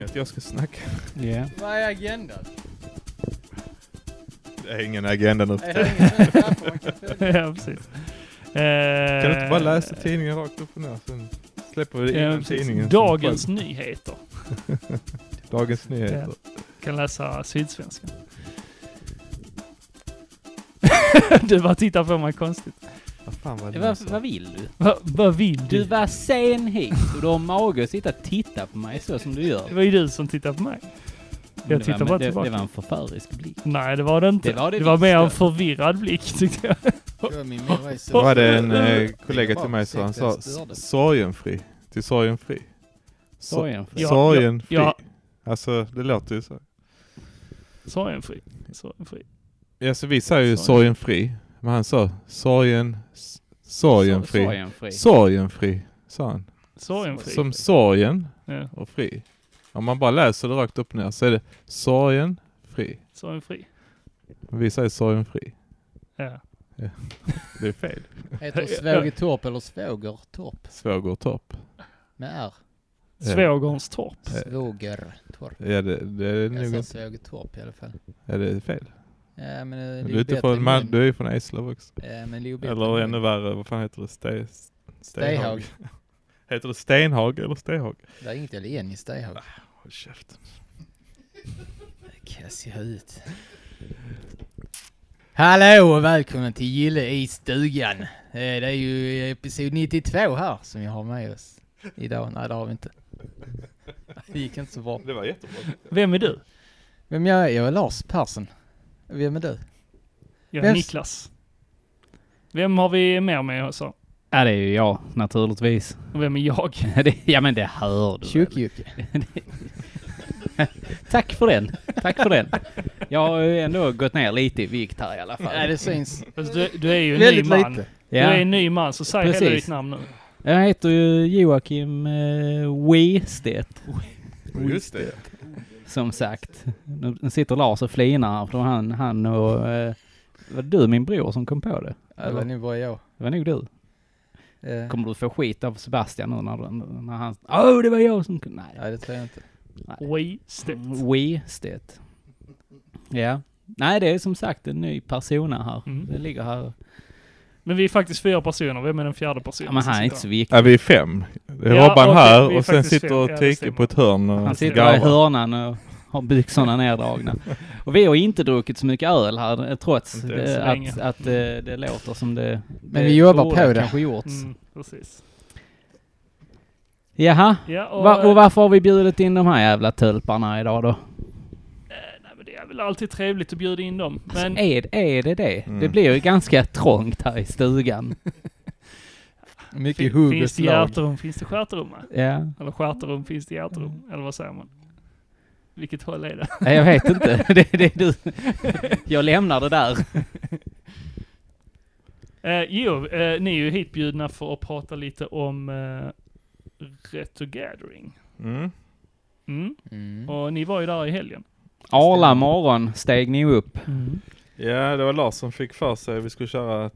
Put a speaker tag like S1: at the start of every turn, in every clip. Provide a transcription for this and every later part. S1: att jag ska snacka.
S2: Yeah.
S3: Vad är agendan?
S1: Det är ingen agenda nu.
S3: Är det ingen papper man kan följa?
S2: ja, precis. Eh,
S1: Kan du inte bara läsa tidningen rakt upp och ner? Sen släpper vi det
S2: Eh, ja,
S1: innan
S2: precis.
S1: tidningen.
S2: Dagens nyheter.
S1: Dagens Nyheter.
S2: Kan läsa Sydsvenskan. du bara tittar på mig konstigt.
S1: Vad fan var det jag
S3: Vad,
S1: sa?
S3: vad vill du?
S2: Va, vad vill
S3: Du
S2: du?
S3: var sen hit och du har mage att sitta och titta på mig så som du gör.
S2: Det var ju du som tittade på mig.
S3: Men
S2: Jag
S3: det
S2: tittar
S3: var,
S2: bara
S3: det,
S2: tillbaka.
S3: det var en förförisk blick.
S2: Nej, det var det inte.
S3: Det var det
S2: mer en
S3: visst.
S2: förvirrad blick tyckte jag.
S4: Det var min mor i
S1: Det var det en
S2: Jag
S1: eh, kollega till mig som sa
S4: Ursäkta, jag störde.
S1: sorgenfri. Till sorgenfri. So-
S3: Sorgen för
S2: Ja,
S1: sorgenfri.
S2: ja.
S1: Alltså det låter ju så.
S2: Sorgenfri. Sorgenfri.
S1: Ja, så vi säger ju
S2: Sorgen.
S1: sorgenfri. Men han sa sorgen, s- sorgenfri.
S3: Sorgenfri.
S1: Sorgenfri, sa han.
S2: Sorgenfri.
S1: Som sorgen
S2: Ja,
S1: och fri. Om man bara läser det rakt upp och ner så är det sorgen, fri.
S2: sorgenfri.
S1: Vi säger sorgen fri.
S2: Ja.
S1: Det är fel.
S4: Heter Svågetorp eller Svågertorp?
S1: Svågertorp.
S4: Med R.
S1: Ja.
S2: Svågerns torp.
S4: Svågertorp.
S1: Är det, det är
S4: Jag
S1: nog
S4: sa
S1: inte.
S4: Svågetorp i alla fall.
S1: Är det fel?
S4: Ja, men eh, det är
S1: Du
S4: ju
S1: är, inte
S4: bättre
S1: från
S4: än
S1: Malmö,
S4: min.
S1: du är ju från Eslöv också.
S4: Ja, men det är ju bättre
S1: Eller
S4: än
S1: ännu
S4: min.
S1: värre, vad fan heter det? Ste, Stehag.
S4: Stehag.
S1: Heter det Stenhag eller Stehag?
S4: Det är inget alien i Stehag.
S1: Håll käften.
S4: Kass i huvudet. Hallå och välkommen till Gille i stugan. Eh, Det är ju episod 92 här som vi har med oss idag. Nej, det har vi inte. Det gick inte så bra.
S1: Det var jättebra.
S2: Vem är du?
S4: Vem jag är? Jag är Lars Persson. Vem är du?
S2: Jag är
S4: Vem-
S2: Niklas. Vem har vi mer med oss? då?
S3: Ja, det är ju jag naturligtvis.
S2: Och Vem är jag?
S3: Det- ja, men det hör du. väl.
S4: Tjock-Jocke.
S3: Tack för den. Tack för den. Jag har ju ändå gått ner lite i vikt här i alla
S4: Nej,
S3: fall.
S4: det syns
S2: Alltså, du, du är ju en ny
S4: väldigt
S2: man.
S4: lite.
S2: Du är
S3: Ja.
S2: en ny man, så säg hela
S3: Precis.
S2: ditt namn nu.
S3: Jag heter ju Joakim eh, Wistedt,
S1: Just det.
S3: som sagt. Nu nu sitter Lars och flinar här, för det var han, han och... Eh, var det du min bror som kom på det?
S4: Det var nu bara jag.
S3: Det var nog du.
S4: Eh,
S3: Kommer du få skit av Sebastian nu när, när han... Åh, det var jag som... Nej.
S4: Nej, det tror jag inte.
S2: Wasted.
S3: Wistedt. Ja. Nej, det är som sagt en ny persona här.
S2: Mm.
S3: Det ligger här.
S2: Men vi är faktiskt fyra personer. Vem är den fjärde personen?
S3: Ja, men
S2: som
S3: han är
S2: sitter
S3: inte så
S2: här?
S3: viktig.
S1: Ja, vi är fem. Det är
S2: Ja,
S1: Robban
S2: okej, vi
S1: här
S2: är
S1: och sen
S2: faktiskt
S1: sitter
S2: fem.
S1: och
S2: Ja, det
S1: Tike
S2: stämmer.
S1: på ett hörn och
S3: Han sitter där i
S1: garvar.
S3: hörnan och har byxorna nerdragna. Och vi har inte druckit så mycket öl här eh, trots
S1: Inte än så
S3: eh,
S2: länge.
S3: att, att eh, det låter som det...
S4: Men vi jobbar
S3: borde
S4: på det.
S3: kanske gjorts.
S2: Mm, precis.
S3: Jaha.
S2: Ja, och,
S3: Va, och varför har vi bjudit in de här jävla tulparna idag då?
S2: eh, nej, men det är väl alltid trevligt att bjuda in dem. Men
S3: Alltså, är, är det det?
S1: Mm.
S3: Det blir ju ganska trångt här i stugan.
S2: fin-
S4: Mycket hugg och
S2: finns det
S4: slag.
S2: hjärterum finns det stjärterum. va?
S3: ja.
S2: Eller stjärterum finns det hjärterum.
S3: Mm.
S2: Eller vad säger man? Vilket håll är det?
S3: Nej, jag vet inte. Det, det är du. Jag lämnar det där.
S2: Eh, jo, eh, ni är ju hitbjudna för att prata lite om eh, Ret to Gathering.
S1: Mm.
S2: Mm.
S4: Mm.
S2: Och ni var ju där i helgen.
S3: Arla morgon steg ni upp.
S1: Ja, det var Lars som fick för sig att vi skulle köra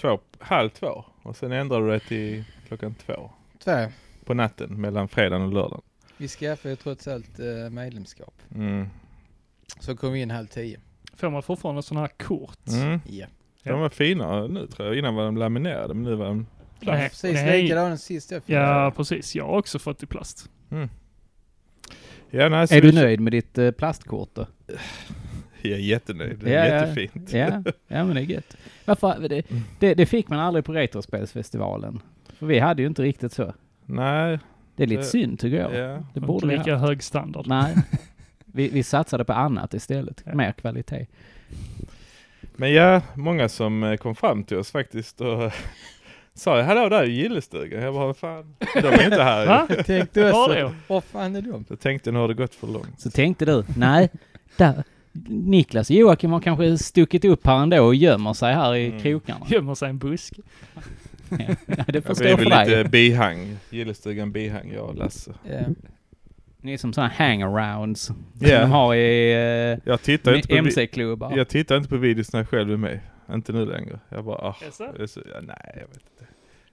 S1: två, halv två och sen ändrade du det till klockan två
S4: Två.
S1: på natten mellan fredagen och lördagen.
S4: Vi skaffade ju trots allt eh, medlemskap.
S1: Mm.
S4: Så kom vi in halv tio.
S2: Får man fortfarande sådana här kort?
S1: Mm.
S4: Ja.
S1: De var fina nu tror jag. Innan var de laminerade men nu var de...
S2: Nej,
S4: Precis
S2: nej.
S4: likadan sist jag fick.
S2: Ja, precis. Jag har också fått i plast.
S1: Ja, nej, så
S3: Är du
S1: vi-
S3: nöjd med ditt eh, plastkort då?
S1: Jag är jättenöjd. Det är
S3: Ja, ja.
S1: jättefint.
S3: Ja, ja men det är gött. Varför? Det, det, det fick man aldrig på Retrospelsfestivalen. För vi hade ju inte riktigt så.
S1: Nej,
S3: Det är lite
S1: Det-
S3: synd tycker jag.
S1: Eh, ja.
S3: Det
S2: Inte
S3: borde vi
S2: lika
S3: ha.
S2: hög standard.
S3: Nej. Vi, vi satsade på annat istället.
S2: Ja.
S3: Mer kvalitet.
S1: Men ja, många som eh, kom fram till oss faktiskt och sa hallå där är ju gillestugan. Jag bara, vad fan, de är inte här.
S2: Va?
S1: ju."
S4: Jag tänkte
S2: Var
S4: också,
S2: det?
S4: vad fan är de?
S1: Då tänkte jag, nu har det gått för långt.
S3: Så tänkte du, nej, där, Niklas och Joakim har kanske stuckit upp här ändå och gömmer sig här i
S1: Mm.
S3: krokarna.
S2: Gömmer sig i en buske.
S3: Ja, det
S1: Ja,
S3: får
S1: vi är
S3: stå för
S1: väl
S3: dig.
S1: lite bihang, gillestugan bihang, jag och Lasse.
S4: Ja.
S3: Ni är som sådana hangarounds som
S1: Ja.
S3: de har i eh,
S1: Jag tittar inte på vi-
S3: MC-klubbar.
S1: Jag tittar inte på videos när jag själv är med. Inte nu längre. Jag bara, ah,
S2: Jaså?
S1: det är så, ja, nej jag vet inte.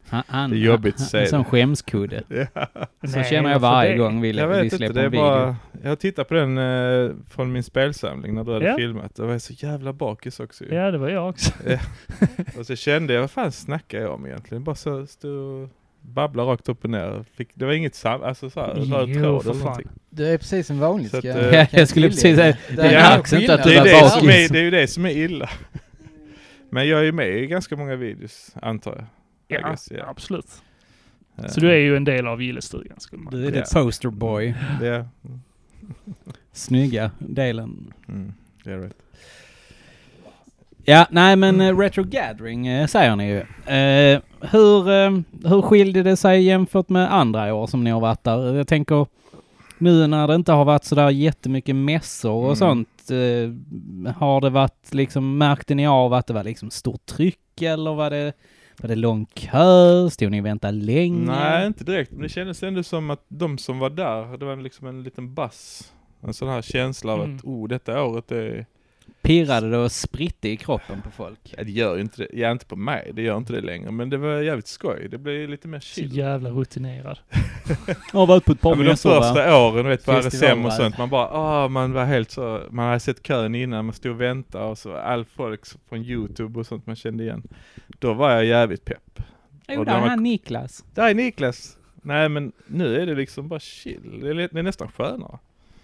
S3: Han, han,
S1: Det är jobbigt att
S3: han,
S1: säga
S3: han är som
S1: det.
S3: skämskudde.
S1: Ja,
S3: Så känner jag varje gång vi,
S1: jag
S3: vi
S1: vet inte,
S3: släpper
S1: det är
S3: en video.
S1: bara, Jag tittade på den eh, från min spelsamling när du hade
S2: Ja.
S1: filmat. Då var jag så jävla bakis också ju.
S2: Ja, det var jag också.
S1: Och så kände jag, vad fan snackar jag om egentligen? Bara så stod och babblade rakt upp och ner. Fick, det var inget sam... Alltså så här, röd
S2: Jo,
S1: tråd
S2: för
S1: eller
S2: fan.
S1: någonting.
S4: Du är precis som vanligt.
S1: Så att,
S4: ska
S1: eh,
S3: Ja,
S4: kan
S3: jag skulle precis
S4: tillägga.
S3: säga,
S4: Där
S3: det
S4: är
S1: märks
S4: en
S3: inte
S4: skillnad.
S3: att
S1: Det
S3: du
S1: är,
S3: var
S1: det,
S3: bakis.
S1: som är, det är ju det som är illa. Men jag är ju med i ganska många videos, antar jag. I
S2: Ja,
S1: guess, yeah.
S2: absolut.
S1: Eh,
S2: Så du är ju en del av gillestugan skulle man
S3: Du är
S1: Ja.
S3: det posterboy.
S1: Det är,
S3: Snygga delen.
S1: mm, det är rätt.
S3: Ja, nej men
S1: Mm.
S3: eh, Retro Gathering eh, säger ni ju. Eh, hur, eh, hur skilde det sig jämfört med andra år som ni har varit där? Jag tänker nu när det inte har varit sådär jättemycket mässor och
S1: Mm.
S3: sånt. Eh, har det varit liksom, märkte ni av att det var liksom stort tryck eller var det, var det lång kö? Stod ni och väntade länge?
S1: Nej, inte direkt. Men det kändes ändå som att de som var där, det var liksom en liten bass. En sån här känsla av
S2: Mm.
S1: att, oh, detta året är...
S3: Pirrade det och spritte i kroppen på folk?
S1: Ja, det gör ju inte det. Ja, inte på mig. Det gör inte det längre. Men det var jävligt skoj. Det blev lite mer
S2: Så
S1: chill.
S2: jävla rutinerad.
S3: Jag har varit på ett
S1: Ja,
S3: par
S1: men de
S3: mässor va?
S1: första åren, vet, på RSM och
S4: Festivaler.
S1: sånt, man bara, ah, man var helt så, man hade sett kön innan, man stod och väntade och så, all folk från YouTube och sånt man kände igen. Då var jag jävligt pepp.
S3: Jo,
S1: och
S3: där är
S1: de har-
S3: han Niklas.
S1: Där är Niklas! Nej men nu är det liksom bara chill, det är, li- det är nästan skönare.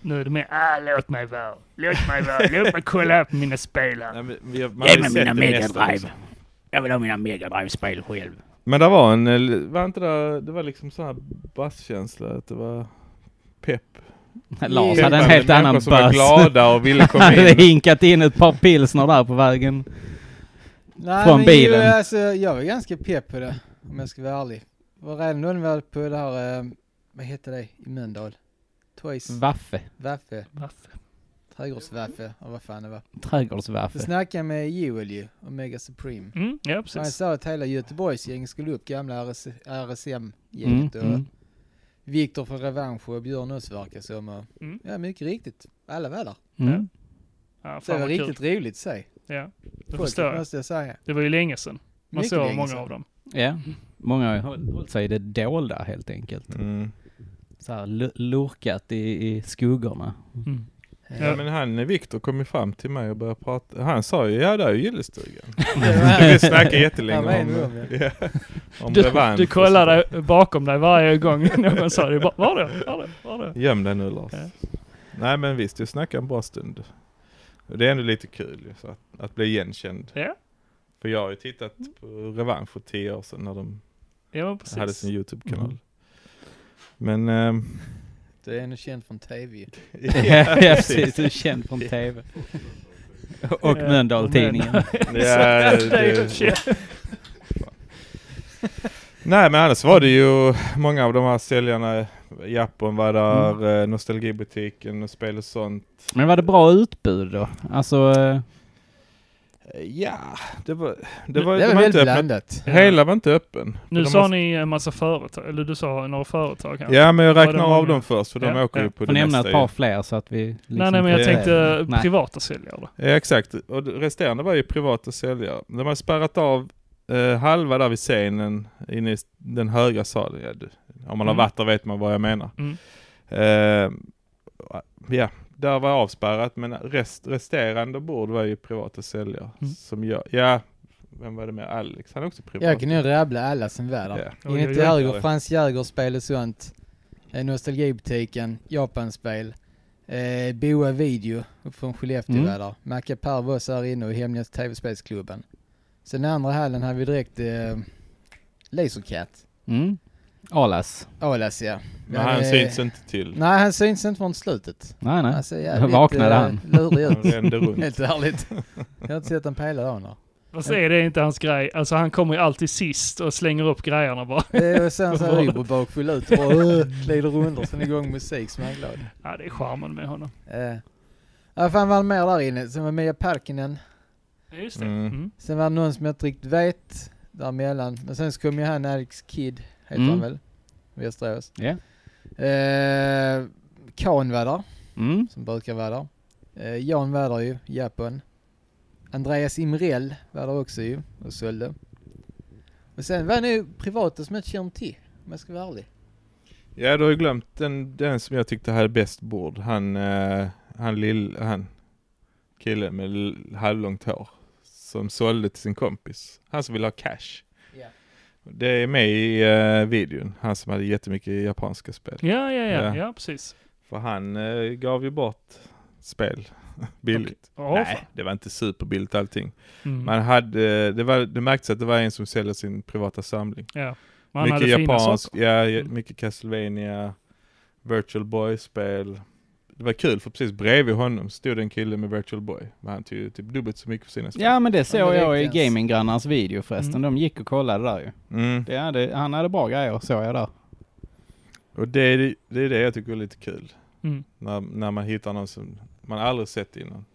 S2: Nu är det mer, ah, låt mig vara, låt mig vara, låt mig kolla upp mina spelare.
S1: Nej, men vi,
S5: Ge
S1: man har ju
S5: mig
S1: sett
S5: mina
S1: det
S5: Mega
S1: mesta,
S5: Drive.
S1: liksom.
S5: Jag vill ha mina Mega Drive-spel själv.
S1: Men det var en, eh, var inte det, det var liksom sån här basskänsla, att det var pepp.
S3: Lars
S1: Peppande
S3: hade en helt
S1: människor
S3: annan
S1: som var
S3: bös.
S1: glada och ville
S3: Han
S1: komma
S3: hade
S1: in.
S3: hinkat in ett par pilsner där på vägen.
S4: Nej,
S3: Från
S4: men
S3: bilen.
S4: Ju, alltså, jag var ganska pepp på det, om jag ska vara ärlig. Var redan unvald på det här, eh, vad heter det, i Mölndal? Toys,
S3: Vaffe.
S4: Vaffe,
S2: Varför?
S4: trädgårdsvaffe och vad fan det var.
S3: Trädgårdsvaffe.
S4: Jag snackade med Joel ju, om Mega Supreme.
S2: Mm, ja,
S4: Han
S2: precis.
S4: sa att hela Göteborgsgänget skulle upp, gamla RS,
S3: Mm,
S4: RSM-gänget och
S3: mm.
S4: Viktor från Revansch och Björn också verkar som. Och,
S2: Mm.
S4: Ja, mycket riktigt. Alla var där.
S3: Mm.
S2: Ja,
S4: Så det
S2: fan
S4: var
S2: vad kul.
S4: riktigt roligt sig.
S2: Ja, det förstår
S4: Folket
S2: jag.
S4: måste jag säga.
S2: Det var ju länge sedan. Man
S4: Mycket
S2: såg
S4: länge
S2: många
S4: sedan.
S2: av dem.
S3: Ja. Många har ju håll- hållit sig i det dolda helt enkelt.
S1: Mm.
S3: Så här lu- lurkat i, i skuggorna.
S2: Mm.
S1: Ja men han, eh, Viktor kom ju fram till mig och började prata, han sa ju, ja det är ju gillestugan. Vi snackade
S4: Ja, vad
S1: jättelänge
S4: är det
S1: om,
S4: om,
S1: ja, om
S2: Du,
S1: revansch.
S2: du kollar dig bakom dig varje gång någon sa det. Bara, Var det? Var det? Var det?
S1: Göm dig nu Lars.
S2: Ja.
S1: Nej men visst, du snackade en bra stund. Och Det är ändå lite kul ju, så att, att bli igenkänd.
S2: Ja.
S1: För jag har ju tittat på revansch för tio år sedan när de
S2: Ja, men
S1: hade
S2: precis.
S1: sin YouTube-kanal.
S3: Mm.
S1: Men... ehm,
S4: Du är ändå känd från TV ju.
S3: ja, precis. Du är känd från TV. Och
S2: Ja,
S3: Mölndal-tidningen.
S1: Ja,
S2: det är ju
S1: det- Nej men annars var det ju många av de här säljarna, Japon var där, eh, Nostalgibutiken och spel och sånt.
S3: Men var det bra utbud då? Alltså, eh,
S1: Eh, Ja, det var...
S2: Det-
S1: Det var,
S4: Det
S1: de
S4: var
S1: var
S4: väldigt
S1: inte öppna,
S4: blandat.
S1: hela var inte öppen.
S2: Nu
S1: De
S2: sa
S1: har-
S2: ni en massa företag, eller du sa några företag här.
S1: Ja men jag
S2: Var det
S1: räknar av
S2: många?
S1: dem först för de
S2: Ja,
S1: åker
S2: ja.
S1: ju på
S3: får
S1: det
S3: nämna
S1: nästa.
S3: ett par
S1: ju.
S3: fler så att vi... Liksom
S2: nej, nej, men jag
S1: det-
S2: tänkte
S3: Nej.
S2: privata säljare.
S1: Ja, exakt, och det- resterande var ju privata säljare. De har spärrat av eh, halva där vid scenen inne i s- den högra salen. Ja, du, om man har
S2: Mm.
S1: varit där vet man vad jag menar.
S2: Mm.
S1: Eh, ja, där var avspärrat men rest, resterande bord var ju privata säljare.
S2: Mm.
S1: Som jag, ja, vem var det med? Alex, han är också privat.
S4: Jag kan ju rabbla alla som var där.
S1: Ja.
S2: Oj,
S4: Enligt
S2: oj, oj.
S4: Jäger, Frans Jäger, spel och sånt. Eh, Nostalgibutiken, Japanspel. Eh, Boa Video upp från Skellefteå
S3: Mm.
S4: var där. Macca Per var också här inne och Hemliga TV-spelsklubben. Sen den andra hallen hade vi direkt eh, Lasercat.
S3: Mm. Alas.
S4: Alas ja.
S1: Men han
S4: det-
S1: syns inte till.
S4: eh, Nej han syns inte från slutet.
S3: Nej, nej.
S4: Han ser jävligt
S3: Vaknade
S4: eh,
S3: han?
S4: lurig
S1: Han
S4: ut.
S1: rände runt.
S4: Helt ärligt. Jag har inte sett honom på hela dagen där.
S2: Fast är det inte hans grej? Alltså han kommer ju alltid sist och slänger upp grejerna bara.
S4: Eh, Och sen så är Uber bakfull ut och bara "Åh", glider runt. Sen igång musik som han är glad.
S2: Ja, det är charmen med honom.
S4: Eh, Ja, fan var det mer där inne? Sen var Mia Parkinen.
S2: Ja, Just det.
S1: Mm.
S2: Mm.
S4: Sen var det någon som jag inte riktigt vet däremellan. Men sen så kom ju han Alex Kid, heter
S3: Mm.
S4: han väl? Västerås.
S3: Ja.
S4: Eh, Kahn var där,
S3: Mm.
S4: som brukar vara där. Eh, Jan var där ju, Japan. Andreas Imrell var där också ju och sålde. Och sen var det nu privata som jag inte känner till, om jag ska vara ärlig.
S1: Ja, du har ju glömt den, den som jag tyckte hade bäst bord. Han, eh, han lill, han killen med l- halvlångt hår. Som sålde till sin kompis. Han som ville ha cash.
S4: Ja.
S1: Det är med i eh, videon. Han som hade jättemycket japanska spel.
S2: Ja, ja, ja,
S1: Ja.
S2: ja precis.
S1: För han eh, gav ju bort spel billigt.
S2: Ja,
S1: Nej, det var inte superbilligt allting.
S2: fan. Mm.
S1: Man hade, eh, det, var, det märktes att det var en som säljer sin privata samling.
S2: ja. Man
S1: mycket
S2: hade fina
S1: japansk,
S2: saker.
S1: ja, ja,
S2: Mm.
S1: mycket Castlevania, Virtual Boy-spel. Det var kul för precis bredvid honom stod en kille med Virtual Boy. Men han tog ju typ dubbelt så mycket för sina spel.
S3: Ja men det såg
S4: Ja, men det
S3: jag i
S4: räcker ens.
S3: Gaminggrannas video förresten. De gick och kollade där ju.
S1: Mm.
S3: Det hade, han hade bra grejer såg jag där.
S1: Och det är, det- det är det jag tycker är lite kul.
S2: Mm.
S1: När, när man hittar någon som man aldrig sett innan.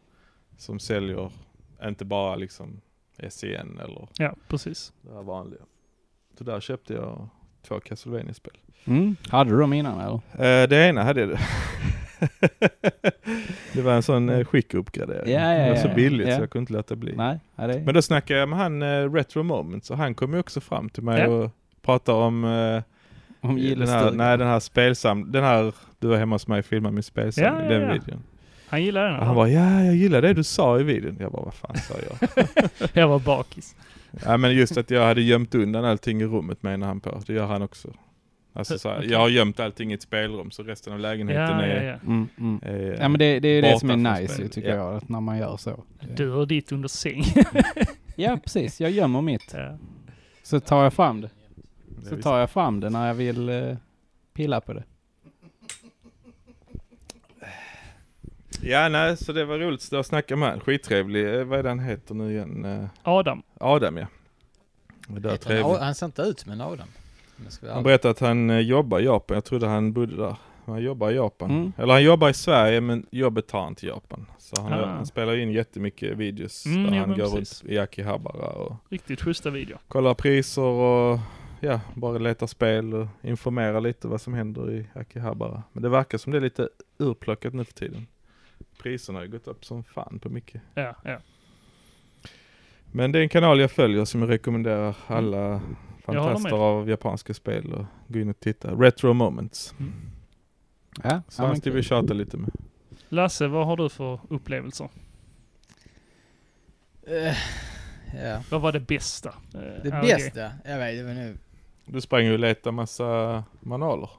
S1: Som säljer, inte bara liksom SCN eller
S2: Ja, precis.
S1: det här vanliga. Så där köpte jag två Castlevania-spel.
S3: Mm. Hade du dem innan eller?
S1: Eh, det ena hade du. det var en sån uh, skick-uppgradering.
S3: Mm. Ja, ja,
S1: det var
S3: ja,
S1: så
S3: ja.
S1: billigt
S3: Ja.
S1: så jag kunde inte låta bli.
S3: Nej. Ja, det...
S1: Men då snackade jag med han eh, Retro Moments och han kom ju också fram till mig
S2: Ja.
S1: och pratade om, eh,
S3: Om
S1: den, här,
S3: gillestugan.
S1: nej, den här spelsam, den här du var hemma hos mig och filmade min spelsamling,
S2: Ja, ja,
S1: den
S2: ja.
S1: videon.
S2: Han gillar den.
S1: Och han bara ja, jag gillar det du sa i videon. Jag bara vad fan sa jag?
S2: jag var bakis.
S1: ja, men just att jag hade gömt undan allting i rummet menar han på. Det gör han också. Alltså, så här,
S2: Okej.
S1: Jag har gömt allting i ett spelrum så resten av
S2: Ja,
S1: lägenheten
S2: ja,
S1: är,
S2: ja.
S3: Mm, mm.
S1: är
S3: Ja men det, det är ju det
S1: Borta
S3: som är
S1: från
S3: nice ju,
S1: spelet.
S3: tycker
S1: Ja.
S3: jag, att när man gör så.
S2: Du har ditt under säng.
S3: Ja precis, jag gömmer mitt.
S2: Ja.
S3: Så tar jag fram det.
S1: det
S3: Så
S1: visst.
S3: tar jag fram det när jag vill eh, pilla på det.
S1: Ja, nej, så det var roligt att stå och snacka med han. Skittrevlig, eh, vad är det han heter nu igen? Eh,
S2: Adam.
S1: Adam ja. Det där
S4: Heter han,
S1: trevligt.
S4: Ad- han ser inte ut som en Adam. om jag ska vara
S1: Han
S4: ärlig.
S1: berättade att han eh, jobbar i Japan, jag trodde han bodde där. Men han jobbar i Japan.
S3: Mm.
S1: Eller han jobbar i Sverige men jobbet tar han till Japan. Så han,
S2: Ah.
S1: han spelar in jättemycket videos
S2: Mm,
S1: där
S2: ja,
S1: han
S2: men
S1: går
S2: precis.
S1: runt i Akihabara och
S2: Riktigt schyssta videor.
S1: kollar priser och ja, bara letar spel och informerar lite vad som händer i Akihabara. Men det verkar som det är lite urplockat nu för tiden. Priserna har ju gått upp som fan på mycket.
S2: Ja, ja.
S1: Men det är en kanal jag följer som jag rekommenderar alla
S2: håller
S1: fantaster
S2: med.
S1: av japanska spel och gå in och titta. Retro Moments.
S4: Mm.
S3: Ja,
S1: Så
S3: ja,
S1: han
S3: men
S1: ska
S3: kul.
S1: vi tjata lite med.
S2: Lasse, vad har du för upplevelser?
S4: Eh, Ja.
S2: Vad var det bästa? Eh,
S4: Det
S2: RG?
S4: bästa, jag vet, det var nu...
S1: Du sprang ju och letade massa manualer.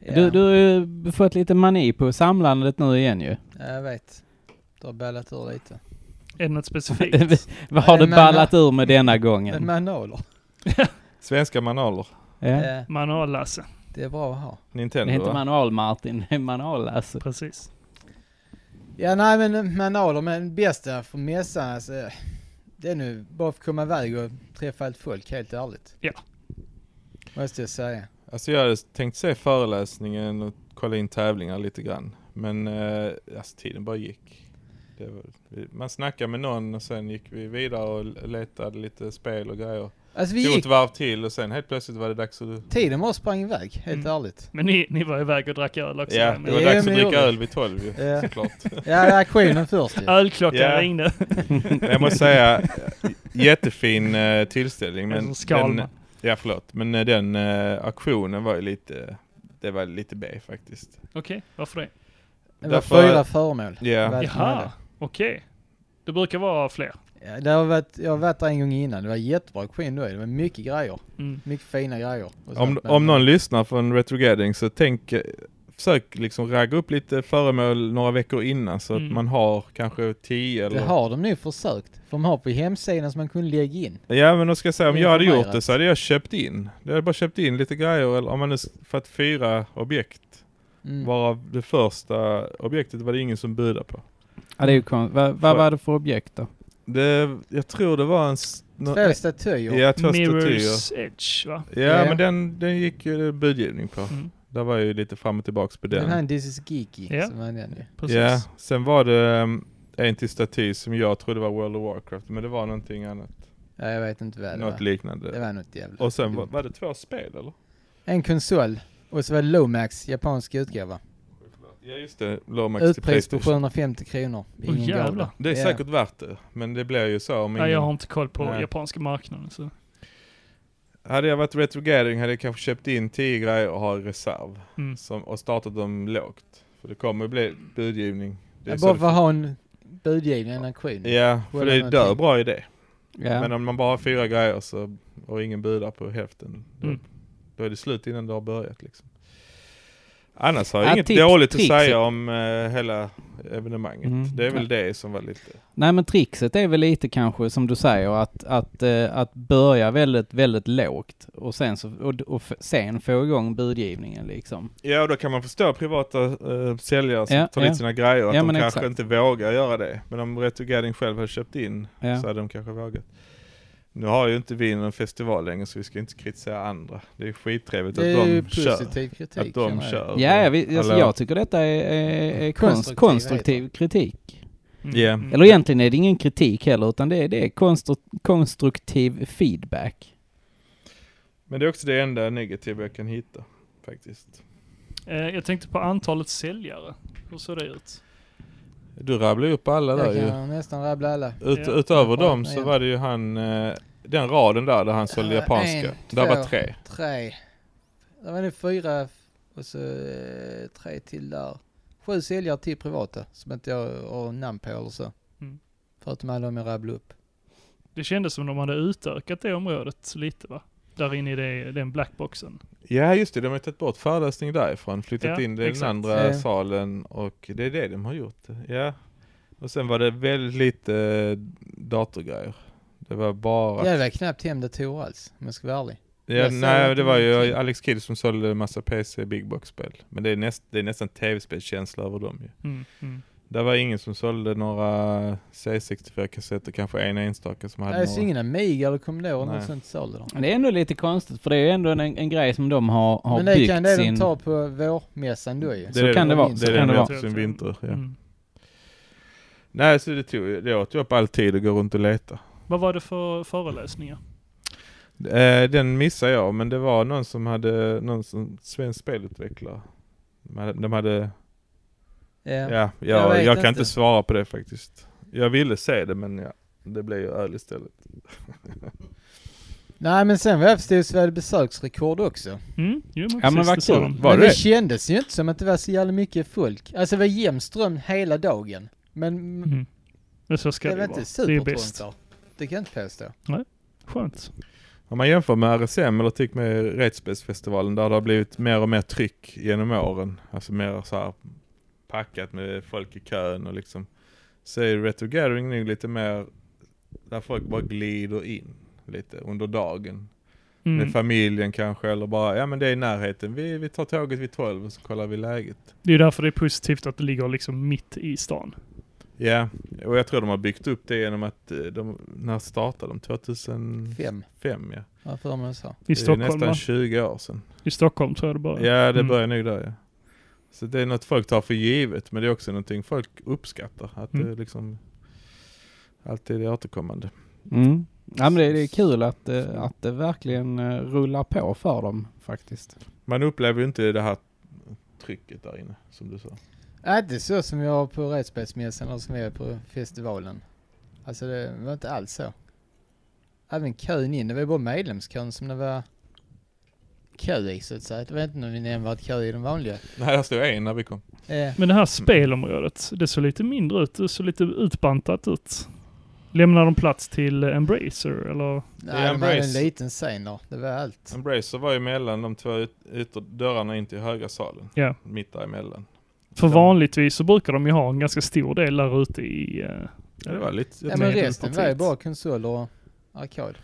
S4: Ja,
S3: Du, du har ju fått lite mani på samlandet nu igen ju.
S4: ja, jag vet. Du har ballat ur lite.
S2: Är det något specifikt?
S3: Vad har
S4: Nej,
S3: du
S4: men-
S3: ballat ur med denna
S4: Men
S3: gången?
S4: manualer,
S1: Svenska manualer.
S3: Ja.
S4: eh,
S2: Manual-Lasse,
S4: det är bra att ha.
S3: Det
S1: Nintendo
S3: är inte
S1: va?
S3: manual-Martin, det är manual-Lasse.
S2: precis.
S4: Ja, nej men eh, manualer, men bästa från mässan alltså, eh, Det är nu bara för att komma iväg och träffa allt folk, helt ärligt.
S2: Ja.
S4: Måste jag säga.
S1: Alltså jag hade tänkt se föreläsningen och kolla in tävlingar lite grann. Men eh, alltså tiden bara gick. Det var, vi- man snackade med någon och sen gick vi vidare och letade lite spel och grejer.
S4: Alltså vi
S1: Tog ett
S4: gick,
S1: varv till och sen helt plötsligt var det dags att...
S4: tiden bara sprang iväg, helt
S2: Mm.
S4: ärligt.
S2: Men ni, ni var iväg och drack öl också.
S1: Ja,
S2: men-
S1: det var
S4: Ja,
S1: dags
S4: men
S1: att
S4: det
S1: dricka
S4: gjorde
S1: öl vid tolv ju,
S4: Ja.
S1: såklart.
S4: Ja, reaktionen först ju.
S2: Ölklockan
S1: Ja.
S2: ringde.
S1: Men Jag måste säga, jättefin eh, tillställning.
S2: En
S1: Men
S2: sån skalman.
S1: den, ja, förlåt. Men eh, den eh, auktionen var ju lite, det var lite B faktiskt.
S2: Okej, varför det?
S4: Det var
S1: Därför-
S4: fyra föremål.
S1: Ja.
S4: Vad som hände.
S2: Jaha, okej. Det brukar vara fler.
S4: Ja, det har varit, jag har varit där en gång innan, det var jättebra auktion då Det var mycket grejer,
S2: Mm.
S4: mycket fina grejer. och
S1: Om,
S4: sånt, men-
S1: om någon lyssnar från Retro Gathering så tänk, eh, försök liksom ragga upp lite föremål några veckor innan så
S2: Mm.
S1: att man har kanske 10
S4: Det
S1: eller...
S4: har de nu försökt. För de har på hemsidan som man kunde lägga in.
S1: Ja men då ska jag säga, om jag hade gjort
S4: Informerat.
S1: det så hade jag köpt in. Jag hade bara köpt in lite grejer, eller om man nu, s- för att fyra objekt,
S4: Mm.
S1: varav det första objektet var det ingen som budade på.
S3: Ja, det är ju kon- Vad vad
S1: Får-
S3: var det för objekt då?
S1: Det, jag tror det var en... s- nå-
S4: Två statyer.
S1: Ja, två statyer.
S2: Mirrors Edge, va?
S1: Ja,
S4: Ja.
S1: men den, den gick ju det budgivning på.
S2: Mm.
S1: Där var ju lite fram och tillbaks på
S4: Den här
S1: den.
S4: This is Geeky
S2: Ja.
S4: som var den ju.
S2: Precis.
S1: Ja, sen var det um, en till staty som jag trodde var World of Warcraft, men det var någonting annat.
S4: Ja, jag vet inte vad det
S1: Något
S4: var. Det
S1: liknande.
S4: var något jävla.
S1: Och sen var, var det två spel eller?
S4: En konsol. Och så var det Lomax, japansk utgåva.
S1: Ja just det, Lomax till
S4: Utpris på
S1: Playstation.
S4: 750 kronor. Ingen
S2: Åh, jävlar.
S4: gav
S1: Det är
S4: Ja.
S1: säkert värt det, men det blir ju så om
S2: Nej, jag har
S1: ingen...
S2: inte koll på
S1: Nej.
S2: japanska marknaden. Så.
S1: Hade jag varit retrogathering hade jag kanske köpt in 10 grejer och ha i reserv.
S2: Mm.
S1: Som, och startat dem lågt. För det kommer bli budgivning. Det är
S4: Jag
S1: så
S4: bara
S1: det
S4: för att
S1: funkar.
S4: ha en budgivning, en auktion.
S1: Ja, för det
S4: Whatever
S1: är dör
S4: någonting.
S1: bra idé.
S3: Ja.
S1: Men om man bara har fyra grejer så, och ingen budar på hälften. Då,
S2: Mm.
S1: då är det slut innan det har börjat liksom. Annars har jag
S3: Ja,
S1: inget
S3: tips-
S1: dåligt
S3: tricks-
S1: att säga om eh, hela evenemanget.
S3: Mm.
S1: Det är väl det som var lite...
S3: Nej men trixet är väl lite kanske som du säger att, att, eh, att börja väldigt, väldigt lågt och sen, så, och, och f- sen få igång budgivningen liksom.
S1: Ja, och då kan man förstå privata eh, säljare som
S3: Ja,
S1: tar
S3: ja.
S1: dit sina grejer, att
S3: Ja,
S1: de
S3: men
S1: kanske
S3: exakt.
S1: inte vågar göra det. Men om Retrogadding själv hade köpt in
S3: Ja.
S1: så hade de kanske vågat. Nu har ju inte vi någon festival längre så vi ska inte kritisera andra. Det är skittrevligt
S4: Det
S1: att
S4: är ju
S1: de kör.
S4: positiv kritik.
S1: Att de
S4: känner jag.
S1: kör.
S3: Ja, ja vi, alltså,
S1: Hallå?
S3: jag tycker detta är, är, är konstruktiv,
S4: Konstruktiv,
S3: konstruktiv kritik.
S2: Mm.
S1: Yeah.
S2: Mm.
S3: Eller egentligen är det ingen kritik heller utan det är, det är konstru- konstruktiv feedback.
S1: Men det är också det enda negativa jag kan hitta faktiskt.
S2: Eh, Jag tänkte på antalet säljare. Hur såg det ut?
S1: Du rabblar ju upp alla där
S4: Jag
S1: ju.
S4: kan nästan rabbla alla.
S1: Ut,
S2: Ja.
S1: utöver
S4: Jag får
S1: dem
S4: öppna
S1: så
S4: igen.
S1: var det ju han, eh, den raden där där han sålde
S4: Eh,
S1: japanska.
S4: en,
S1: där var
S4: två.
S1: tre.
S4: Tre. Det var nu fyra och så eh, tre till där. Sju säljare till privata som inte jag har namn på eller så.
S2: Mm.
S4: Förutom alla de jag rabblade upp.
S2: Det kändes som de hade utökat det området lite va? Där inne i det, den blackboxen.
S1: Ja just det, de har ju tagit bort föreläsning därifrån, flyttat
S2: Ja,
S1: in det i den
S2: exakt.
S1: andra
S4: Ja.
S1: salen och det är det de har gjort. Ja. Och sen var det väldigt lite eh, datorgrejer. Det var bara...
S4: Jag var knappt hem datorer alls om jag ska vara ärlig.
S1: ja,
S4: jag såg
S1: nej,
S4: att
S1: det
S4: det
S1: var
S4: var
S1: ju
S4: någonting.
S1: Alex Kidd som sålde en massa PC Big Box-spel. Men det är, näst, det är nästan tv-spelskänsla över dem ju.
S2: Mm, mm.
S1: Det var ingen som sålde några C64-kassetter, kanske en enstaka som hade
S4: Nej, så
S1: några.
S4: ingen Amiga eller Commodore eller
S1: Nej.
S4: något sånt sålde de.
S3: Men Det är ändå lite konstigt för det är ju ändå en, en grej som de har, har
S4: Men det
S3: byggt
S4: kan det
S3: sin...
S4: de ta på vårmässan då ju.
S1: Det
S3: Så
S1: är
S3: kan det vara,
S1: Det
S3: så
S1: är
S3: kan
S1: den
S3: det
S1: jag
S3: vara.
S1: åt sin vinter. Ja.
S2: Mm.
S1: Nej, så det tog ju- det åt ju upp all tid att gå runt och leta.
S2: Vad var det för föreläsningar?
S1: Eh, den missade jag, men det var någon som hade, någon som, svensk spelutvecklare. De hade, de hade ja,
S4: Ja.
S1: ja,
S4: Jag
S1: jag,
S4: vet
S1: kan inte
S4: inte.
S1: svara på det faktiskt. Jag ville se det, men ja, det blev ju öl istället.
S4: Nej men sen vad jag förstod så var det besöksrekord också.
S2: Mm? Jo,
S3: Ja, men
S2: precis,
S3: vad
S2: det sa
S3: kul.
S2: de.
S1: Var
S4: men
S1: det?
S4: det? kändes ju inte som att det var så jävla mycket folk. Alltså det var jämn ström hela dagen. Men mm,
S2: Mm. Men så ska
S4: det
S2: det,
S4: var
S2: vara.
S4: inte
S2: Det är bäst.
S4: supertrångt Det kan jag inte påstå.
S2: Skönt.
S1: Om man jämför med RSM eller till och med Rättsspelsfestivalen där det har blivit mer och mer tryck genom åren. Alltså mer så här packat med folk i kön och liksom. Så är Retro Gathering nu lite mer där folk bara glider in lite under dagen.
S2: Mm.
S1: Med familjen kanske eller bara, ja men det är i närheten. Vi, vi tar tåget vid 12 och så kollar vi läget.
S2: Det är ju därför det är positivt att det ligger liksom mitt i stan.
S1: Ja, och jag tror de har byggt upp det genom att eh, de, när startade de? 2005
S4: Fem,
S1: ja.
S4: har jag för mig jag sa.
S2: I
S1: Det är
S2: Stockholm
S1: nästan
S2: va?
S1: 20 år sedan.
S2: I Stockholm tror jag det bara.
S1: Ja, det
S2: Mm.
S1: börjar nog där ja. Så det är något folk tar för givet, men det är också någonting folk uppskattar. Att
S2: Mm.
S1: det liksom alltid är återkommande.
S3: Mm. Ja men det, det är kul att, eh, att det verkligen eh, rullar på för dem faktiskt.
S1: Man upplever ju inte det här trycket där inne, som du sa.
S4: Nej inte så som jag har på rättsspelsmässan eller som jag är på festivalen. Alltså det var inte alls så. Även kön in, det var ju bara medlemskön som det var kö i så att säga. Det var inte någon nämnvärd kö i den vanliga.
S1: Nej, där stod en när vi kom.
S4: Eh,
S2: Men det här spelområdet, det såg lite mindre ut. Det såg lite utbantat ut. Lämnar de plats till Embracer eller?
S1: Det är
S4: nej, det var ju en
S1: nice.
S4: liten scen där. Det var allt.
S1: Embracer var ju mellan de två ut- ytter- dörrarna in till högra salen.
S2: Ja.
S1: Mitt däremellan.
S2: För
S1: Ja.
S2: vanligtvis så brukar de ju ha en ganska stor del där ute i... eh,
S1: Ja, det var lite...
S4: Ja,
S1: Jag,
S2: men
S4: men
S2: det är
S4: resten var ju
S2: partiet.
S4: bara konsoler och arkad.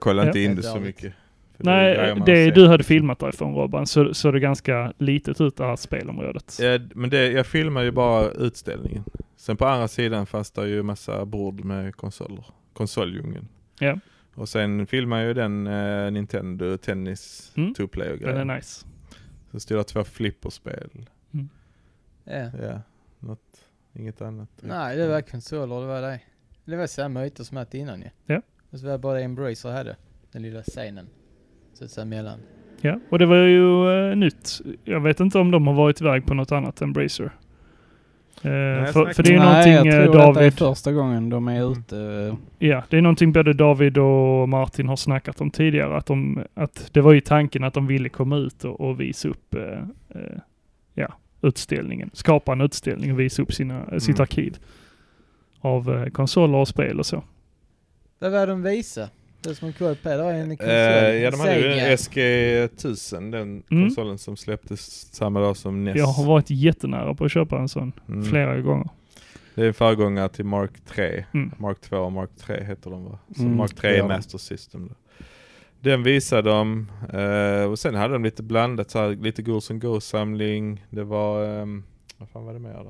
S1: kollade
S2: Ja.
S1: inte in det
S4: Helt
S1: så
S4: ärligt.
S1: mycket. För det är grejer
S2: Nej,
S1: man har
S2: det
S1: sett.
S2: du hade filmat därifrån Robban, så såg det ganska litet ut det här spelområdet.
S1: Ja, men det, jag filmade ju bara utställningen. Sen på andra sidan fanns det ju massa bord med konsoler. Konsoldjungeln.
S2: Ja.
S1: Och sen filmade jag ju den eh, Nintendo Tennis
S2: Mm.
S1: Two Player
S2: Den är
S1: grejen.
S2: nice.
S1: Så stod det två flipperspel.
S4: Ja.
S1: Ja, något, inget annat.
S4: Nej, det var konsoler, det var det. Det var samma ytor som jag hade innan ju.
S2: Ja.
S4: Och så var det bara Embracer hade. Den lilla scenen. Så att säga mellan.
S2: Ja, och det var ju eh, nytt. Jag vet inte om de har varit iväg på något annat än Bracer. Eh,
S1: jag
S2: för,
S1: snackar-
S2: för det är ju
S3: Nej,
S2: någonting
S3: jag
S2: eh,
S3: tror detta är
S2: David... Mm.
S3: första gången de är ute. eh,
S2: Ja, det är någonting både David och Martin har snackat om tidigare. Att, de, att det var ju tanken att de ville komma ut och, och visa upp eh, eh, ja, utställningen. Skapa en utställning och visa upp sina, eh, sitt
S1: Mm.
S2: arkiv av eh, konsoler och spel och så.
S4: Vad var de visa? Du som har koll på det, det var en konsol.
S1: Eh, ja, de hade ju
S4: Sega.
S1: en SG1000, den
S2: Mm.
S1: konsolen som släpptes samma dag som NES.
S2: Jag har varit jättenära på att köpa en sån
S1: Mm.
S2: flera gånger.
S1: Det är en föregångare till Mark 3.
S2: Mm.
S1: Mark 2 och Mark 3 heter de va? Så
S3: Mm,
S1: Mark 3
S3: ja.
S1: är Master System. Då. Den visade de eh, och sen hade de lite blandat så här, lite Ghouls and Ghosts samling. Det var, ehm, vad fan var det mer då?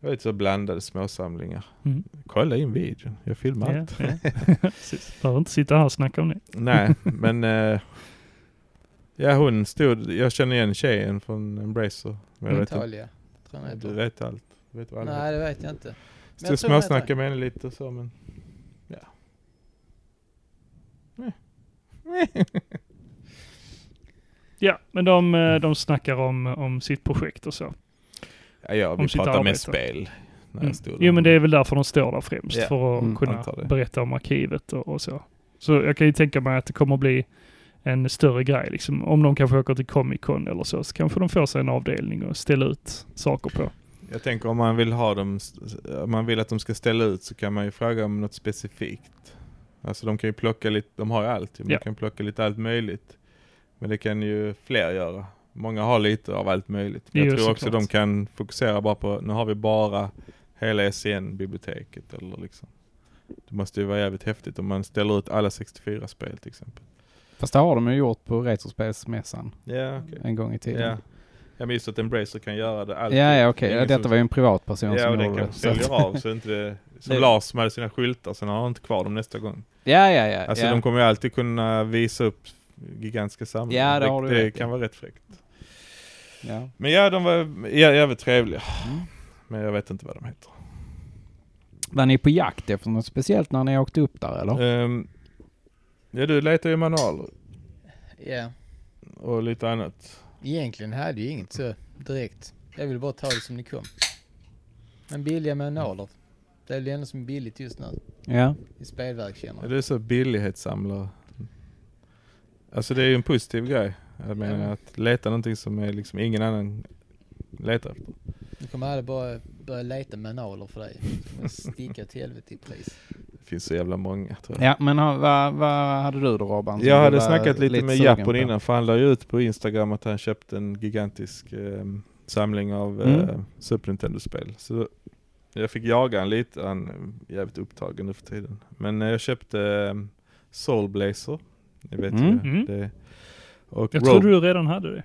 S1: Det var lite så blandade småsamlingar.
S2: Mm.
S1: Kolla in videon, jag filmar
S2: Ja,
S1: allt.
S2: ja. Precis. Behöver inte sitta här och snacka om det.
S1: Nej, men eh, ja hon stod, jag känner igen tjejen från Embracer. Men jag vet inte,
S4: Italia, tror jag den
S1: du
S4: heter.
S1: vet allt. Du vet vad alla
S4: Nej, det vet jag inte. Men
S1: Stod
S4: jag
S1: och
S4: tror den heter-
S1: småsnackade med henne lite så men... Ja. Nej.
S2: Ja, men de, eh,
S1: Mm.
S2: de snackar om, om sitt projekt och så.
S1: Ja, ja
S2: Om
S1: vi
S2: sitt
S1: pratar
S2: arbete.
S1: med spel. När
S2: Mm.
S1: jag stod där.
S2: Jo men det är väl därför de står där främst.
S1: Ja,
S2: För att
S3: mm,
S2: kunna
S1: antar det.
S2: berätta om arkivet och, och så. Så jag kan ju tänka mig att det kommer bli en större grej. Liksom. Om de kanske åker till Comic Con eller så, så kanske de får sig en avdelning och ställa ut saker på.
S1: Jag tänker om man vill ha dem, om man vill att de ska ställa ut så kan man ju fråga om något specifikt. Alltså de kan ju plocka lite, de har ju allt ju, men
S2: Ja.
S1: de kan plocka lite allt möjligt. Men det kan ju fler göra. Många har lite av allt möjligt. Men
S2: Jo,
S1: jag tror också
S2: såklart.
S1: de kan fokusera bara på, nu har vi bara hela SCN-biblioteket eller liksom. Det måste ju vara jävligt häftigt om man ställer ut alla 64 spel till exempel.
S3: Fast det har de ju gjort på Retrospelsmässan
S1: Ja, okej.
S3: en gång i tiden.
S1: Ja. ja, men just att Embracer kan göra det alltid.
S3: Ja, ja okej.
S1: Det är
S3: Ja,
S1: ingen
S3: detta
S1: som-
S3: var ju en privatperson
S1: Ja, och
S3: som
S1: den
S3: gjorde det.
S1: kanske
S3: Så att,
S1: säljer av så inte det, som
S3: Det-
S1: Lars som hade sina skyltar, sen har han inte kvar dem nästa gång.
S3: ja, ja, ja.
S1: Alltså
S3: ja.
S1: de kommer ju alltid kunna visa upp gigantiska samlingar.
S3: Ja, det har du
S1: det
S3: rätt i.
S1: kan vara rätt fräckt.
S3: ja.
S1: Men ja, de var ja, jävligt trevliga.
S3: Mm.
S1: Men jag vet inte vad de heter.
S3: Var ni på jakt efter något speciellt när ni åkte upp där eller?
S1: Ehm, ja, du letar ju manualer
S4: Ja.
S1: och lite annat.
S4: Egentligen hade jag inget så direkt. Jag ville bara ta det som det kom. Men billiga manualer. Det är väl det enda som är billigt just nu.
S3: Ja.
S4: I spelverk känner
S1: Ja,
S4: jag.
S1: du är så billighetssamlare. Alltså det är ju en positiv grej. Jag menar att leta någonting som är liksom ingen annan letar efter.
S4: Nu kommer alla bara börja leta manualer för dig. Det kommer Sticka till helvete i pris.
S1: Det finns så jävla många tror jag.
S3: Ja, men ha- vad vad hade du då Robban? som
S1: Jag
S3: du
S1: hade
S3: var
S1: snackat lite, med
S3: sugen
S1: Japon
S3: på?
S1: innan för han la ju ut på Instagram att han köpte en gigantisk eh, samling av
S3: Mm.
S1: eh, Super Nintendo-spel. Så jag fick jaga han lite, han är jävligt upptagen nu för tiden. Men eh, jag köpte eh, Soul Blazer, ni vet
S3: Mm.
S1: ju
S2: Mm.
S1: det. Och
S2: Jag
S1: Rogue-
S2: trodde du redan hade det.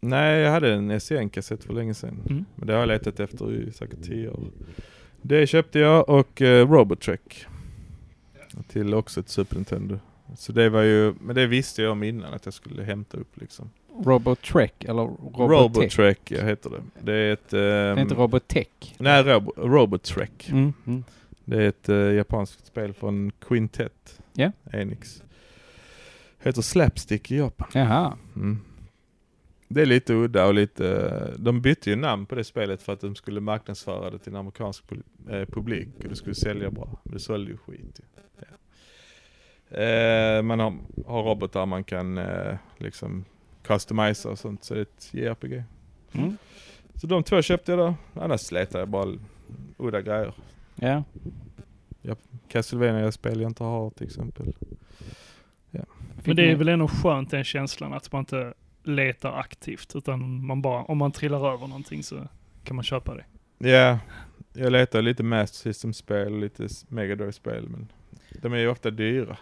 S1: Nej, jag hade en SCN-kassett för länge sedan.
S2: Mm.
S1: Men det har jag letat efter i säkert 10 år. Det köpte jag och eh, Robotrek. Till också ett Super Nintendo. Så det var ju, men det visste jag om innan att jag skulle hämta upp liksom.
S3: Robotrek eller Robotech?
S1: Robotrek ja, heter det. Det är ett... ehm,
S3: Det är inte Robotech.
S1: nej, Rob- Robotrek.
S3: Mm. Mm.
S1: Det är ett eh, japanskt spel från Quintet.
S3: Ja.
S1: Enix. Heter Slapstick i Japan.
S3: Jaha.
S1: Mm. Det är lite udda och lite... De bytte ju namn på det spelet för att de skulle marknadsföra det till en amerikansk pol- eh, publik och det skulle sälja bra. Men det sålde ju skit ju. ja. eh, Man har, har robotar man kan eh, liksom customisa och sånt, så det är ett JRPG.
S3: Mm.
S1: Så de två köpte jag då. Annars letar jag bara udda grejer.
S3: Ja.
S1: Castlevania spel jag inte har till exempel.
S2: Men det är
S3: ni-
S2: väl ändå skönt den känslan att man inte letar aktivt utan man bara, om man trillar över någonting så kan man köpa det.
S1: Ja, jag letar lite Master System-spel och lite Megadrive-spel men de är ju ofta dyra.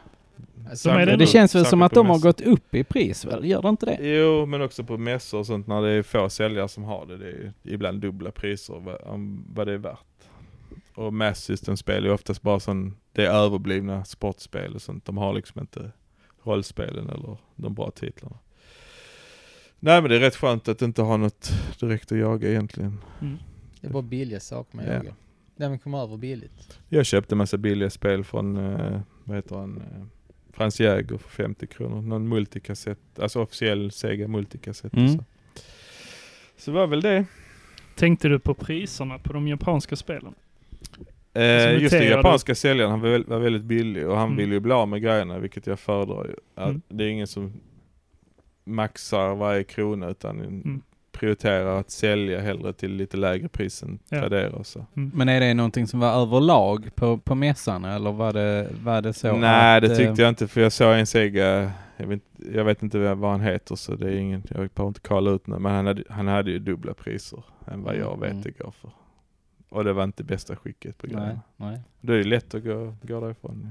S4: Alltså,
S2: De är
S3: Men
S2: nu.
S3: det känns väl
S1: Särskilt
S3: som att
S1: på
S3: de har
S1: mässor.
S3: gått upp i pris väl? Gör det inte det?
S1: Jo, men också på mässor och sånt när det är få säljare som har det. Det är ju ibland dubbla priser vad, om vad det är värt. Och Master System-spel är oftast bara sån, det är överblivna sportspel och sånt. De har liksom inte rollspelen eller de bra titlarna. Nej men det är rätt skönt att inte ha något direkt att jaga egentligen.
S4: det är bara billiga saker man
S1: Ja.
S4: jagar. Där man kommer över billigt.
S1: Jag köpte en massa billiga spel från, eh, vad heter han, eh, Frans Jäger för 50 kronor. Någon multikassett, alltså officiell Sega multikassett. och
S3: Mm.
S1: Så. så det var väl det.
S2: Tänkte du på priserna på de japanska spelen?
S1: Eh,
S2: Som
S1: just det,
S2: noterade-
S1: japanska säljaren han var, väl- var väldigt billig och han
S2: Alltså, Mm.
S1: vill ju bli av med grejerna vilket jag föredrar ju. Att
S2: Mm.
S1: Det är ingen som maxar varje krona utan
S2: Mm.
S1: prioriterar att sälja hellre till lite lägre pris än
S2: Ja.
S1: Tradera och så.
S3: Men är det någonting som var överlag på, på mässan eller var det, var det så
S1: Nej
S3: att,
S1: det tyckte
S3: eh,
S1: jag inte för jag såg en Sega, jag vet, inte- jag vet inte vad han heter så det är ingen, jag behöver inte kolla ut nu men han hade, han hade ju dubbla priser än vad jag vet
S3: Mm.
S1: det går för. Och det var inte bästa skicket på
S3: Nej,
S1: grejerna.
S3: nej.
S1: Då är det lätt att gå, gå därifrån. ju.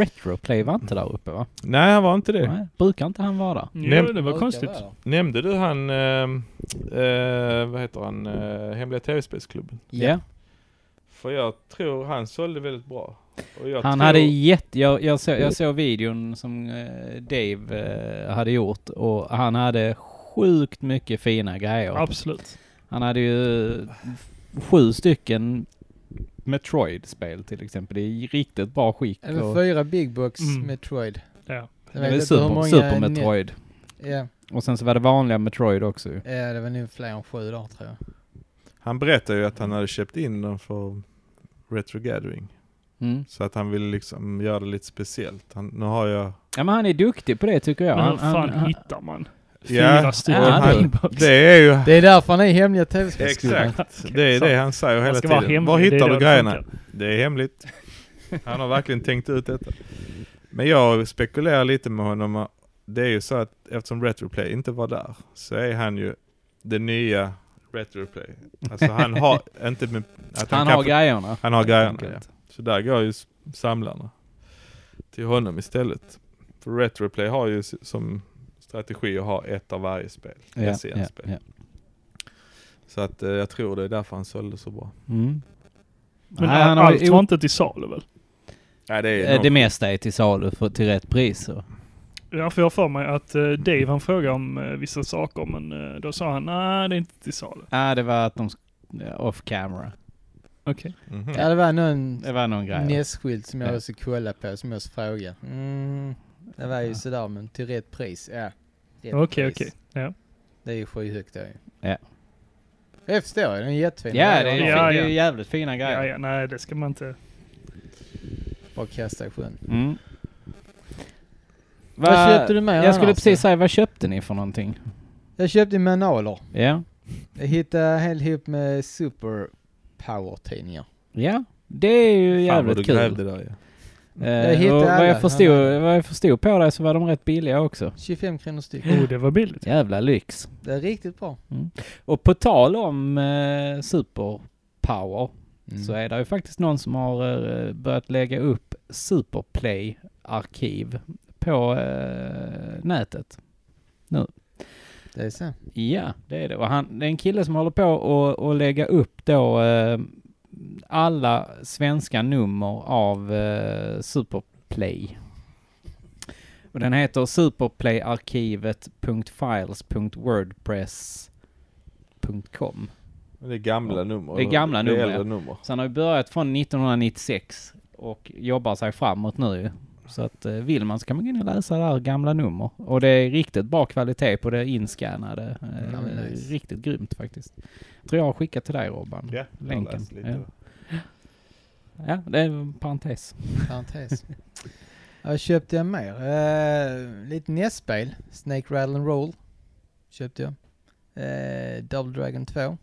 S3: Retroplay var inte där uppe va?
S1: Nej han var inte det.
S3: Nej. Brukar inte han vara där?
S2: Jo,
S1: Nej.
S2: det var
S4: Brukar
S2: konstigt.
S4: vara där.
S1: Nämnde du han, ehm, eh, vad heter han, eh, Hemliga TV-spelsklubben?
S4: Ja.
S1: För jag tror han sålde väldigt bra. Och jag
S3: Han
S1: tror,
S3: hade jätte... Jag, jag, såg, jag såg videon som eh, Dave eh, hade gjort och han hade sjukt mycket fina grejer.
S2: Absolut.
S3: Han hade ju sju stycken Metroid-spel till exempel i riktigt bra skick.
S4: Det var
S3: och-
S4: fyra Big Box
S2: Mm.
S4: Metroid.
S2: Ja.
S4: Jag
S3: det var
S4: vet
S3: ju
S4: inte hur
S3: super,
S4: många
S3: super
S4: ni-
S3: Metroid.
S4: Ja,
S3: Och sen så var det vanliga Metroid också ju.
S4: ja, det var nog fler än sju där tror jag.
S1: han berättade ju att han hade köpt in dem för Retro Gathering.
S3: Mm.
S1: Så att han ville liksom göra det lite speciellt. Han, nu har jag...
S3: Ja men han är duktig på det tycker jag.
S2: Men hur
S3: Han,
S2: fan
S3: han, han,
S2: hittar man
S1: Ja,
S2: fyra stycken
S1: och
S3: han-
S2: Billbox?
S1: Det är ju...
S4: Det är därför han är hemliga tv-spelsklubben.
S1: Exakt, det är det han säger
S2: Man
S1: hela
S2: ska vara
S1: tiden.
S2: hemlig.
S1: Var
S2: det är
S1: hittar
S2: det
S1: du
S2: det
S1: grejerna?
S2: funkar.
S1: Det är hemligt. Han har verkligen tänkt ut detta. Men jag spekulerar lite med honom. Det är ju så att eftersom Retroplay inte var där så är han ju det nya Retroplay. Alltså han har inte med, att han, kan
S3: han har
S1: få-
S3: grejerna.
S1: han har
S3: helt
S1: grejerna. Ja.
S3: enkelt.
S1: Så där går ju s- samlarna till honom istället. För Retroplay har ju s- som strategi att ha ett av varje spel.
S3: Ja, ja,
S1: SCN-spel.
S3: ja.
S1: Så att eh, jag tror det är därför han sålde så bra.
S3: Mm.
S2: Men
S3: Nej, han har
S2: allt
S3: ju-
S2: var inte till salu väl?
S1: Ja, det
S3: Eh, Det mesta är till salu för, till rätt pris. Så.
S2: Ja, för jag har för mig att eh, Dave han frågade om eh, vissa saker men eh, då sa han nej det är inte till salu.
S3: Nej, det var att de... sk- ja, Off camera.
S2: Okej.
S1: Mhm.
S4: Ja, det var någon
S3: Det var någon grej.
S4: nässkylt som jag
S3: Ja.
S4: också kollade på som jag också frågade. Mm, det var ju
S3: Ja.
S4: sådär men till rätt pris. Ja. Rätt
S2: Okej
S4: pris.
S2: okej. Ja.
S4: Det är ju skyhögt då ju.
S3: Ja.
S4: Jag förstår ju, den är jättefin.
S3: Ja, det
S4: Den
S3: är,
S4: var
S2: Ja,
S3: ju fin- det
S4: ju
S2: ja.
S3: är ju jävligt fina
S2: Ja,
S3: grejer.
S2: ja, nej det ska man inte.
S4: Bara kasta i sjön.
S3: Mm.
S4: Vad köpte du med
S3: Jag
S4: annars
S3: skulle
S4: då?
S3: precis säga, vad köpte ni för någonting?
S4: Jag köpte ju manualer.
S3: Ja.
S4: Jag hittade en hel hop med super power tidningar.
S3: Ja. Det är ju
S1: Fan vad
S3: jävligt
S1: du
S3: kul.
S1: grävde där ja.
S3: Eh,
S4: Jag hittade
S3: och vad, jag
S4: alla.
S3: förstod,
S4: Han hade-
S3: vad jag förstod på dig så var de rätt billiga också.
S4: 25 kronor styck.
S2: Oh det var billigt.
S3: Jävla lyx.
S4: Det är riktigt bra.
S3: Och på tal om eh, superpower
S4: Mm.
S3: så är det ju faktiskt någon som har eh, börjat lägga upp superplay-arkiv på eh, nätet.
S4: Det är så.
S3: Ja, det är det. Och han, det är en kille som håller på och, och lägga upp då eh, alla svenska nummer av eh, Superplay. Och den heter superplayarkivet.files.wordpress.com.
S1: Men Det är gamla nummer.
S3: Det är gamla
S1: eller? Det
S3: nummer,
S1: är äldre nummer.
S3: Så han har ju börjat från 1996 och jobbar sig framåt nu ju. Så att eh, vill man så kan man gå in och läsa där gamla nummer. Och det är riktigt bra kvalitet på det inskannade. Eh,
S4: Ja, men nice.
S3: Riktigt grymt faktiskt. Tror jag har skickat till dig Robban.
S1: Ja, jag
S3: Länken.
S1: läste lite.
S3: Ja. Ja, det är en parentes.
S4: Parentes. Jag köpte jag mer. Eh, lite nästspel. Snake Rattle and Roll. Köpte jag. Eh, Double Dragon 2.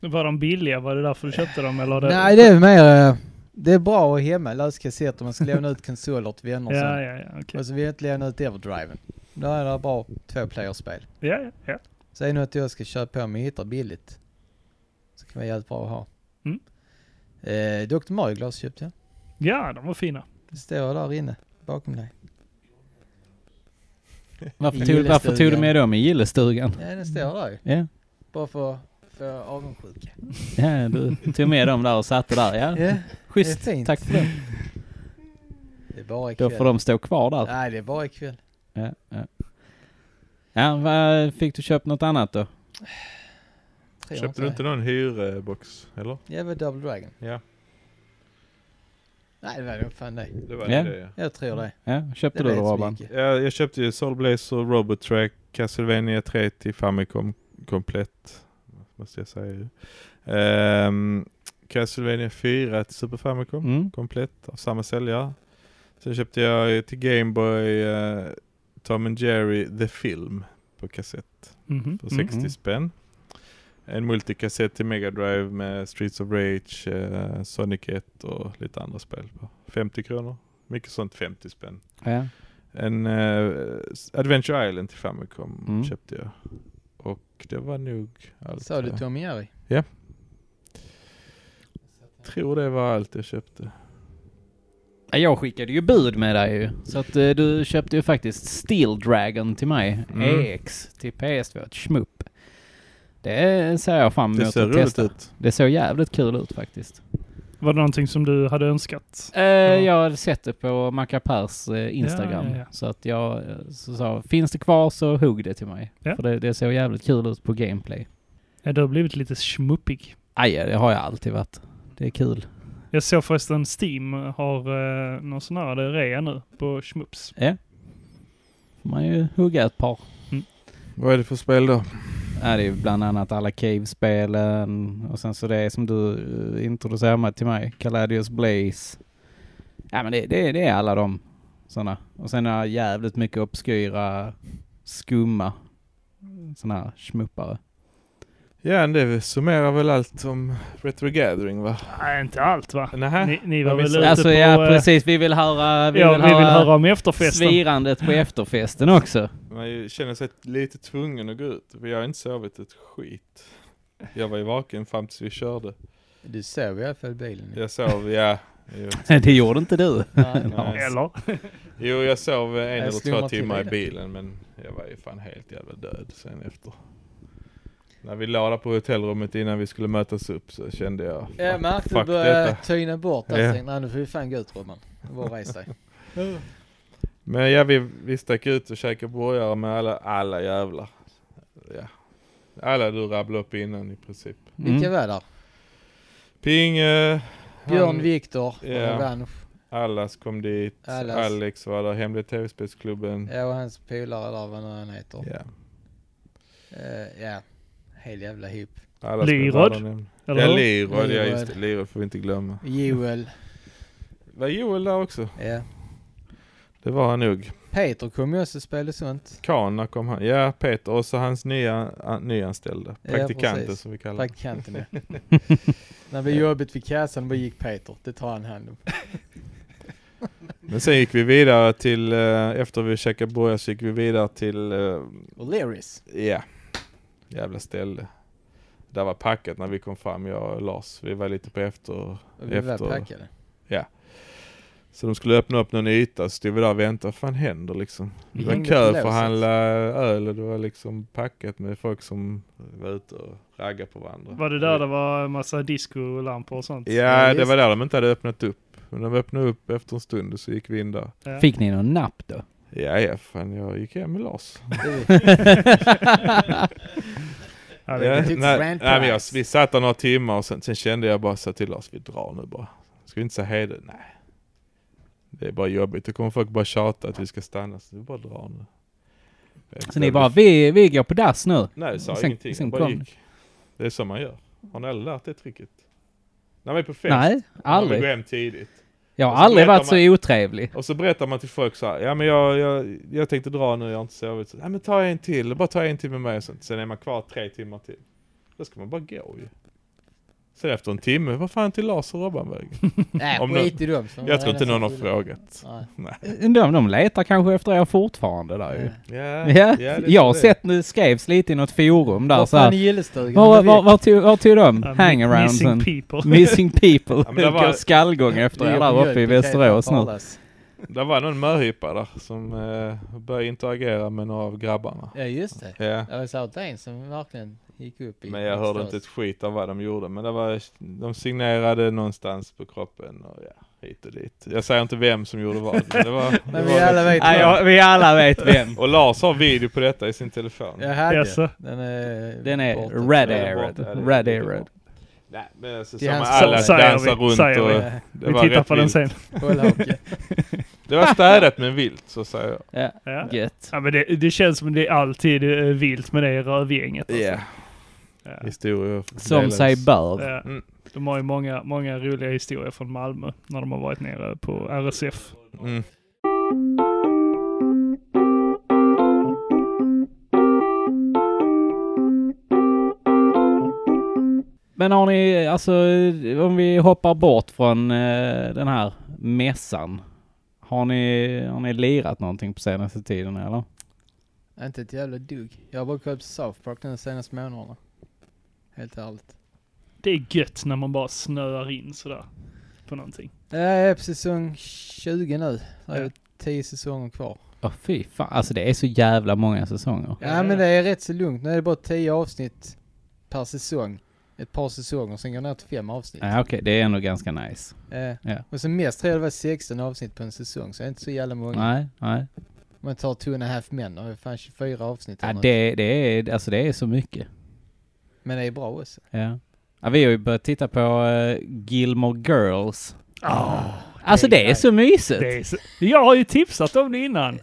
S2: Var de billiga? Var det därför du köpte dem eller? det-
S4: Nej, det är mer... eh, Det är bra att ha hemma löskassetter. Man ska lämna ut konsoler till vänner sen.
S2: Ja, ja, ja, okej.
S4: Och så vill jag inte lämna ut Everdriven. Då är det bra tvåplayerspel.
S2: Ja, ja, ja.
S4: Så är det något jag ska köpa om jag hittar billigt. Så kan vara jävligt bra att ha.
S2: Mm.
S4: Eh, Dr. Mario-glas köpte jag.
S2: Ja, de var fina.
S4: Det står där inne bakom dig.
S3: Varför
S4: I
S3: tog, varför tog du
S4: gillestugan.
S3: med dem i gillestugan?
S4: Ja, den
S3: Mm.
S4: står där ju.
S3: Ja,
S4: Bara för, för avundsjuka.
S3: ja du tog med dem där och satte där. Ja,
S4: Ja,
S3: schysst.
S4: det är fint.
S3: Tack för det.
S4: det är bara
S3: Då
S4: ikväll.
S3: får de stå kvar där.
S4: Nej, det är bara ikväll.
S3: Ja, ja. ja vad, fick du köpt något annat då?
S4: Tre
S1: Köpte du inte någon hyrebox? Eller?
S4: Jag var Double Dragon.
S1: Ja,
S4: Nej, det var nog fan det.
S1: det var
S3: Ja.
S1: det ja.
S4: Jag tror det.
S3: Ja,
S4: Det
S3: köpte du
S4: vet
S3: då
S4: så
S3: Robban?
S4: mycket.
S1: Jag, jag köpte ju Soul Blazer, Robot Track, Castlevania 3 till Famicom, komplett. Måste jag säga ju. Ehm, Castlevania 4 till Super Famicom.
S3: Mm.
S1: Komplett av samma säljare. Sen köpte jag ju till Gameboy eh, Tom and Jerry The Film på kassett
S2: Mhm.
S1: för
S3: Mm.
S1: 60 spänn. En multikassett till Mega Drive med Streets of Rage, eh, Sonic 1 och lite andra spel. på 50 kronor. Mycket sånt 50 spänn.
S3: Ja.
S1: En eh, Adventure Island till Famicom
S3: Mm.
S1: köpte jag. Och det var nog allt.
S4: Sa du
S1: jag
S4: Tom och Jerry?
S1: tror det var allt jag köpte.
S3: Ja, Jag skickade ju bud med dig ju. Så att eh, du köpte ju faktiskt Steel Dragon till mig.
S1: Mm.
S3: EX till PS2. Ett schmupp. Det ser jag fram emot
S1: Det ser
S3: att
S1: roligt
S3: testa.
S1: ut.
S3: Det såg jävligt kul ut faktiskt.
S2: Var det någonting som du hade önskat?
S3: Eh, Jag hade sett det på Macapers eh, Instagram.
S2: Ja, ja, ja.
S3: Så att jag eh, så sa, finns det kvar så hugg det till mig.
S2: Ja.
S3: För det, det såg jävligt kul ut på gameplay.
S2: Ja, du har blivit lite schmuppig.
S3: Aj, det har jag alltid varit. Det är kul.
S2: Jag såg förresten Steam har eh, någon sån här det är rea nu på schmups.
S3: Får man ju hugga ett par.
S1: Vad är det för spel då?
S3: Ja, det är ju bland annat alla Cave-spelen och sen så det som du eh, introducerade mig till mig, Caladius Blaze. Ja men det, det, det är alla de sådana. Och sen är det jävligt mycket obskyra, skumma sådana här schmuppare.
S1: Ja, men det summerar väl allt om Retro Gathering va?
S2: Nej, inte allt va?
S1: Nähä?
S2: Ni, ni var
S1: Jag
S2: väl
S1: missade.
S2: ute
S3: Alltså
S2: på...
S3: ja
S2: eh,
S3: precis, vi vill höra, vi
S2: ja,
S3: vill
S2: vi vill höra
S3: höra
S2: om efterfesten.
S3: svirandet på efterfesten också.
S1: Man känner sig lite tvungen att gå ut. för Jag har inte sovit ett skit. Jag var ju vaken fram tills vi körde.
S4: Du sov i alla fall i bilen.
S1: Jag sov, ja. Jo,
S3: det gjorde inte du.
S4: Nej,
S1: nej.
S2: Eller?
S1: jo jag sov en
S4: Jag
S1: eller
S4: slog
S1: två
S4: mig till
S1: timmar i bilen
S4: bilen.
S1: men jag var ju fan helt jävla död sen efter. När vi la där på hotellrummet innan vi skulle mötas upp så kände jag,
S4: Jag märkte att
S1: Fuck
S4: du började
S1: detta.
S4: tyna bort
S1: Ja.
S4: allting. Nej nu får vi fan gå ut Robban. Bara res dig.
S1: Men ja, vi, vi stack ut och käkade burgare med alla, alla jävlar. Ja. Alla du rabblade upp innan i princip.
S4: Vilka var där?
S1: Pinge,
S4: Björn
S1: Mm. han-
S4: Viktor, och
S1: Ja.
S4: Revansch
S1: Allas kom dit,
S4: Allas.
S1: Alex var där, Hemliga TV-spelsklubben.
S4: ja, och hans polare där, vad nu han heter.
S1: Ja.
S4: Eh, ja, hel jävla hipp.
S1: Allas blev
S2: Lirod?
S1: där nämnd.
S2: Eller
S1: Ja,
S2: hur?
S1: Lirod, ja
S4: Lirod.
S1: just det. Lirod får vi inte glömma.
S4: Joel,
S1: Var Joel där också?
S4: ja.
S1: Det var han nog.
S4: Peter kom ju också och spelade sånt.
S1: Kana kom han. Ja, Peter och så hans nya, an, nyanställda.
S4: Ja,
S1: Praktikanter
S4: precis.
S1: som vi kallar dem.
S4: Praktikanten ja. När det blev jobbigt vid kassan, då gick Peter. Det tar han hand om.
S1: Men sen gick vi vidare till, eh, efter vi käkade burgare så gick vi vidare till, eh,
S4: Och Leris.
S1: ja, jävla ställe. Där var packat när vi kom fram, jag och Lars. Vi var lite på efter
S4: Och vi var
S1: Efter-
S4: packade.
S1: Så de skulle öppna upp någon yta, så stod vi där och väntade. Vad fan händer liksom? Det var
S4: Hängde
S1: kö
S4: på
S1: för att
S4: låset.
S1: handla öl och det var liksom packat med folk som var ute och raggade på varandra.
S2: Var det där det var en massa discolampor och sånt?
S1: Ja, det
S4: just-
S1: var där de inte hade öppnat upp. Men de öppnade upp efter en stund och så gick vi in där.
S2: Ja.
S3: Fick ni någon napp då?
S1: Ja, ja, fan jag gick hem med Lars.
S4: Det-
S2: Ja, det-
S1: Ja,
S4: tycks
S1: nej,
S4: grand
S1: nej, men jag,
S4: prize.
S1: vi satt där några timmar och sen, sen kände jag bara så till Lars, vi drar nu bara. Ska vi inte säga hej då? Nej. Det är bara jobbigt. Då kommer folk bara tjata att vi ska stanna, så vi bara drar nu.
S3: Så ni bara, vi, vi går på dass nu.
S1: Nej, vi sa
S3: Sen-
S1: ingenting.
S3: sen
S1: Sen bara
S3: kom-
S1: gick. Det är så man gör. Har ni aldrig lärt det tricket? När man är på fest,
S3: Nej,
S1: man
S3: aldrig.
S1: går hem tidigt.
S3: Jag har
S1: Och så
S3: aldrig
S1: berättar
S3: varit så otrevlig.
S1: Och så berättar man till folk så här, ja men jag, jag, jag tänkte dra nu, jag har inte sovit. Så, ja men ta en till, bara ta en till med mig och sånt. Sen är man kvar tre timmar till. Då ska man bara gå ju. Sen efter en timme, vad fan till Lars och Robban vägen?
S4: Nej,
S1: Om
S4: Äh, skit i dem. som
S1: Jag tror inte
S4: var
S1: någon har
S4: ensam.
S1: frågat.
S4: Nej.
S3: De, de letar kanske efter er fortfarande där ju.
S4: Nej.
S1: Ja,
S3: Ja,
S1: det är
S3: jag har
S1: det.
S3: sett det skrevs lite i något forum där
S4: Var
S3: så
S4: fan i
S3: här.
S4: gillestugan?
S3: Var, var,
S4: Det
S3: var, tog, var tog de
S2: Ja, mi-
S3: hangaroundsen?
S2: Missing
S3: Missing,
S2: people.
S3: missing people.
S1: men det var-
S3: Går skallgång efter
S4: ligger
S3: er där
S4: mjölk
S3: uppe i
S4: och Kate
S3: Västerås nu.
S4: Parlas.
S1: Det var någon möhippa där som eh, började interagera med några av grabbarna.
S4: Ja, just det.
S1: Ja.
S4: Jag sa åt en som verkligen gick upp i
S1: Men jag hörde inte ett skit av vad de gjorde. Men det var, de signerade någonstans på kroppen och ja, hit och dit. Jag säger inte vem som gjorde vad. Men det var, det
S4: Men
S1: var
S4: vi alla vet
S3: Nej,
S4: vad.
S3: jag, vi alla vet vem.
S1: Och Lars har video på detta i sin telefon.
S4: Jag hade.
S2: Jaså?
S4: Den eh, är
S3: Den är
S4: borta.
S3: red
S1: Ja, det är borta.
S3: Arrow.
S1: Ja, det är
S3: Red
S1: borta.
S3: Arrow.
S1: Nej, men alltså,
S4: Det är
S1: som
S4: hans-
S1: alla
S2: Så säger
S1: dansar
S2: vi,
S1: runt
S2: säger
S1: och...
S2: vi.
S1: Det
S2: Vi
S1: var
S2: tittar
S1: rätt
S2: på den
S1: vilt.
S2: sen.
S4: Trollhake.
S1: Det var städat men vilt, så säger jag.
S3: Ja,
S2: Ja.
S3: gött.
S2: Ja, men det, det känns som det är alltid eh, vilt med det rövgänget. alltså. Ja.
S1: Alltså, Historier
S3: Som
S1: delas.
S3: sig bör.
S2: Ja.
S1: Mm.
S2: De har ju många, många roliga historier från Malmö när de har varit nere på RSF.
S1: Mm.
S3: Men har ni, alltså om vi hoppar bort från eh, den här mässan. Har ni, har ni lirat någonting på senaste tiden eller?
S4: Inte ett jävla dugg. Jag har bara kollat på South Park de senaste månaderna. Helt ärligt.
S2: Det är gött när man bara snöar in sådär på någonting.
S4: Jag är på säsong 20 nu. Det är
S2: Ja.
S4: 10 säsonger kvar.
S3: Ja fy fan, alltså det är så jävla många säsonger.
S2: Ja,
S4: Ja,
S2: ja,
S4: men
S2: ja.
S4: det är rätt så lugnt. Nu är det bara 10 avsnitt per säsong. Ett par säsonger, sen går det ner till fem avsnitt.
S3: Ja okej, det är ändå ganska nice.
S4: Eh,
S3: Ja.
S4: Och så mest tror jag det var 16 avsnitt på en säsong, så det är inte så jävla många.
S3: Nej, nej.
S4: Om man tar Two and a half men, har vi fan 24 avsnitt.
S3: Ja,
S4: eller något.
S3: det, det, är, alltså det är så mycket.
S4: Men det är bra också.
S3: Ja. Ja, vi har ju börjat titta på eh, Gilmore Girls. Alltså det är så mysigt.
S2: Ah, Det är så, jag har ju tipsat om det innan.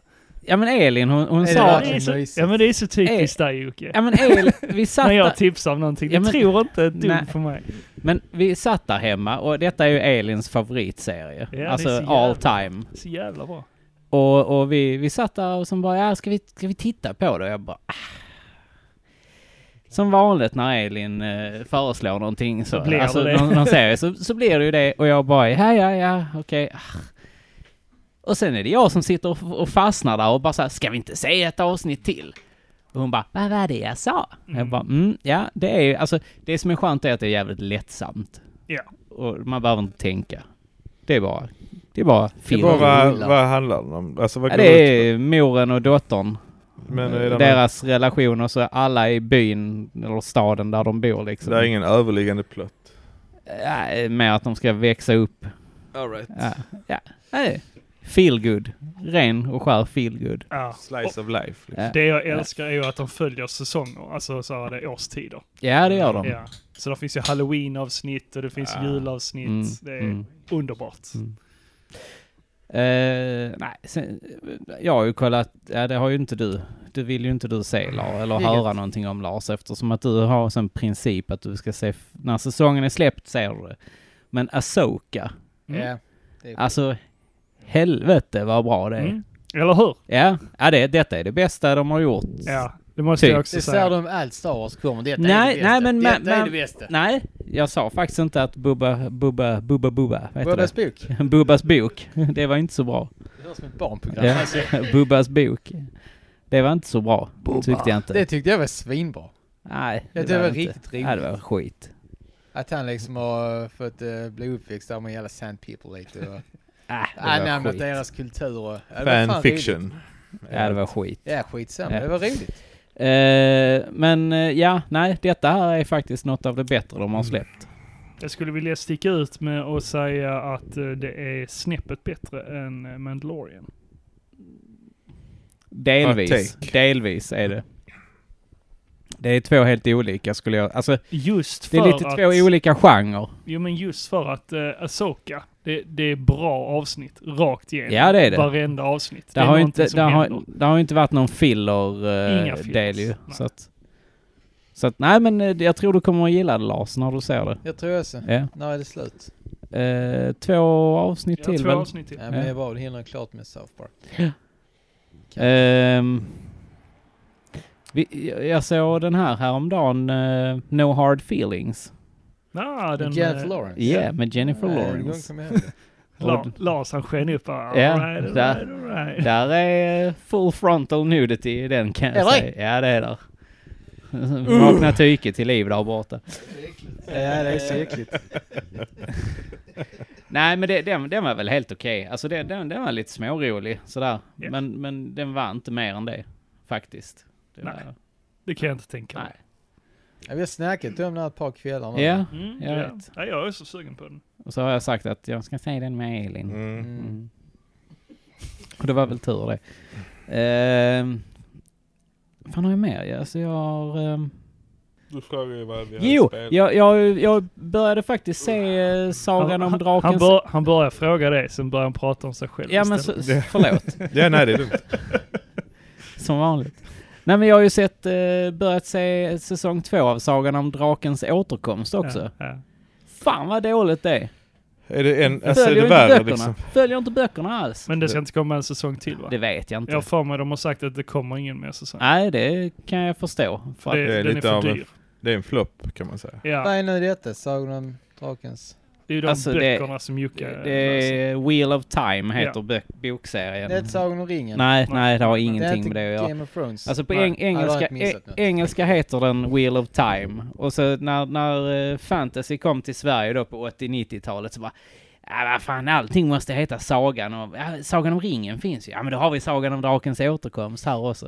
S3: Ja men Elin hon, hon
S4: Är det
S3: sa...
S4: verkligen?
S2: det är
S4: mysigt.
S2: så, ja men det är så typiskt dig Jocke.
S3: Ja men Elin, vi satt,
S2: När
S3: där,
S2: jag tipsar om någonting. Du
S3: Ja, men-
S2: tror inte ett
S3: Nej.
S2: dugg på mig.
S3: men vi satt där hemma och detta är ju Elins favoritserie.
S2: det är
S3: alltså
S2: så jävla-
S3: all time.
S2: Så jävla bra.
S3: Och, och vi, vi satt där och som bara, ja ska vi, ska vi titta på det? Och jag bara, ah. Som vanligt när Elin eh, föreslår någonting så,
S2: Så blir det
S3: alltså,
S2: det.
S3: någon, någon serie, så, så blir det ju det och jag bara, ja ja ja, okej. ah. Och sen är det jag som sitter och, och fastnar där och bara så här, ska vi inte se ett avsnitt till? Och hon bara, vad var det jag sa? Och Jag
S2: Mm.
S3: bara, mm, ja det är ju, alltså det som är skönt är att det är jävligt lättsamt.
S2: Ja.
S3: Och man behöver inte tänka. Det är bara, det är bara film.
S4: bara
S1: Vad,
S4: Gillar.
S1: vad handlar den om? Alltså vad
S3: Ja,
S1: går det
S3: det
S1: ut
S3: är moren och dottern.
S1: på? Men är det, någon,
S3: Deras relation och så alla i byn eller staden där de bor liksom.
S1: det är ingen överliggande plott?
S3: Ja, med att de ska växa upp.
S1: Alright.
S3: Ja. ja. Nej. Feel good. Ren och skär feel good.
S2: Ja.
S1: Slice of life. Liksom.
S3: Ja.
S2: Det jag älskar är ju att de följer säsonger, alltså så här, det är årstider.
S3: ja, det gör de.
S4: Mm.
S2: Ja. Så det finns ju halloween-avsnitt och det finns
S1: Ah.
S2: julavsnitt.
S3: Mm,
S2: Det är
S3: mm.
S2: underbart.
S3: Eh, nej, sen, jag har ju kollat, ja, det har ju inte du. Du vill ju inte du se Lars, eller
S4: Vilket?
S3: höra någonting om Lars eftersom att du har som princip att du ska se, f- när säsongen är släppt ser du det. Men Asoka,
S2: Mm.
S4: Ja, det är
S3: alltså helvete vad bra det är.
S2: Mm. Eller hur?
S3: Ja, ja det, detta är det bästa de har gjort.
S2: Ja, det måste
S3: Typ.
S2: jag också
S4: Det
S2: säga.
S4: ser de allt Star Wars kommer. Detta
S3: Nej,
S4: är det bästa.
S3: nej, men-
S4: Detta
S3: men-
S4: är det bästa.
S3: Nej, jag sa faktiskt inte att Bubba, Bubba, Bubba, Bubba, vad heter
S4: Bubbas
S3: det?
S4: bok.
S3: Bubbas bok. Det var inte så bra.
S4: Det låter som ett barnprogram.
S3: Ja.
S4: Alltså,
S3: Bubbas bok. Det var inte så bra, tyckte jag inte.
S4: det tyckte jag var svinbra.
S3: Nej,
S4: Jag tyckte det var
S3: inte-
S4: riktigt roligt.
S3: Ja, det var skit.
S4: Att han liksom har fått eh, bli uppväxt där med hela Sand People lite och
S3: Ah,
S4: anamnat deras kultur och... Ja, det var fan roligt.
S1: Fanfiction.
S3: Ja, det var skit.
S4: Ja, skitsamma.
S3: Ja.
S4: Det var roligt.
S3: Eh, men eh, ja, nej, detta här är faktiskt något av det bättre de har släppt.
S2: Jag skulle vilja sticka ut med att säga att eh, det är snäppet bättre än eh, Mandalorian.
S3: Delvis,
S1: Hot take.
S3: delvis är det. Det är två helt olika skulle jag, alltså
S2: Just för
S3: det är lite
S2: att...
S3: två olika genrer.
S2: Jo men just för att uh, Asoka, det, det är bra avsnitt rakt igenom.
S3: Ja, det är det.
S2: Varenda avsnitt.
S3: Det
S2: är
S3: har, ju
S2: någonting
S3: inte,
S2: som
S3: det,
S2: händer.
S3: har, det har ju inte varit någon filler eh,
S2: Inga fillers,
S3: del ju. Så
S2: nej.
S3: att, så att, nej men eh, jag tror du kommer att gilla det Lars när du ser det.
S4: Jag tror också.
S3: Ja.
S4: När är det slut?
S3: Eh, två avsnitt
S2: Ja,
S3: till
S2: två
S3: väl?
S2: avsnitt till.
S4: Ja, men
S3: Ja.
S4: det är bra. Det hinner klart med South Park.
S3: Ehm, vi, jag- jag såg den här häromdagen, eh, No Hard Feelings.
S2: Nah, den,
S4: Jeff
S2: eh,
S4: Lawrence.
S3: Ja, med Jennifer
S4: Ja, en gång
S3: Lawrence.
S4: kom jag ihåg det.
S2: La,
S3: Och-
S2: Lars han sken upp bara,
S3: Ja,
S2: all right, all
S3: där.
S2: right, all right.
S3: Där är eh, full frontal nudity i den kan
S4: Är
S3: jag
S4: det?
S3: säga. Ja, det är där. Vakna tyke till liv där borta.
S4: Ja, det är så äckligt.
S3: Nej, men det, den, den var väl helt okej. Alltså det, den, den var lite smårolig sådär.
S2: Ja.
S3: Men, men den var inte mer än det, faktiskt. Det
S2: Nej.
S3: var,
S2: Det kan jag inte tänka mig.
S3: nej.
S4: Ja, vi har snackat om den här ett par kvällar nu.
S3: Ja,
S2: Mm,
S3: jag
S2: ja.
S3: vet.
S2: Ja, jag är också sugen på den.
S3: och så har jag sagt att jag ska se den med Elin.
S1: Mm.
S4: Mm.
S3: Mm. Och det var väl tur det. Ehm, fan har jag mer? Alltså jag har... ehm,
S1: Du frågar ju vad vi hade
S3: Jo,
S1: spelat.
S3: jag, jag, jag började faktiskt se eh, Sagan om drakens...
S2: Han, bör, han börjar fråga det, sen börjar han prata om sig själv
S3: ja men
S2: istället.
S3: så, så- förlåt,
S1: Ja, nej det är lugnt.
S3: som vanligt. Nej men jag har ju sett, eh, börjat se säsong två av Sagan om drakens återkomst också.
S2: Ja, ja.
S3: Fan vad dåligt det är.
S1: Är det en, alltså är
S3: Följer
S1: det
S3: inte
S1: värre
S3: böckerna.
S1: liksom?
S3: Följer inte böckerna alls.
S2: Men det ska inte komma en säsong till va?
S3: Det vet jag inte.
S2: Jag har för mig de har sagt att det kommer ingen mer säsong.
S3: Nej, det kan jag förstå. För att,
S2: det,
S1: det är
S2: den
S1: lite
S2: är
S1: av
S2: för
S1: en-
S2: dyr.
S1: Det är en flopp kan man säga.
S2: Ja,
S4: Vad är nu detta? Sagan om drakens...
S2: det är ju de
S3: Alltså, det-
S2: böckerna som Jocke
S3: det, är Wheel of Time heter
S2: Ja.
S3: bök, bokserien.
S4: Det är inte Sagan om ringen.
S3: Nej, nej, det har
S4: det
S3: ingenting
S4: är typ inte
S3: med det att göra.
S4: Game of Thrones.
S3: Alltså på
S2: Nej,
S3: eng
S4: jag har
S3: engelska,
S4: inte missat
S3: e
S4: något.
S3: engelska heter den Wheel of Time. Och så när, när eh, fantasy kom till Sverige då på 80-90-talet så bara Ja, vad fan, allting måste heta Sagan om... Ja, Sagan om ringen finns ju. Ja, men då har vi Sagan om drakens återkomst här också.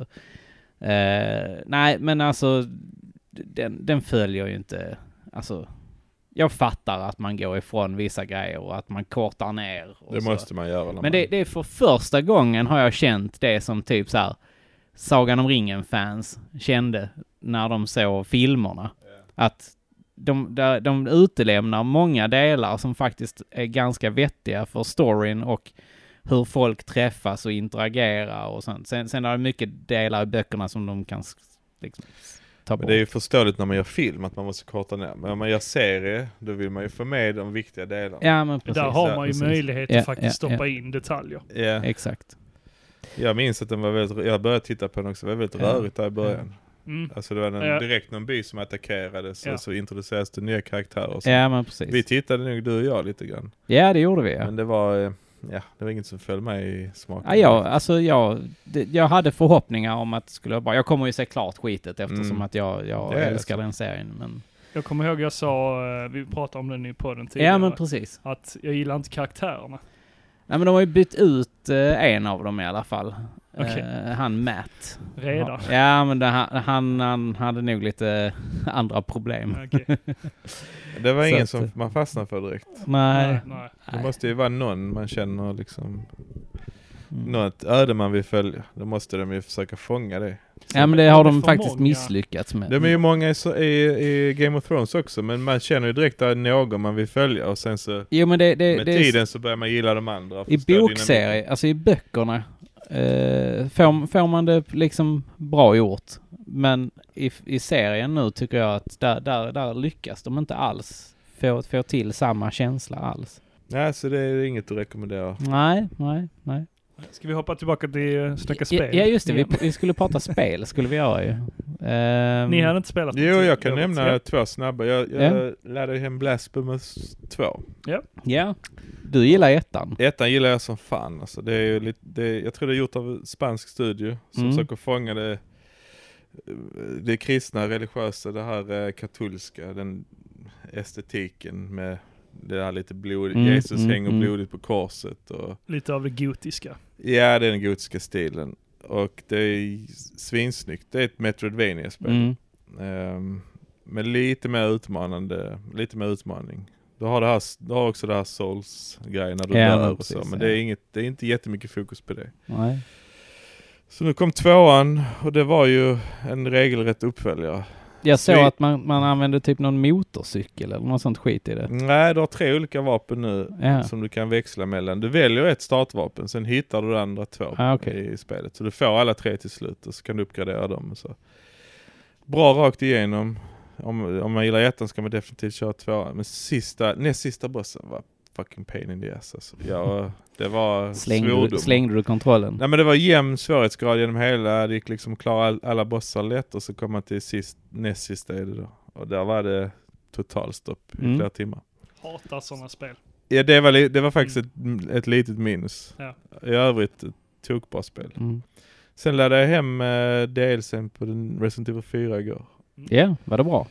S3: Eh, nej, men alltså, den, den följer ju inte... Alltså, jag fattar att man går ifrån vissa grejer och att man kortar ner. Och
S1: Det
S3: så.
S1: måste man göra. när
S3: Men
S1: man-
S3: det, det är för första gången har jag känt det som typ så här Sagan om ringen-fans kände när de såg filmerna. Att de, där- de utelämnar många delar som faktiskt är ganska vettiga för storyn och hur folk träffas och interagerar och sånt. Sen, sen är det mycket delar i böckerna som de kan s- liksom, ta
S1: Men
S3: bort.
S1: det är ju förståeligt när man gör film att man måste korta ner. Men om man gör serie, då vill man ju få med de viktiga delarna.
S3: Ja, men precis.
S2: Där har man ju
S1: precis.
S2: möjlighet
S3: Ja,
S2: att faktiskt
S3: ja,
S2: stoppa in detaljer.
S1: Ja.
S3: Exakt.
S1: Jag minns att den var väldigt, jag började titta på den också, det var väldigt
S3: Ja.
S1: rörigt där i början.
S2: Mm.
S1: Alltså det var en,
S2: Ja.
S1: direkt någon by som attackerades
S2: Ja.
S1: och så introducerades det nya karaktärer. Och så.
S3: Ja, men
S1: Vi
S3: precis.
S1: tittade nog du och jag lite grann.
S3: Ja, det gjorde vi ja.
S1: Men det var, eh, ja, det var inget som föll mig i smaken.
S3: Ja, jag, alltså jag, det, jag hade förhoppningar om att det skulle vara... Jag kommer ju se klart skitet eftersom
S1: Mm.
S3: att jag, jag
S1: Det är
S3: älskar
S1: så.
S3: den serien. Men...
S2: Jag kommer ihåg jag sa, eh, vi pratade om den i podden tidigare,
S3: Ja, men precis.
S2: att jag gillar inte karaktärerna.
S3: Nej, men de har ju bytt ut eh, en av dem i alla fall.
S2: Okej.
S3: Eh, han Matt.
S2: Redan.
S3: Ja, men det, han, han, han hade nog lite andra problem.
S2: Okej.
S1: Det var
S3: Så
S1: ingen
S3: att- eh,
S1: som man fastnade för direkt.
S3: Nej.
S2: nej.
S1: Det måste ju vara någon man känner liksom,
S3: Mm.
S1: något öde man vill följa. Då måste de ju försöka fånga det.
S3: Ja, men det har
S2: Det är
S3: de
S2: för
S3: faktiskt
S2: många.
S3: misslyckats med.
S1: De är ju många i, så- i, i Game of Thrones också, men man känner ju direkt att det är någon man vill följa och sen så
S3: Jo, men det, det,
S1: med
S3: det är
S1: tiden så börjar man gilla de andra. och
S3: I
S1: förstå
S3: bokserie, alltså i böckerna, eh, får, får man det liksom bra gjort. Men i, i serien nu tycker jag att där, där, där lyckas de inte alls få, få till samma känsla alls.
S1: dynamiken. Nej, så det är inget att
S3: Mm.
S1: rekommendera.
S3: Nej, nej, nej.
S2: Ska vi hoppa tillbaka till eh, Snacka
S3: Ja,
S2: spel?
S3: ja just det, vi,
S2: igen?
S3: vi skulle prata spel, skulle vi göra ju. Ehm,
S2: Ni hade inte spelat
S1: Jo,
S2: någonting,
S1: jag kan
S3: Mm.
S2: Robert.
S1: nämna
S2: Ja.
S1: två snabba. Jag, jag laddade hem Blasphemous 2.
S3: Ja, du gillar ettan.
S1: Ettan gillar jag som fan. Alltså, det är ju lite, det, jag tror det är gjort av en spansk studio som
S3: Mm.
S1: försöker fånga det, eh, det kristna, religiösa, det här eh, katolska, den estetiken med det här lite blodigt.
S3: Mm,
S1: Jesus
S3: mm,
S1: hänger
S3: mm.
S1: blodigt på korset och
S2: Lite av det gotiska.
S1: Ja, det är den gotiska stilen. Och det är svinsnyggt. Det är ett metroidvania spel
S3: Mm.
S1: Ehm, Men lite mer utmanande, lite mer utmaning. Du har, det här, du har också det här souls-grejen när du
S3: Ja, men
S1: dör och så,
S3: precis,
S1: men
S3: ja.
S1: det, är inget, det är inte jättemycket fokus på det.
S3: Nej.
S1: Så nu kom tvåan och det var ju en regelrätt uppföljare.
S3: Jag såg
S1: Vi-
S3: att man, man använde typ någon motorcykel eller något sånt skit i det.
S1: Nej, du har tre olika vapen nu
S3: Ja.
S1: som du kan växla mellan. Du väljer ett startvapen, sen hittar du de andra två
S3: Ah, okej.
S1: i spelet. Så du får alla tre till slut och så kan du uppgradera dem. Och så. Bra rakt igenom. Om, om man gillar ettan ska man definitivt köra tvåan. Men sista, näst sista bossen var fucking pain in the ass alltså. Ja, det var
S3: Slängde, du-
S1: svordom.
S3: slängde du kontrollen?
S1: Nej men det var jämn svårighetsgrad genom hela, det gick liksom att klara all, alla bossar lätt och så kom man till sist, näst sista är det då. Och där var det totalstopp i
S3: Mm.
S1: flera timmar.
S2: Hatar sådana spel.
S1: Ja, det var, li- det var faktiskt ett, mm, ett litet minus.
S2: Ja.
S1: I övrigt ett tokbra spel.
S3: Mm.
S1: Sen laddade jag hem eh, DLCn på den Resident Evil 4 igår.
S3: Ja, var det bra?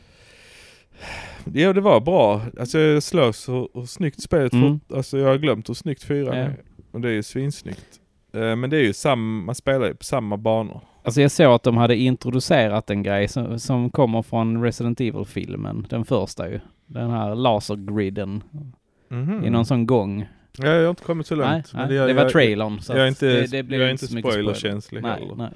S1: Ja, det var bra. Alltså jag slås hur, hur snyggt spelet
S3: Mm.
S1: fort, Alltså jag har glömt hur snyggt 4
S3: Ja.
S1: är. Och det är ju svinsnyggt. Eh, Men det är ju samma, man spelar ju på samma banor.
S3: Alltså jag såg att de hade introducerat en grej som, som kommer från Resident Evil-filmen, den första ju. Den här lasergriden
S1: Mhm.
S3: i Mm-hmm. någon sån gång.
S1: Ja, jag har inte kommit så långt.
S3: nej, nej,
S1: jag,
S3: det var
S1: jag,
S3: trailern. Så
S1: jag är
S3: att
S1: inte,
S3: det, det blev
S1: jag är
S3: inte
S1: inte
S3: så mycket spoiler.
S1: spoilerkänslig
S3: Nej,
S1: heller.
S3: nej.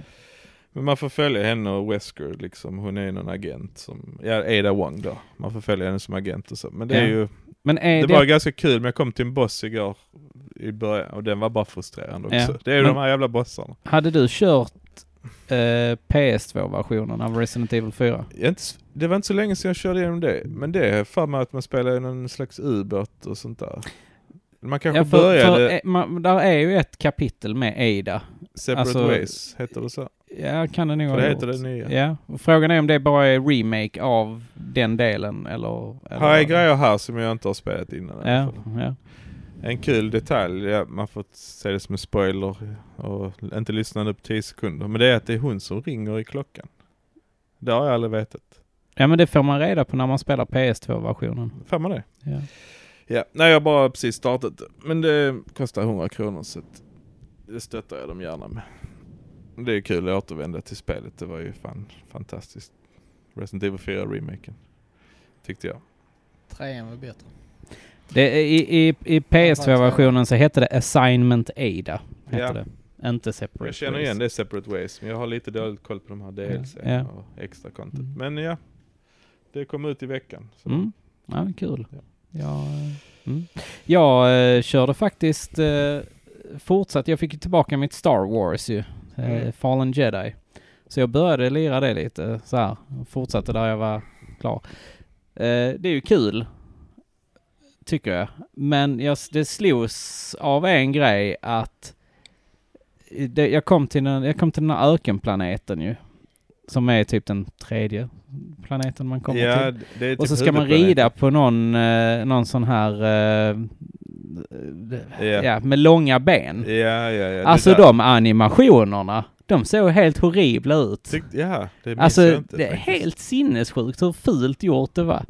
S1: Men man får följa henne och Wesker liksom. Hon är någon agent som, ja Ada Wong då. Man får följa henne som agent och så. Men det är
S3: Ja.
S1: ju,
S3: Men är
S1: det
S3: det...
S1: var ganska kul men jag kom till en boss igår i början och den var bara frustrerande också.
S3: Ja.
S1: Det är ju
S3: Men-
S1: de här jävla bossarna.
S3: Hade du kört eh, PS2-versionen av Resident Evil 4?
S1: Jag är inte, s- det var inte så länge sedan jag körde igenom det. Men det är för mig att man spelar i någon slags ubåt och sånt där. Man kanske
S3: Ja, för,
S1: började
S3: för, eh, man, där är ju ett kapitel med Ada.
S1: Separate
S3: alltså-
S1: Ways, heter det så?
S3: Ja, kan det nog
S1: För
S3: ha
S1: det
S3: gjort.
S1: heter det nya.
S3: Ja, och frågan är om det bara är remake av den delen eller... eller
S1: Här är grejer här som jag inte har spelat innan. i alla
S3: Ja,
S1: fall.
S3: ja.
S1: En kul detalj, ja, man får se det som en spoiler och inte lyssna nu på 10 sekunder. Men det är att det är hon som ringer i klockan. Det har jag aldrig vetat.
S3: ja, men det får man reda på när man spelar PS2-versionen.
S1: Får man det?
S3: Ja.
S1: Ja, nej jag har bara precis startat det. Men det kostar 100 kronor så att det stöttar jag dem gärna med. Det är kul att återvända till spelet, det var ju fan fantastiskt. Resident Evil 4 remaken. Tyckte jag.
S4: Trean var bättre.
S3: Det, är- I i, i PS2-versionen så hette det Assignment Ada. Hette
S1: Ja.
S3: det. Inte Separate
S1: Jag känner
S3: Ways.
S1: igen det är Separate Ways, men jag har lite dåligt koll på de här DLC
S3: Ja.
S1: och extra content.
S3: Mm.
S1: Men ja, det kom ut i veckan. Så.
S3: Mm. Ja, kul.
S1: Ja.
S3: Jag, eh, mm. jag eh, körde faktiskt eh, fortsatt. Jag fick ju tillbaka mitt Star Wars ju. Eh,
S1: Mm.
S3: Fallen Jedi. Så jag började lira det lite så här. och Fortsatte där jag var klar. Eh, det är ju kul. Tycker jag. Men jag, det slogs av en grej att det, jag, kom till den, jag kom till den här ökenplaneten ju. Som är typ den tredje planeten man kommer
S1: Ja,
S3: till.
S1: det är typ
S3: Och så ska man
S1: huvudplaneten.
S3: rida på någon, eh, någon sån här, eh,
S1: Ja.
S3: ja, med långa ben.
S1: Ja, ja, ja.
S3: alltså
S1: det där-
S3: de animationerna, de såg helt horribla ut.
S1: Tyck, ja, det minns jag
S3: Alltså
S1: inte.
S3: det är
S1: faktiskt.
S3: helt sinnessjukt hur fult gjort det var.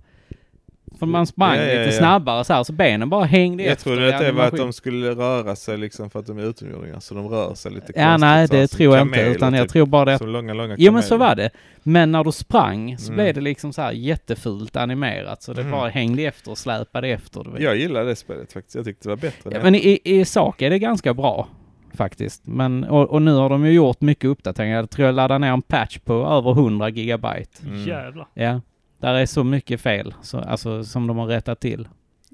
S3: För man sprang
S1: Ja, ja,
S3: lite
S1: ja.
S3: snabbare så här, så benen bara hängde
S1: Jag
S3: efter
S1: trodde
S3: i
S1: att det var att
S3: animation.
S1: de skulle röra sig liksom för att de är utomjordingar, så de rör sig lite
S3: Ja, nej
S1: så här,
S3: det
S1: som
S3: tror jag inte,
S1: kameler,
S3: utan jag
S1: typ.
S3: tror bara det att
S1: Som långa, långa
S3: Jo men så
S1: kameler.
S3: var det. Men när du sprang så
S1: Mm.
S3: blev det liksom så här jättefult animerat så det
S1: Mm.
S3: bara hängde efter och släpade efter. Du vet.
S1: Jag gillade det spelet faktiskt. Jag tyckte det var bättre.
S3: Ja,
S1: än-
S3: men i, i sak är det ganska bra faktiskt. Men, och, och nu har de ju gjort mycket uppdateringar. Jag tror jag laddade ner en patch på över 100 gigabyte.
S1: Mm.
S2: Jävlar.
S3: Ja, där är så mycket fel så, alltså, som de har rättat till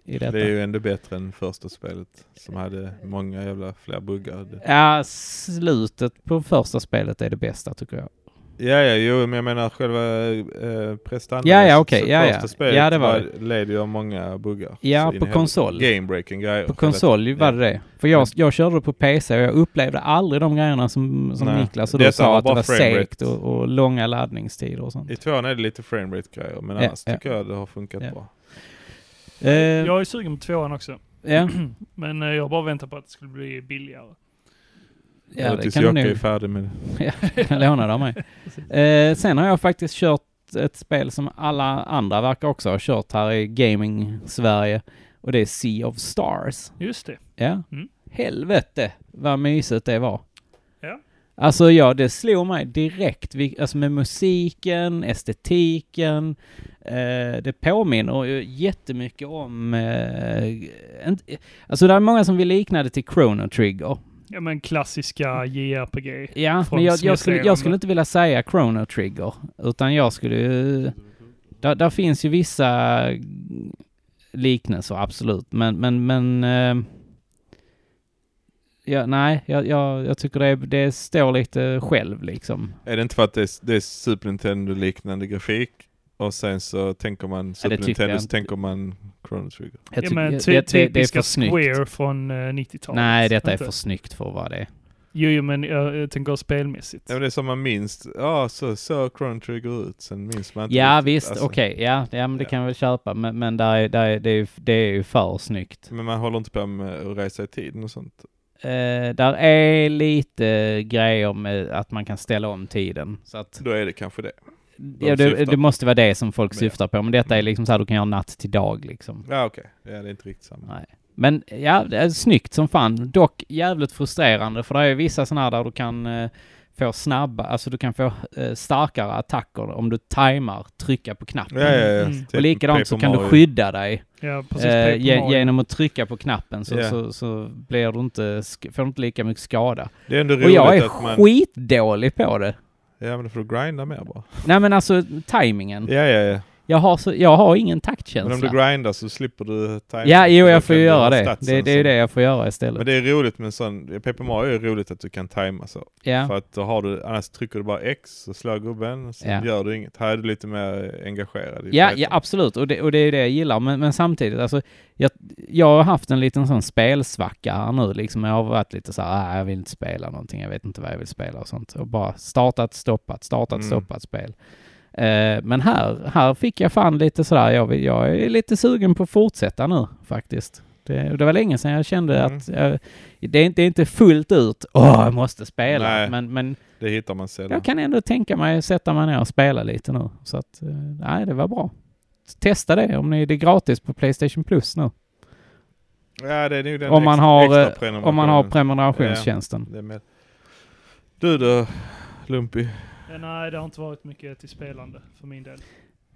S3: i detta.
S1: Det är ju ändå bättre än första spelet som hade många jävla fler buggar. Det-
S3: Ja, slutet på första spelet är det bästa tycker jag.
S1: Ja, ja, jo, men jag menar själva eh, prestandan.
S3: Ja, ja,
S1: Så-
S3: okej,
S1: så
S3: ja, ja.
S1: första spelet
S3: Ja, det var
S1: led ju av många buggar.
S3: Ja,
S1: Så in
S3: på
S1: i
S3: konsol.
S1: helvete. Game-breaking grejer.
S3: På konsol var det det. För jag, jag körde på PC och jag upplevde aldrig de grejerna som, som
S1: Nej.
S3: Niklas och
S1: Detta
S3: då
S1: var
S3: sa att det
S1: bara
S3: var
S1: framerate.
S3: segt och, och långa laddningstider och sånt.
S1: I tvåan är det lite framerate-grejer, men
S3: Ja,
S1: annars
S3: ja.
S1: tycker jag det har funkat
S3: Ja.
S1: bra.
S3: Eh,
S2: Jag är sugen på tvåan också.
S3: ja,
S2: Men eh, jag bara väntar på att det skulle bli billigare.
S3: ja,
S1: Eller
S3: det
S1: tills
S3: kan du
S1: Jocke
S3: nog.
S1: är färdig med det.
S3: kan låna det av mig. Eh, sen har jag faktiskt kört ett spel som alla andra verkar också ha kört här i gaming-Sverige. Och det är Sea of Stars.
S2: Just det.
S3: Ja.
S2: Mm.
S3: Helvete vad mysigt det var.
S2: Ja.
S3: Alltså ja, det slog mig direkt. Vi- Alltså med musiken, estetiken. Eh, det påminner ju jättemycket om... Eh, en, alltså det är många som vill likna det till Chrono Trigger.
S2: Ja men klassiska JRPG.
S3: Ja,
S2: Från
S3: men jag, jag, skulle,
S2: Smithsalen.
S3: jag skulle inte vilja säga Chrono Trigger, utan jag skulle ju... Där, där finns ju vissa liknelser, absolut, men... men, men eh, ja, nej, jag, jag, jag tycker det, det står lite själv liksom.
S1: Är det inte för att det är, det är Super Nintendo-liknande grafik? Och sen så tänker man Super
S3: tycker jag
S1: Nintendo, så
S3: inte.
S1: tänker man Chrono Trigger.
S3: Jag
S2: ja
S3: tycker-
S2: men
S3: det-
S2: ty-
S3: det- det är
S2: typiska
S3: för snyggt.
S2: Square från eh, 90-talet.
S3: Nej, detta är
S2: Inte-
S3: för snyggt för vad det är.
S2: Jo, jo men eh, jag, jag tänker spelmässigt.
S1: Ja, men det är som man minns, ja så så Chrono Trigger ut, sen minns man inte
S3: Ja,
S1: riktigt,
S3: visst,
S1: alltså.
S3: okej, ja, ja, men det
S1: Ja.
S3: kan jag väl köpa, men, men där är, där är, det, är, ju- det är ju för snyggt.
S1: Men man håller inte på med att resa i tiden och sånt.
S3: Eh, där är lite grejer med att man kan ställa om tiden. Så att,
S1: Då är det kanske det.
S3: ja, det,
S1: syftar
S3: det måste vara det som folk
S1: Ja.
S3: syftar på. Men detta är liksom så här, du kan göra natt till dag liksom.
S1: Ja okej, ja, det är inte riktigt samma.
S3: Nej. Men ja, det är snyggt som fan. Dock jävligt frustrerande för det är vissa sådana här där du kan eh, få snabba, alltså du kan få eh, starkare attacker om du tajmar, trycka på knappen.
S1: Ja, ja, ja.
S2: Mm.
S1: Typ
S3: Och likadant så
S1: Paper
S3: kan du
S1: Mario.
S3: skydda dig
S2: Ja, precis.
S3: eh,
S2: Paper
S3: ge,
S2: Mario.
S3: genom att trycka på knappen så,
S1: Ja.
S3: så, så blir du inte, sk- får du inte lika mycket skada.
S1: Det är ändå roligt
S3: Och jag är
S1: att man...
S3: skitdålig på det.
S1: Ja men då får du grinda mer bara.
S3: Nej men alltså timingen.
S1: Ja ja ja.
S3: Jag, har så, jag har ingen
S1: Men om
S3: taktkänsla.
S1: du grindar så slipper du timing.
S3: ja, jo
S1: Då
S3: jag får
S1: kan
S3: ju
S1: du ha
S3: göra det.
S1: statsen
S3: det. Det är ju
S1: som-
S3: det jag får göra istället.
S1: Men det är roligt med en sån, Paper Mario är roligt att du kan tajma så.
S3: ja.
S1: För att då har du, annars trycker du bara X och slår gubben, sen
S3: Ja.
S1: gör du inget. Här är du lite mer engagerad. i
S3: Ja,
S1: fighten.
S3: ja absolut. Och det, och det är ju det jag gillar. Men, men samtidigt, alltså, jag, jag har haft en liten sån spelsvacka här nu. Liksom. Jag har varit lite så här, "Ah, jag vill inte spela någonting, jag vet inte vad jag vill spela och sånt. Och bara startat, stoppat, startat,
S1: Mm.
S3: stoppat spel. Eh, men här, här fick jag fan lite sådär, jag, vill- jag är lite sugen på att fortsätta nu faktiskt. Det, det var länge sedan jag kände
S1: Mm.
S3: att jag, det, är inte, det är inte fullt ut, åh, jag måste spela.
S1: Nej.
S3: Men, men
S1: Det hittar man sällan.
S3: jag kan ändå tänka mig att sätta mig ner och spela lite nu. Så att, eh, nej, det var bra. Testa det om ni, det är gratis på Playstation Plus nu.
S1: Ja, det är nog den
S3: Om man
S1: extra,
S3: har, eh,
S1: extra prenumerationen.
S3: Om man har prenumerationstjänsten.
S1: Det är med. Du då, Lumpy.
S2: Ja, nej, det har inte varit mycket till spelande för min del.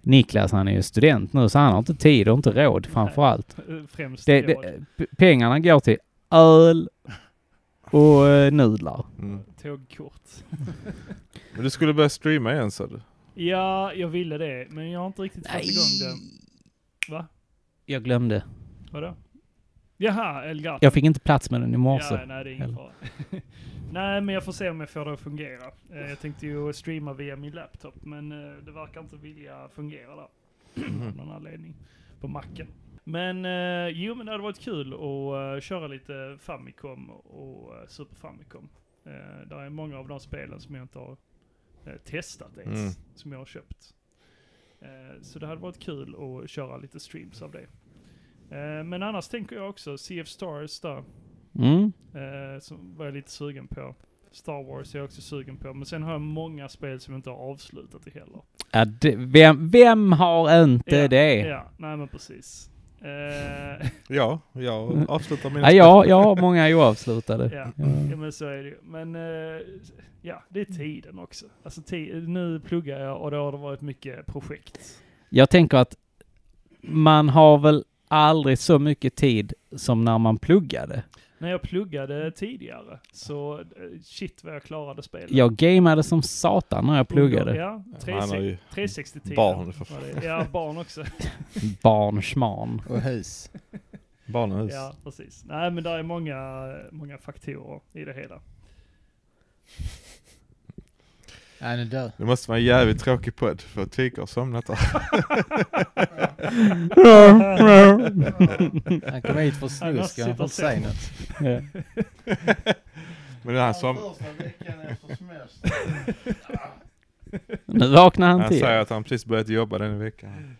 S3: Niklas han är ju student nu så han har inte tid och inte råd framförallt.
S2: Eh, Främst
S3: Det,
S2: råd.
S3: det, p- pengarna går till öl och eh, nudlar.
S1: Mm.
S2: tågkort.
S1: Men du skulle börja streama igen sa du?
S2: Ja, jag ville det, men jag har inte riktigt fått igång det. Va?
S3: Jag glömde.
S2: Vadå? Jaha, Elgato.
S3: Jag fick inte plats med den i morse.
S2: Ja, nej, det är ingen
S3: Eller?
S2: fara. nej, men jag får se om jag får det att fungera. Eh, Jag tänkte ju streama via min laptop, men eh, det verkar inte vilja fungera där. Av någon anledning. På macken. Men eh, jo, men det hade varit kul att eh, köra lite Famicom och eh, Super Famicom. Eh, där är många av de spelen som jag inte har eh, testat ens,
S1: Mm.
S2: som jag har köpt. Eh, så det hade varit kul att köra lite streams av det. Eh, men annars tänker jag också, Sea of Stars där.
S3: Mm.
S2: Eh, som var jag lite sugen på. Star Wars är jag också sugen på. Men sen har jag många spel som jag inte har avslutat i heller.
S3: Ja, det, vem, vem har inte
S2: Ja,
S3: det?
S2: Ja, nej men precis. Eh,
S1: Ja, jag avslutar mina
S3: Ja, Mm. jag, jag har många oavslutade.
S2: ja.
S3: Ja.
S2: ja, men så är det ju. Men eh, ja, det är tiden också. Alltså ti- nu pluggar jag och då har det varit mycket projekt.
S3: Jag tänker att man har väl aldrig så mycket tid som när man pluggade.
S2: När jag pluggade tidigare så eh, shit vad jag klarade spelet.
S3: Jag gamade som satan när jag pluggade.
S2: Ja,
S1: Ja, man har ju
S2: 360
S1: barn för fan.
S2: Ja, barn också.
S3: Barnsman.
S4: Och hus.
S1: Barnhus.
S2: Ja, precis. Nej, men det är många, många faktorer i det hela.
S4: Nej, nu dör.
S1: Det måste vara en jävligt tråkig podd för Tvik har somnat där.
S4: Han kom hit för snusk och han får inte säga något.
S3: Ja.
S1: Men han, som,
S3: Nu vaknar han
S1: han
S3: till.
S1: säger att han precis börjat jobba den veckan.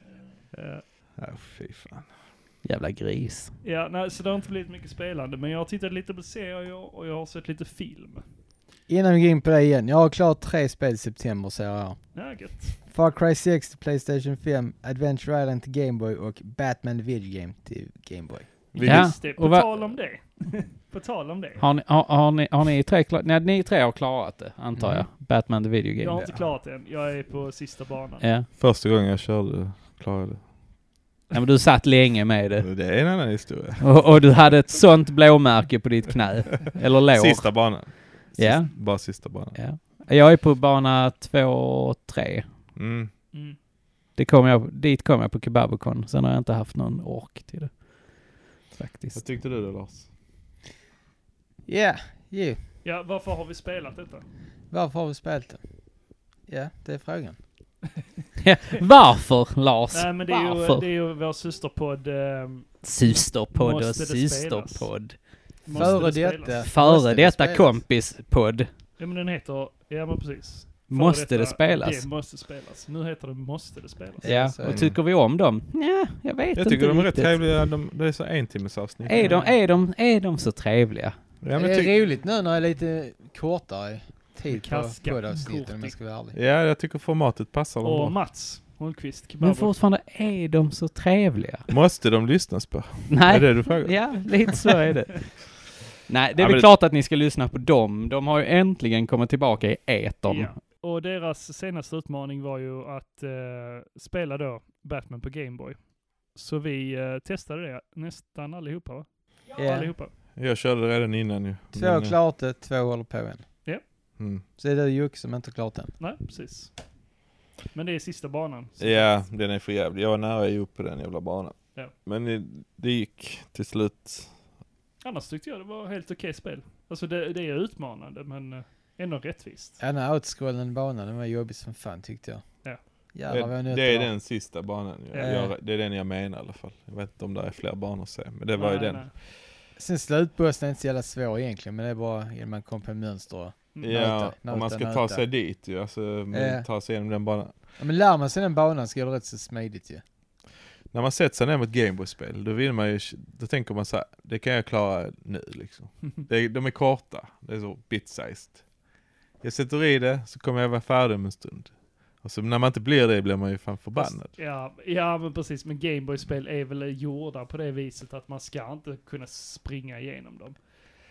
S2: Eh,
S1: Ja, fy fan.
S3: Jävla gris.
S2: Ja, nej, så det har inte blivit mycket spelande, men jag har tittat lite på serier och jag har sett lite film.
S4: Innan vi går in på det igen. Jag har klart tre spel i september säger jag.
S2: Ja, gött.
S4: Far Cry 6 till Playstation 5, Adventure Island till Game Boy och Batman Video Game till Game Boy.
S1: Vilket,
S3: Ja.
S2: Just det, på
S3: och va-
S2: tal om det. på tal om det.
S3: Har ni, har, har ni, har ni tre klarat... Nej, ni tre har klarat det, antar jag. Batman the Video
S2: Jag har
S3: Game.
S2: inte klarat det än. Jag är på sista banan.
S3: Ja. ja.
S1: Första gången jag körde klarade
S3: men du satt länge med
S1: jag
S3: det.
S1: det. Det är en annan historia.
S3: Och, och du hade ett sånt blåmärke på ditt knä. Eller lår.
S1: Sista banan. Sist-
S3: Ja.
S1: Bara sista banan.
S3: Ja. Jag är på bana två och tre.
S1: Mm.
S2: Mm.
S3: Det kom jag, dit kom jag på Kebabocon. Sen har jag inte haft någon ork till det.
S1: Vad
S3: Faktiskt.
S1: tyckte du då Lars?
S4: Ja, yeah, ju.
S2: Ja, varför har vi spelat detta?
S4: Varför har vi spelat det? Ja, det är frågan.
S3: Varför Lars?
S2: Nej, men det är ju,
S3: Varför?
S2: det är ju vår systerpodd. ehm,
S3: Systerpodd och
S2: Måste det spelas?
S3: systerpodd.
S2: Måste
S4: Före
S2: det spelas?
S4: detta.
S3: Före
S4: Måste det
S3: detta
S4: spelas?
S3: kompispodd.
S2: Ja, men den heter... Ja, men precis. Före
S3: Måste
S2: detta,
S3: det spelas?
S2: Det måste spelas. Nu heter det Måste det spelas.
S4: Ja,
S3: Ja,
S4: så är
S3: och
S4: det.
S3: tycker vi om dem? Nej, jag vet
S1: Jag
S3: inte
S1: tycker de är rätt
S3: riktigt.
S1: trevliga. De, det är så en timmes avsnitt.
S3: Är de, är, de, är de så trevliga?
S1: Ja, men
S4: det
S1: jag
S4: är
S1: tyck-
S4: roligt nu när det är lite kortare tid på
S2: Kaska.
S4: poddavsnitten om
S2: Korting.
S4: jag ska vara ärlig.
S1: ja, jag tycker formatet passar dem
S2: Och
S1: bra.
S2: Mats Holmqvist,
S3: Men
S2: Kebab.
S3: fortfarande, är de så trevliga?
S1: Måste de lyssnas på?
S3: Nej.
S1: Är det du frågar?
S3: Ja, lite så är det. Nej, det är
S1: Ja,
S3: väl
S1: men-
S3: klart att ni ska lyssna på dem. De har ju äntligen kommit tillbaka i etern.
S2: Ja. Och deras senaste utmaning var ju att eh, spela då Batman på Gameboy. Så vi eh, testade det nästan allihopa va?
S4: Ja.
S2: Allihopa.
S1: Jag körde redan innan ju.
S4: Två
S1: Men,
S4: har klart det, två håller på än.
S1: eh, Mm.
S4: Så är det Jocke som inte har klart den.
S2: Nej, precis. Men det är sista banan. Så-
S1: Ja, den är för jävlig. Jag var nära att ge upp på den jävla banan.
S2: Ja.
S1: Men det, det gick till slut.
S2: Annars tyckte jag det var helt okej spel. Alltså det, det är utmanande men eh, ändå rättvist.
S4: Ja, den här outscrollande banan, den var jobbig som fan tyckte jag.
S2: Ja.
S4: Jävlar vad
S1: det,
S4: jag njöt
S1: det är
S4: av.
S1: den sista banan. Jag,
S2: Ja.
S1: jag, det är den jag menar i alla fall. Jag vet inte om det är fler banor att se, men det var ju
S2: Nej,
S1: den.
S2: nej.
S4: Sen slutbossen är inte så jävla svår egentligen, men det är bara genom man kom på mönster. och-
S2: Mm.
S1: Ja,
S4: Nöta, nöta,
S1: om man ska ta
S4: nöta.
S1: sig dit ju. Alltså,
S4: Ja.
S1: man ta sig igenom den banan.
S4: Ja, men lär man sig den banan så går det rätt så smidigt ju.
S1: När man sätter sig ner mot Gameboy-spel, då vill man ju, då tänker man så här, det kan jag klara nu liksom. Det, är- de är korta, det är så bit-sized. Jag sätter i det, så kommer jag vara färdig om en stund. Och så när man inte blir det blir man ju fan förbannad.
S2: Ja, ja, men precis. Men Gameboy-spel är väl gjorda på det viset att man ska inte kunna springa igenom dem.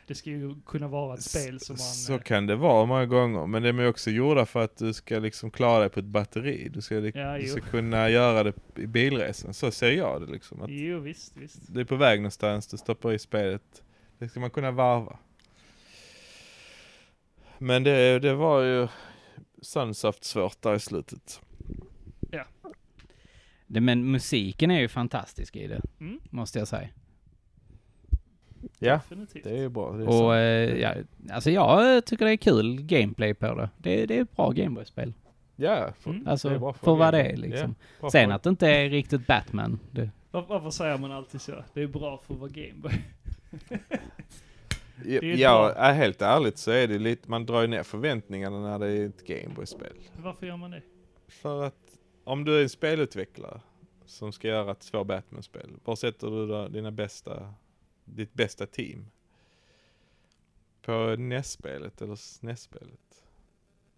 S2: Det ska ju kunna vara ett spel som man...
S1: Så
S2: eh,
S1: kan det vara många gånger, men de är också gjorda för att du ska liksom klara dig på ett batteri. Du ska,
S2: Ja,
S1: du
S2: jo.
S1: ska kunna göra det i bilresan, så ser jag det liksom. Att
S2: Jo, visst, visst.
S1: du är på väg någonstans, du stoppar i spelet. Det ska man kunna varva. Men det, det var ju Sunsoft svårt där i slutet.
S3: Det, men musiken är ju fantastisk i det,
S2: Mm.
S3: måste jag säga.
S1: Ja,
S2: Definitivt.
S1: det är ju bra. Det är
S3: Och
S1: sant.
S3: eh, ja, alltså jag eh, tycker det är kul gameplay på det. Det, det är ett bra Gameboy-spel.
S1: ja, för,
S2: Mm.
S3: Alltså,
S1: Det är bra
S3: för vad det
S1: fråga.
S3: är liksom.
S1: bra
S3: Sen
S1: fråga.
S3: att det inte är riktigt Batman. Det,
S2: Var, varför säger man alltid så? Det är bra för att vara Gameboy.
S1: Ja,
S2: det är ett
S1: ja, helt ärligt så är det lite, man drar ju ner förväntningarna när det är ett Gameboy-spel.
S2: Varför gör man det?
S1: För att om du är en spelutvecklare som ska göra ett svårt Batman-spel, var sätter du då dina bästa, ditt bästa team? På NES-spelet eller SNES-spelet?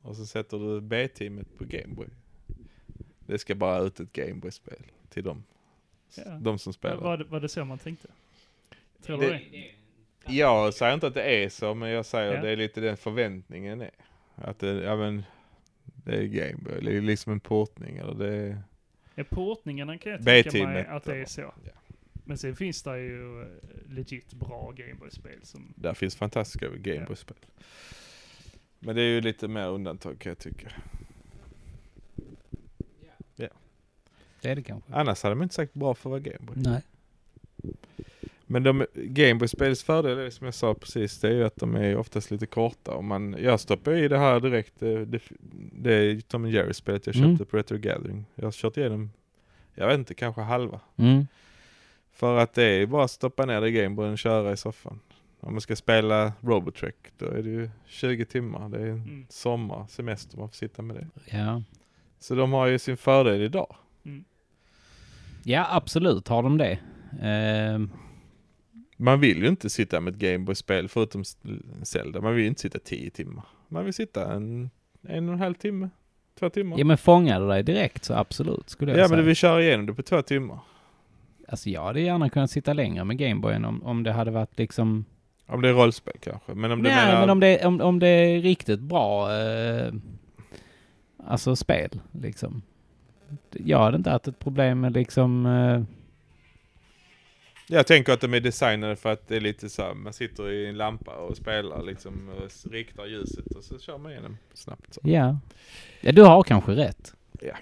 S1: Och så sätter du B-teamet på Gameboy. Det ska bara ut ett Gameboy-spel till dem.
S2: Ja.
S1: De som
S2: Var,
S1: spelar.
S2: var, det- var det så man tänkte? Tror du
S1: Det-
S2: det?
S1: Jag säger inte att det är så, men jag säger
S2: Ja.
S1: det är lite den förväntningen är. Att det, ja men, det är Gameboy, det är liksom en portning eller det är...
S2: Ja, portningarna kan jag tänka mig
S1: B-teamet,
S2: att det är
S1: eller?
S2: så.
S1: Ja.
S2: Men sen finns det ju eh, legit bra Gameboy-spel som...
S1: Där finns fantastiska Gameboy-spel. Men det är ju lite mer undantag kan jag tycka.
S3: det är det kanske.
S1: Annars hade man inte sagt bra för att vara Gameboy.
S3: Nej.
S1: Men de, Gameboy-spels fördel är som jag sa precis, det är ju att de är oftast lite korta. Och man, jag stoppar i det här direkt, eh, det, det, det är ju Tom Jerry-spelet jag köpte
S3: Mm.
S1: på Retro Gathering. Jag har kört igenom, jag vet inte, kanske halva.
S3: Mm.
S1: För att det är ju bara att stoppa ner det i Gameboyen och köra i soffan. Om man ska spela Robotrek, då är det ju 20 timmar. Det är
S2: Mm.
S1: sommar, semester, man får sitta med det.
S3: Ja.
S1: Så de har ju sin fördel idag.
S3: ja, absolut har de det. Ehm,
S1: Man vill ju inte sitta med ett Gameboy-spel förutom s- Zelda. Man vill ju inte sitta 10 timmar. Man vill sitta en, en och en halv timme, två timmar.
S3: ja men fångade dig direkt så absolut skulle jag
S1: ja men
S3: säga.
S1: du vill köra igenom det på två timmar.
S3: Alltså jag hade gärna kunnat sitta längre med Gameboyen om, om det hade varit liksom...
S1: Om det är rollspel kanske. Men om du
S3: Nej
S1: menar...
S3: men om det, om, om det är riktigt bra eh, alltså spel liksom. Jag hade inte haft ett problem med liksom... Eh,
S1: Jag tänker att de är designade för att det är lite så här, man sitter i en lampa och spelar liksom, och s- riktar ljuset och så kör man igenom snabbt. Så.
S3: ja. ja, du har kanske rätt.
S2: Det är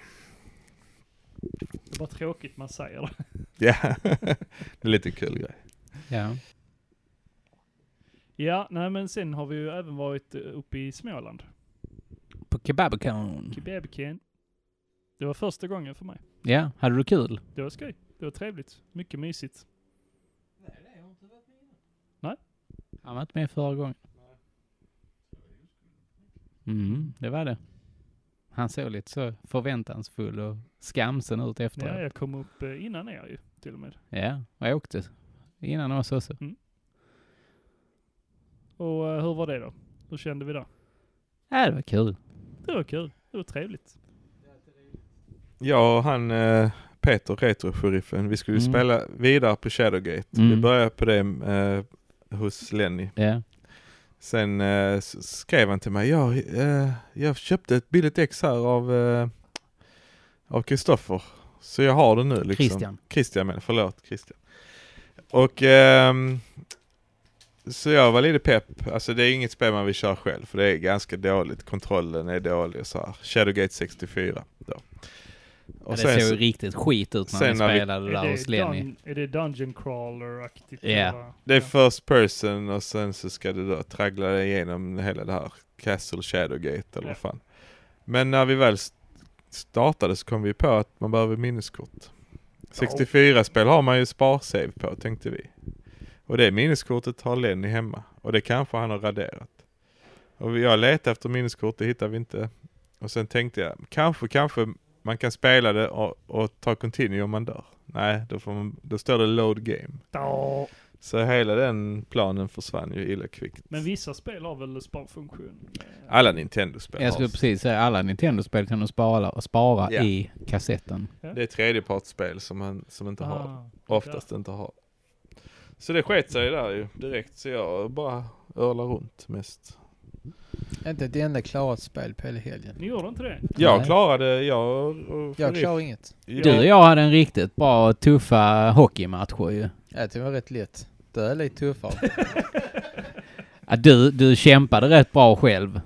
S2: bara tråkigt man säger det.
S1: Ja, det är lite kul grej.
S3: Ja.
S2: Ja, nej men sen har vi ju även varit eh, uppe i Småland.
S3: På Kebabcon.
S2: Kebabken. Det var första gången för mig.
S3: Ja, hade du kul?
S2: Det var skoj. Det var trevligt. Mycket mysigt.
S3: Han var inte med förra gången. Mm, det var det. Han såg lite så förväntansfull och skamsen ut
S2: Ja,
S3: efteråt.
S2: jag kom upp eh, innan er ju, till och med.
S3: Ja, och jag åkte innan oss också.
S2: Och eh, hur var det då? Hur kände vi då?
S3: Ja, det var kul.
S2: Det var kul. Det var trevligt.
S1: Jag och han eh, Peter, Retro-sheriffen, vi skulle ju
S3: Mm.
S1: spela vidare på Shadowgate. Vi
S3: Mm.
S1: började på det eh, hos Lenny.
S3: Ja.
S1: Sen eh, s- skrev han till mig, jag, eh, jag köpte ett billigt ex här av eh, av Kristoffer. Så jag har det nu liksom.
S3: Christian.
S1: Christian menar, förlåt Christian. Och ehm, Så jag var lite pepp. Alltså det är inget spel man vill köra själv för det är ganska dåligt. Kontrollen är dålig och så här. Shadowgate 64 då.
S3: Och
S1: Och
S3: det
S1: sen,
S3: såg ju riktigt skit ut när
S1: sen
S3: vi
S1: när vi-
S3: spelade där hos Lenny.
S2: dun- är det Dungeon Crawler-aktigt?
S3: Ja.
S2: eller?
S1: det är first person och sen så ska du då traggla dig igenom hela det här Castle Shadowgate eller
S2: Ja.
S1: vad fan. Men när vi väl st- startade så kom vi på att man behöver minneskort. 64-spel har man ju sparsave på tänkte vi. Och det minneskortet har Lenny hemma. Och det kanske han har raderat. Och jag letade efter minneskort, det hittade vi inte. Och sen tänkte jag, kanske, kanske man kan spela det och, och ta continue om man dör. Nej, då, får man, då står det load game.
S2: Ja.
S1: Så hela den planen försvann ju illa kvickt.
S2: Men vissa spel har väl sparfunktion? Eh,
S1: Alla Nintendo-spel
S3: Jag skulle
S1: har
S3: precis säga, alla Nintendo-spel kan du spara, spara
S1: Ja.
S3: i kassetten.
S1: Det är tredjepartsspel som man som inte har,
S2: ah, det
S1: oftast inte har. Så det sket sig där ju direkt, så jag bara örlar runt mest.
S4: Inte ett enda klarat spel på hela
S2: där.
S4: helgen.
S2: Ni gjorde inte det?
S1: Jag
S4: Nej.
S1: klarar jag och
S4: Jag klarar inget.
S3: Du och jag hade en riktigt bra, tuffa hockeymatcher ju.
S4: Jag tyckte det var rätt lätt. Det är lite tuffare.
S3: Ja, Du, du kämpade rätt bra själv.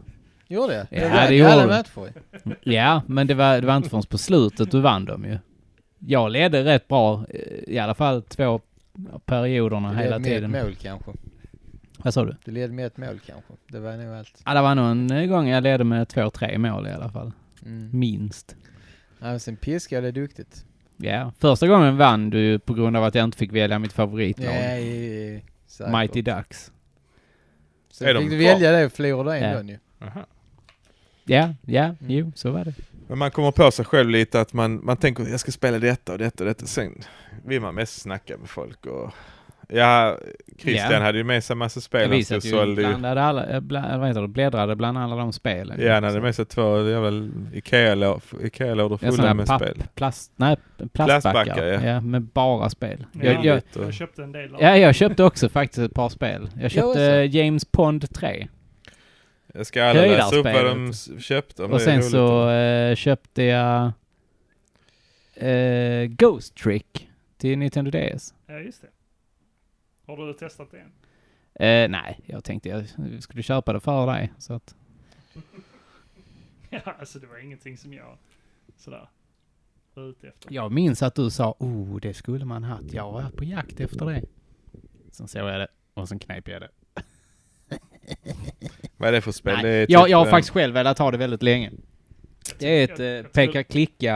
S4: Gjorde jag?
S3: Ja,
S4: jag
S3: det
S4: vann ju
S3: gjorde
S4: alla
S3: du.
S4: matcher. ju.
S3: Ja, men det var, det var inte förrän på slutet du vann dem ju. Jag ledde rätt bra, eh, i alla fall två perioderna
S4: Du
S3: hela
S4: led med ett
S3: tiden.
S4: mål kanske.
S3: Vad sa du?
S4: Du led med ett mål kanske. Det var nog allt.
S3: Ja, det var nog en gång jag ledde med två, tre mål i alla fall.
S4: Mm.
S3: Minst.
S4: Ja, men sen piskade jag duktigt.
S3: Ja, första gången vann du ju på grund av att jag inte fick välja mitt favoritlag.
S4: Nej, säkert.
S3: Mighty Ducks.
S4: Så
S1: Är
S4: fick
S1: de
S4: du
S1: kvar?
S4: välja det och förlorade en
S3: Ja.
S4: gång ju.
S1: Aha.
S3: Ja, ja, jo, så var det.
S1: Men man kommer på sig själv lite att man, man tänker jag ska spela detta och detta och detta. Sen vill man mest snacka med folk och Ja, Christian
S3: Ja.
S1: hade ju med sig massa spel.
S3: Jag
S1: han
S3: visade
S1: stod
S3: ju,
S1: sålde ju.
S3: blandade alla, eh, bland, eller vad heter det, bläddrade bland alla de spelen.
S1: Ja, han hade med sig två jävla Ikea-lå- Ikea-lådor
S3: Ja,
S1: fulla
S3: sådana
S1: med
S3: papp,
S1: spel.
S3: plast, nej, plastbackar.
S1: Plastbackar, ja.
S3: ja. med bara spel.
S2: Ja.
S3: Jag, jag,
S1: Och-
S2: Jag köpte en del av
S3: ja, jag köpte också faktiskt ett par spel. Jag köpte
S4: alltså.
S3: James Pond 3.
S1: Jag ska alla läsa upp vad de
S3: Höjdarspelet.
S1: s- köpte om
S3: och
S1: det är
S3: sen
S1: roligt.
S3: så eh, köpte jag eh, Ghost Trick till Nintendo DS.
S2: Ja, just det. Har du testat det än?
S3: Eh, nej, jag tänkte jag skulle köpa det för dig. Så att,
S2: Ja, alltså det var ingenting som jag sådär var ute efter.
S3: jag minns att du sa oh, det skulle man haft. Jag var på jakt efter det. Sen såg jag det och sen knep jag det.
S1: Vad är det för spel?
S3: Nej,
S1: Det är
S3: jag,
S1: typ,
S3: jag har
S1: eh,
S3: faktiskt själv velat ha det väldigt länge. Det är ett
S2: Jag- jag
S3: eh,
S2: tror-
S3: peka-klicka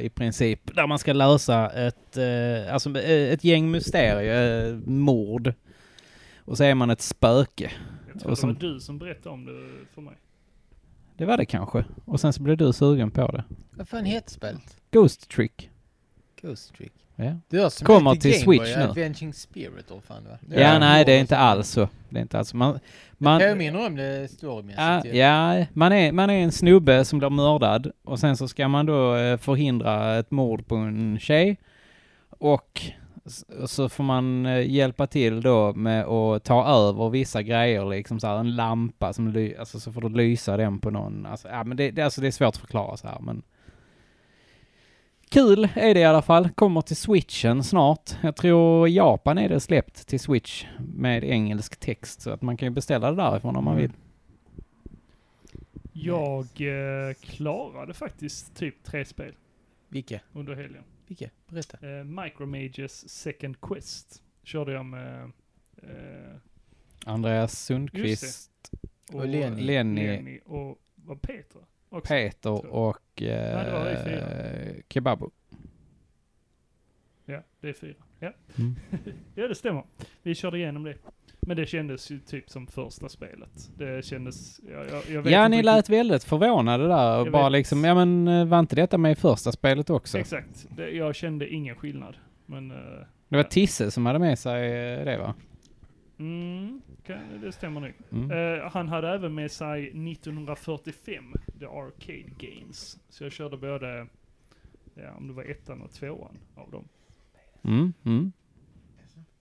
S3: eh, i princip, där man ska lösa ett, eh, alltså, eh, ett gäng mysterier, eh, mord. Och så är man ett spöke.
S2: Jag tror
S3: och som-
S2: det var du som berättade om det för mig.
S3: Det var det kanske. Och sen så blev du sugen på det.
S4: Vad fan heter spelet?
S3: Ghost Trick.
S4: Ghost Trick.
S3: Ja,
S4: Du har som
S3: Kommer
S4: heter
S3: till
S4: Game Boy
S3: Switch nu.
S4: Adventuring Spirit eller fan va?
S1: Ja,
S3: ja, nej det är inte alls så. Det är inte alls så. Man, man, Ah,
S4: Det påminner om det storymässigt
S3: Ja,
S4: ju.
S3: ja man, är, man är en snubbe som blir mördad och sen så ska man då eh, förhindra ett mord på en tjej. Och s- så får man eh, hjälpa till då med att ta över vissa grejer, liksom så här en lampa som ly- alltså så får du lysa den på någon. Alltså, ja, men det, det, alltså det är svårt att förklara så här, men Kul är det i alla fall. Kommer till switchen snart. Jag tror Japan är det släppt till switch med engelsk text så att man kan ju beställa det därifrån om man vill.
S2: Jag eh, klarade faktiskt typ tre spel
S4: Vilka?
S2: under helgen.
S4: Vilka? Berätta.
S2: Eh, Micromages Second Quest körde jag med eh,
S3: Andreas Sundqvist,
S4: Och Lenny.
S3: Lenny.
S2: Lenny och var Peter också.
S3: Peter och
S2: Nej, det var vi
S3: eh, Kebabo.
S2: Ja, det är fyra. Ja.
S3: Mm.
S2: ja, det stämmer. Vi körde igenom det. Men det kändes ju typ som första spelet. Det kändes... Ja, jag, jag vet
S3: Ja,
S2: inte
S3: ni
S2: riktigt-
S3: lät väldigt förvånade där och
S2: Jag
S3: bara
S2: vet.
S3: liksom, ja men eh, var inte detta med i första spelet också?
S2: Exakt. Det, jag kände ingen skillnad. Men... eh,
S3: Det var Tisse som hade med sig eh, det va?
S2: mm, kan, det stämmer nog.
S3: Mm.
S2: Eh, han hade även med sig 1945, The Arcade Games. Så jag körde både, ja, om det var ettan och tvåan av dem.
S3: Mm, mm.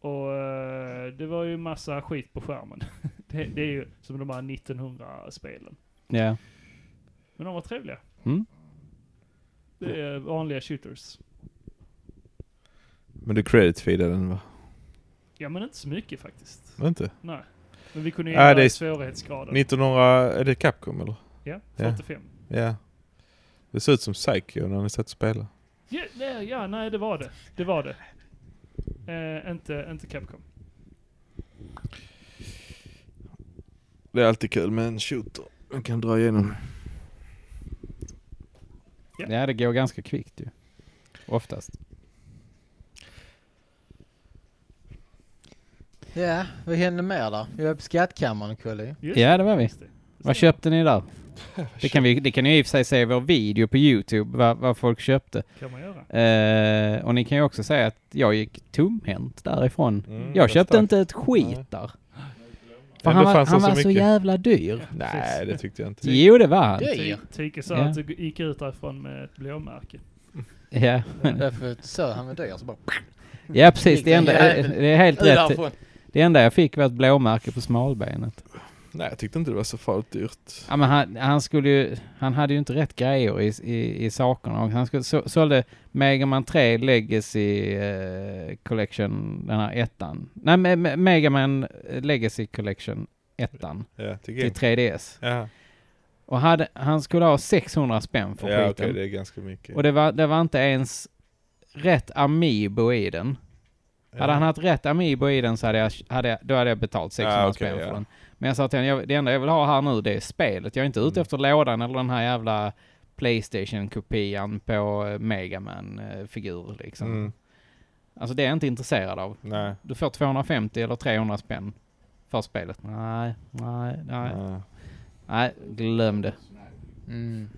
S2: Och eh, det var ju massa skit på skärmen. det, det är ju som de här 1900-spelen.
S3: Ja.
S2: Men de var trevliga.
S3: Mm.
S2: Det är vanliga shooters.
S1: Men du credit feedade den va?
S2: Ja men inte så mycket faktiskt.
S1: Inte?
S2: Nej. Men vi kunde ju
S1: Ja,
S2: ändra
S1: det är-
S2: svårighetsgraden.
S1: 1900, är det Capcom eller?
S2: ja,
S1: ja.
S2: 45.
S1: Ja. Det ser ut som Psycho när ni satt och spelade.
S2: Ja, ja, ja, nej det var det. Det var det. Eh, inte, inte Capcom.
S1: Det är alltid kul med en shooter. Man kan dra igenom.
S2: Ja.
S3: Ja, det går ganska kvickt ju. Oftast.
S4: Ja, vad hände mer där? Vi var på skattkammaren och kollade ju.
S2: Just
S3: Ja, det var vi.
S2: det.
S3: Vad köpte ni där? Det kan, vi, det kan ni i och för sig se i vår video på Youtube, vad, vad folk köpte.
S2: kan man göra.
S3: Eh, och ni kan ju också säga att jag gick tomhänt därifrån.
S1: Mm,
S3: Jag köpte
S1: starkt.
S3: inte ett skit
S1: Nej.
S3: där. För
S1: Men
S3: han
S1: det
S3: var,
S1: fanns
S3: han
S1: så
S3: var så
S1: mycket.
S3: jävla dyr.
S1: Nej, det tyckte jag inte.
S3: Jo, det var han.
S4: Det är ju.
S2: Ty- Tyke sa
S3: Ja.
S2: att du gick ut därifrån med ett blåmärke.
S3: Ja,
S4: Därför sa han var dyr så bara...
S3: ja precis. Det, enda,
S4: Ja.
S3: det är helt
S4: Ut
S3: rätt.
S4: därifrån.
S3: Det enda jag fick var ett blåmärke på smalbenet.
S1: Nej, jag tyckte inte det var så farligt dyrt.
S3: Ja, men han, han, skulle ju, han hade ju inte rätt grejer i, i, i sakerna. Och Han skulle, så, sålde Mega Man 3 Legacy eh, Collection, den här ettan. Nej, Me- Me- Mega Man eh, Legacy Collection ettan
S1: Ja, till
S3: till
S1: game.
S3: 3DS.
S1: Ja,
S3: Och hade, han skulle ha 600 spänn för
S1: ja okej,
S3: skiten.
S1: det är ganska mycket.
S3: Och det var, det var inte ens rätt Amiibo i den.
S1: ja.
S3: Hade han haft rätt Amiibo i den så hade jag, hade jag, då hade jag betalt 600
S1: Ah, okej,
S3: spänn för
S1: ja.
S3: den. Men jag sa till honom, jag, det enda jag vill ha här nu det är spelet. Jag är inte ute
S1: Mm.
S3: efter lådan eller den här jävla Playstation-kopian på eh, Mega Man-figur liksom.
S1: Mm,
S3: Alltså det är jag inte intresserad av.
S1: nej.
S3: Du får 250 eller 300 spänn för spelet. Nej, nej, nej.
S1: nej.
S3: Nej, glöm det.
S4: Mm.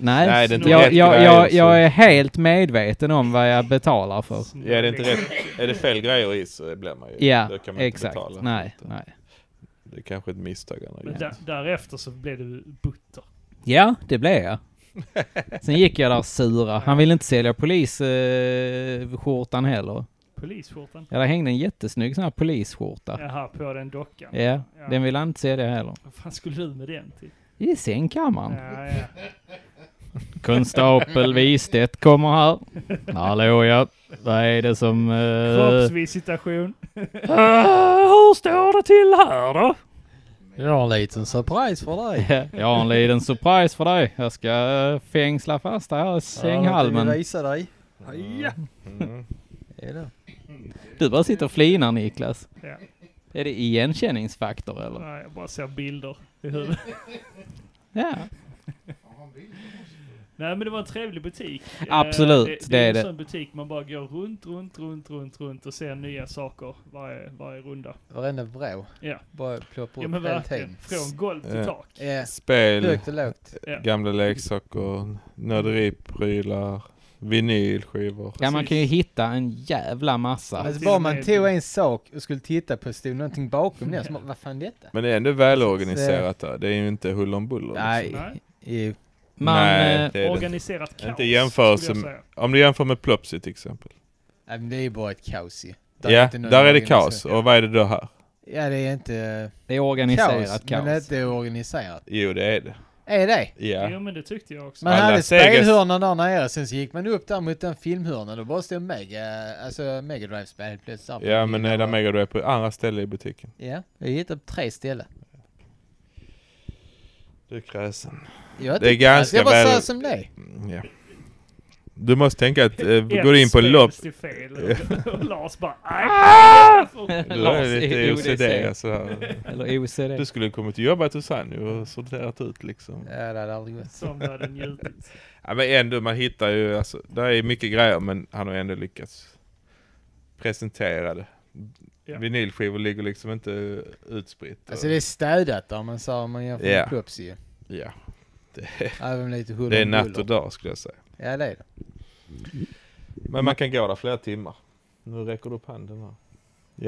S3: Nej,
S1: Nej, det är inte
S3: jag,
S1: rätt
S3: jag,
S1: grejer,
S3: jag,
S1: så-
S3: jag är helt medveten om vad jag betalar för.
S1: Ja, det är inte
S2: liksom-
S1: rätt. Är det fel grejer i så blir man ju...
S3: Ja,
S1: då kan man
S3: exakt.
S1: Inte betala.
S3: Nej, nej.
S1: Det är kanske ett misstag han har
S2: Men
S1: gjort.
S2: där, därefter så blev du butter.
S3: Ja, det blev jag. Sen gick jag där sura. Han ville inte sälja polisskjortan eh, skjortan heller.
S2: Polisskjortan.
S3: Ja, där hängde en jättesnygg sån här polisskjorta.
S2: Jaha, på den dockan.
S3: Ja, den ville han inte sälja heller.
S2: Vad fan skulle du med den till?
S3: I sängkammaren.
S2: Ja, ja.
S3: Konstapel Wistedt kommer här. Hallå ja, vad är det som... Eh, Ah!
S2: Kroppsvisitation.
S3: hur står det till här då?
S4: Jag har en liten surprise för dig.
S3: Ja, jag har en liten surprise för dig. Jag ska eh, fängsla fast dig här i
S4: Jag vill
S3: sänghalmen.
S4: visa dig. Ja.
S1: Mm.
S4: Är det?
S3: Du bara sitter och flinar Niklas.
S2: Ja.
S3: Är det igenkänningsfaktor eller?
S2: Nej, jag bara ser bilder i huvudet.
S3: Ja.
S2: Nej, men det var en trevlig butik.
S3: Absolut,
S2: Eh,
S3: det
S2: det
S3: är
S2: är
S3: det.
S2: en sån butik man bara går runt, runt, runt, runt, runt och ser nya saker varje, varje runda.
S4: Varenda vrå.
S2: Ja.
S4: Bara ploppa
S2: Ja
S4: upp
S2: men
S4: hela
S2: verkligen.
S4: tiden.
S2: Från golv till
S1: Ja.
S2: tak.
S4: Ja,
S1: Spel,
S4: Högt och lågt.
S1: gamla leksaker, nörderiprylar, vinylskivor.
S3: Ja, man kan ju hitta en jävla massa.
S4: Alltså bara man tog en sak och skulle titta på stod någonting bakom det. Så man, vad fan är detta?
S1: Men det är ändå välorganiserat där. Det är ju inte huller om buller. liksom.
S4: Nej.
S2: Nej.
S4: Jo.
S3: Man,
S1: Nej, det är
S3: eh,
S1: det. inte.
S2: Organiserat kaos.
S1: Inte i jämförelse
S2: skulle jag
S1: med-
S2: säga.
S1: Om du jämför med Plopsy till exempel.
S4: Nej, men det är ju bara ett kaos ju.
S1: ja,
S4: inte någon
S1: där är det
S4: organisation.
S1: kaos. Och vad är det då här?
S4: Ja, det är inte
S3: det är
S4: kaos,
S3: organiserat kaos.
S4: men det är inte organiserat.
S1: Jo, det är det.
S4: Är det?
S1: Ja.
S2: Jo men det tyckte jag också.
S4: Man
S1: Alla
S4: hade
S1: Segas-
S4: spelhörnan där nere, sen så gick man upp där mot den filmhörnan och bara stod Mega, alltså Mega Drive-spel helt plötsligt.
S1: Ja, men är det Mega Drive på andra ställen i butiken?
S4: Ja, jag hittade på tre ställen.
S1: Du är kräsen.
S4: Jag
S1: Det är
S4: tycker- alltså, Jag
S1: ganska
S4: bara säger
S1: väl-
S4: som det är.
S1: Mm, Ja. Du måste tänka att eh,
S2: Ett
S1: går du in på
S2: spel
S1: lopp...
S2: stod fel och, och Lars bara "Aj!"
S1: Du är lite OCD så här.
S3: Eller OCD.
S1: alltså. Du skulle kommit till jobbet hos han ju och sorterat ut liksom.
S4: Ja, det hade aldrig gått.
S2: Som du hade njutit.
S1: Ja, men ändå, man hittar ju, alltså, där är mycket grejer men han har ändå lyckats presentera det.
S2: Ja.
S1: Vinylskivor ligger liksom inte utspritt. och-
S4: Alltså det är städat där, man sa om man jämför
S1: Ja.
S4: med Plopsy ju.
S1: ja. det,
S4: Även lite huller
S1: det är
S4: om
S1: natt
S4: buller.
S1: och dag skulle jag säga.
S4: Ja, det är det.
S1: Men man kan gå där flera timmar. Nu räcker du upp handen här.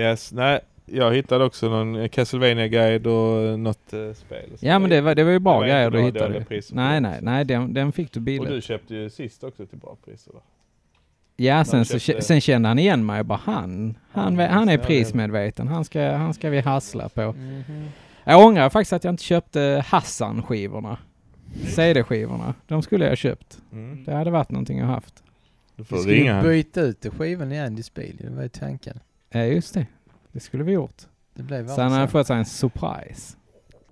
S1: Yes, nej. Jag hittade också någon castlevania guide och något eh, spel.
S3: Ja, men det var, det var ju bra
S1: Det var
S3: grejer
S1: inte
S3: du
S1: bra
S3: hittade.
S1: dåliga priser på
S3: Nej,
S1: det.
S3: nej, nej, den, den fick du
S1: Och du
S3: billigt.
S1: köpte ju sist också till bra priser va?
S3: Ja, sen, så,
S1: köpte-
S3: kä- sen kände han igen mig och bara han, han, han, han är
S1: Ja, det-
S3: prismedveten. Han ska, han ska vi hassla på.
S4: Mhm.
S3: Jag ångrar faktiskt att jag inte köpte Hassan-skivorna. CD-skivorna. De skulle jag ha köpt.
S1: Mm.
S3: Det hade varit någonting jag haft.
S1: Du får
S4: Vi skulle
S1: ringa
S4: ju
S1: han.
S4: byta ut skivan i Andys bil, det var ju tanken.
S3: Ja, just det. Det skulle vi gjort.
S4: Det blev
S3: Så han hade
S4: värre sen.
S3: fått sig en surprise.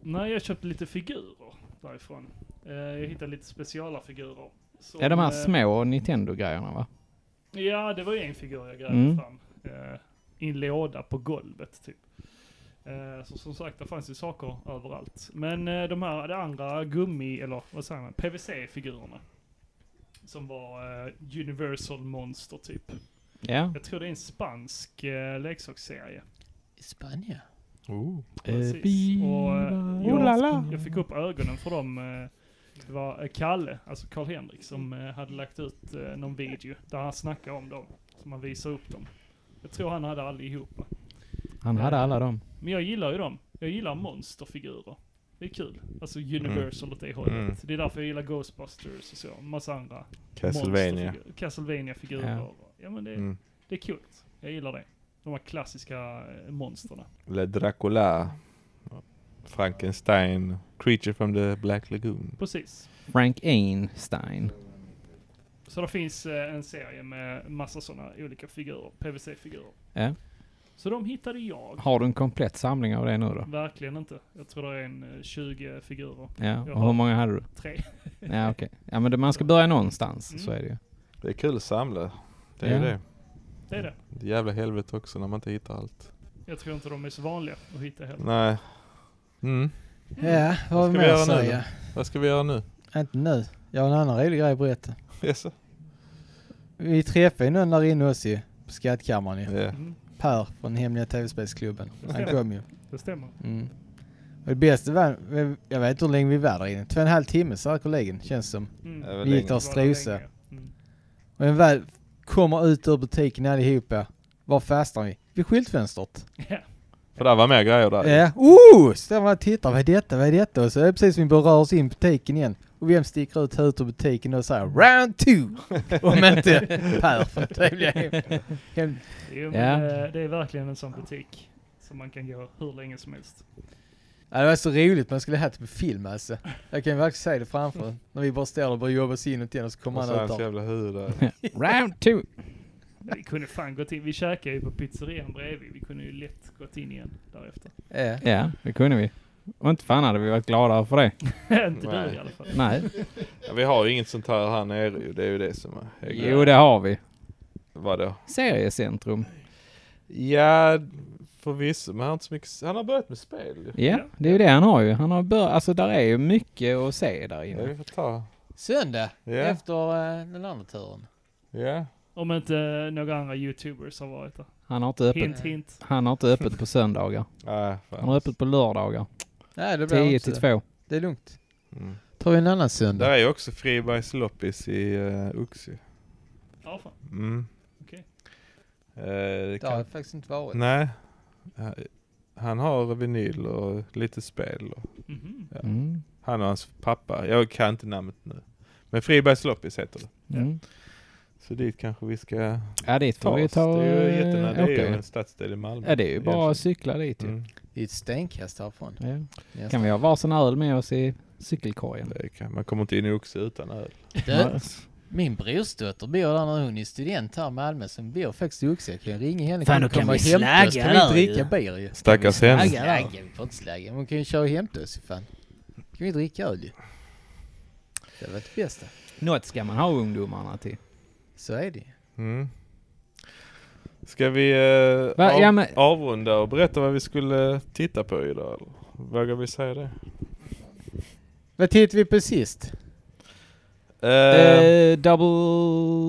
S2: Nej, jag köpte lite figurer därifrån. Eh, jag hittade lite speciala figurer. som,
S3: Är de här
S2: eh,
S3: små Nintendo-grejerna va?
S2: Ja, det var ju en figur jag grävde
S3: Mm.
S2: fram. Eh, I en låda på golvet typ. Eh, så som sagt, det fanns ju saker överallt. Men eh, de här, det andra gummi, eller vad säger man, PVC-figurerna. Som var eh, Universal Monster typ.
S3: Ja.
S2: Jag tror det är en spansk eh, leksaksserie.
S4: I Spanien?
S1: Oh.
S2: Precis. Och, eh,
S3: Oh la la.
S2: jag, jag fick upp ögonen för dem. eh, Det var eh, Kalle, alltså Karl-Henrik, som eh, hade lagt ut eh, någon video där han snackade om dem. Som han visade upp dem. Jag tror han hade allihopa.
S3: Han hade alla dem.
S2: Men jag gillar ju dem. Jag gillar monsterfigurer. Det är kul. Alltså Universal åt det hållet.
S1: Mm.
S2: Det är därför jag gillar Ghostbusters och så. En massa andra
S1: Castlevania.
S2: monsterfigur- Castlevania-figurer.
S3: Ja.
S2: Ja. men det,
S1: Mm.
S2: det är kul. Jag gillar det. De här klassiska eh, monsterna.
S1: Eller Dracula. Frankenstein. Creature from the Black Lagoon.
S2: Precis.
S3: Frank Einstein.
S2: Så det finns eh, en serie med massa sådana olika figurer, PVC-figurer.
S3: Ja.
S2: Så de hittade jag.
S3: Har du en komplett samling av det nu då?
S2: Verkligen inte. Jag tror det är en eh, 20 figurer.
S3: Ja,
S2: Jag
S3: och
S2: har-
S3: hur många hade du?
S2: Tre.
S3: Ja okej. Ja men det, man ska börja någonstans,
S2: Mm.
S3: så är det ju.
S1: Det är kul att samla. Det är
S3: Ja.
S1: ju det.
S2: Det är det.
S1: Det jävla helvete också när man inte hittar allt.
S2: Jag tror inte de är så vanliga att hitta heller.
S1: Nej. Mm.
S4: Ja, vad
S1: ska
S4: ska
S1: vi
S4: mer
S1: göra nu
S4: säger
S1: då?
S4: jag?
S1: Vad ska vi göra nu?
S4: Inte nu. Jag har en annan rolig grej att berätta.
S1: Jaså?
S4: Vi träffade ju någon där inne också ju. På skattkammaren ju.
S1: Ja.
S2: Mm,
S4: Per från hemliga tv-spelsklubben. Han kom ju.
S2: det stämmer.
S4: Mm. Och det bästa var, jag vet inte hur länge vi var där inne. Två och en halv timme säkerligen känns det som.
S2: Mm.
S1: Det var
S4: Vi gick
S1: länge.
S4: där och
S2: Det var det
S4: strosade.
S2: länge. Mm.
S4: Och när vi väl kommer ut ur butiken allihopa. Var fastnar vi? Vid skyltfönstret.
S2: Ja.
S1: För där var mer grejer där.
S4: Ja. Oh! Står man och tittar. Vad är detta? Vad är detta? Och så är det precis som vi börjar röra oss in i butiken igen. Och vem sticker ut huvudet ur butiken och säger round two? Om inte Per från trevliga hem. hem.
S2: Jo, men
S3: Ja.
S2: eh, det, det är verkligen en sån butik. Som man kan gå hur länge som helst.
S4: Ja, det var så roligt, man skulle ha haft det på film alltså. Jag kan ju verkligen säga det framför När vi bara står där och börjar jobba oss inåt igen och så kommer
S1: Och så
S4: han ut
S1: hans
S4: där.
S1: jävla huvud där.
S3: Round two!
S2: Men Vi kunde fan gått in. Vi käkade ju på pizzerian bredvid. Vi kunde ju lätt gått in igen därefter.
S4: Ja.
S3: Ja, det kunde vi. Och inte fan hade vi varit gladare för det.
S2: inte du
S1: Nej.
S2: i alla fall.
S3: Nej.
S1: Ja, vi har ju inget sånt här här nere ju. Det är ju det som är...
S3: Jo, det har vi.
S1: Vadå?
S3: Seriecentrum.
S1: Ja, förvisso. Men han har inte så mycket... Han har börjat med spel ju.
S3: Ja, det är ju det han har ju. Han har bör- alltså där är ju mycket att se där
S1: Ja, vi
S3: inne.
S1: får ta.
S4: Söndag,
S1: Ja.
S4: efter eh, den andra turen.
S1: Ja.
S2: Om inte eh, några andra youtubers har varit där.
S3: Han har inte öppet,
S2: Hint hint.
S3: han har inte öppet på söndagar.
S1: Nej,
S3: Han har
S1: Ah, fan.
S3: öppet på lördagar.
S4: Nej, det blir
S3: 10
S4: inte
S3: till
S4: det.
S3: 2.
S4: Det är lugnt.
S1: Mm.
S4: Tar vi en annan söndag.
S1: Där är ju också Fribergs loppis i uh, Uxie.
S2: Ja, fan.
S1: Mm.
S2: Okej.
S1: Eh, det
S4: Det har
S1: kan...
S4: jag faktiskt inte varit.
S1: Nej. Eh, Han har vinyl och lite spel. Och...
S2: Mhm.
S1: Ja.
S3: Mm.
S1: Han och hans pappa. Jag kan inte namnet nu. Men Fribergs loppis heter det.
S3: Mm.
S1: Så dit kanske vi ska
S3: Ja, dit
S1: ta
S3: får vi
S1: oss.
S3: ta
S1: det är ju
S3: eh,
S1: jättenära. Det är
S3: åka.
S1: ju en stadsdel i Malmö.
S3: Ja, det är ju bara att
S1: Egentligen.
S3: cykla dit ju.
S1: Mm.
S4: Det är ett stenkast härifrån.
S3: Ja.
S4: Yes.
S3: Kan vi ha varsin öl med oss i cykelkorgen?
S1: Det kan, man kommer inte in i Oxie utan öl.
S4: Du, min brorsdotter bor där när hon är student här i Malmö. Så hon bor faktiskt i Oxie. Jag kan ringa henne.
S5: Fan,
S4: hon
S5: då kan
S4: komma
S5: vi
S4: och hämta oss.
S5: slagga
S4: Kan vi
S5: där
S4: inte
S5: ju.
S4: dricka bier ju?
S1: Stackars henne.
S5: Slagga
S4: Slagga,
S5: där.
S4: vi får inte slagga. Men hon kan ju köra och hämta oss ju fan. Kan vi dricka öl ju? Det var det bästa.
S3: Något ska man ha ungdomarna till.
S4: Så är det ju.
S1: Mm. Ska vi eh,
S3: Va?
S1: av,
S3: Ja, men-
S1: avrunda och berätta vad vi skulle titta på idag? Eller? Vågar vi säga det?
S4: Vad tittade vi på sist?
S1: Eh,
S3: Eh, double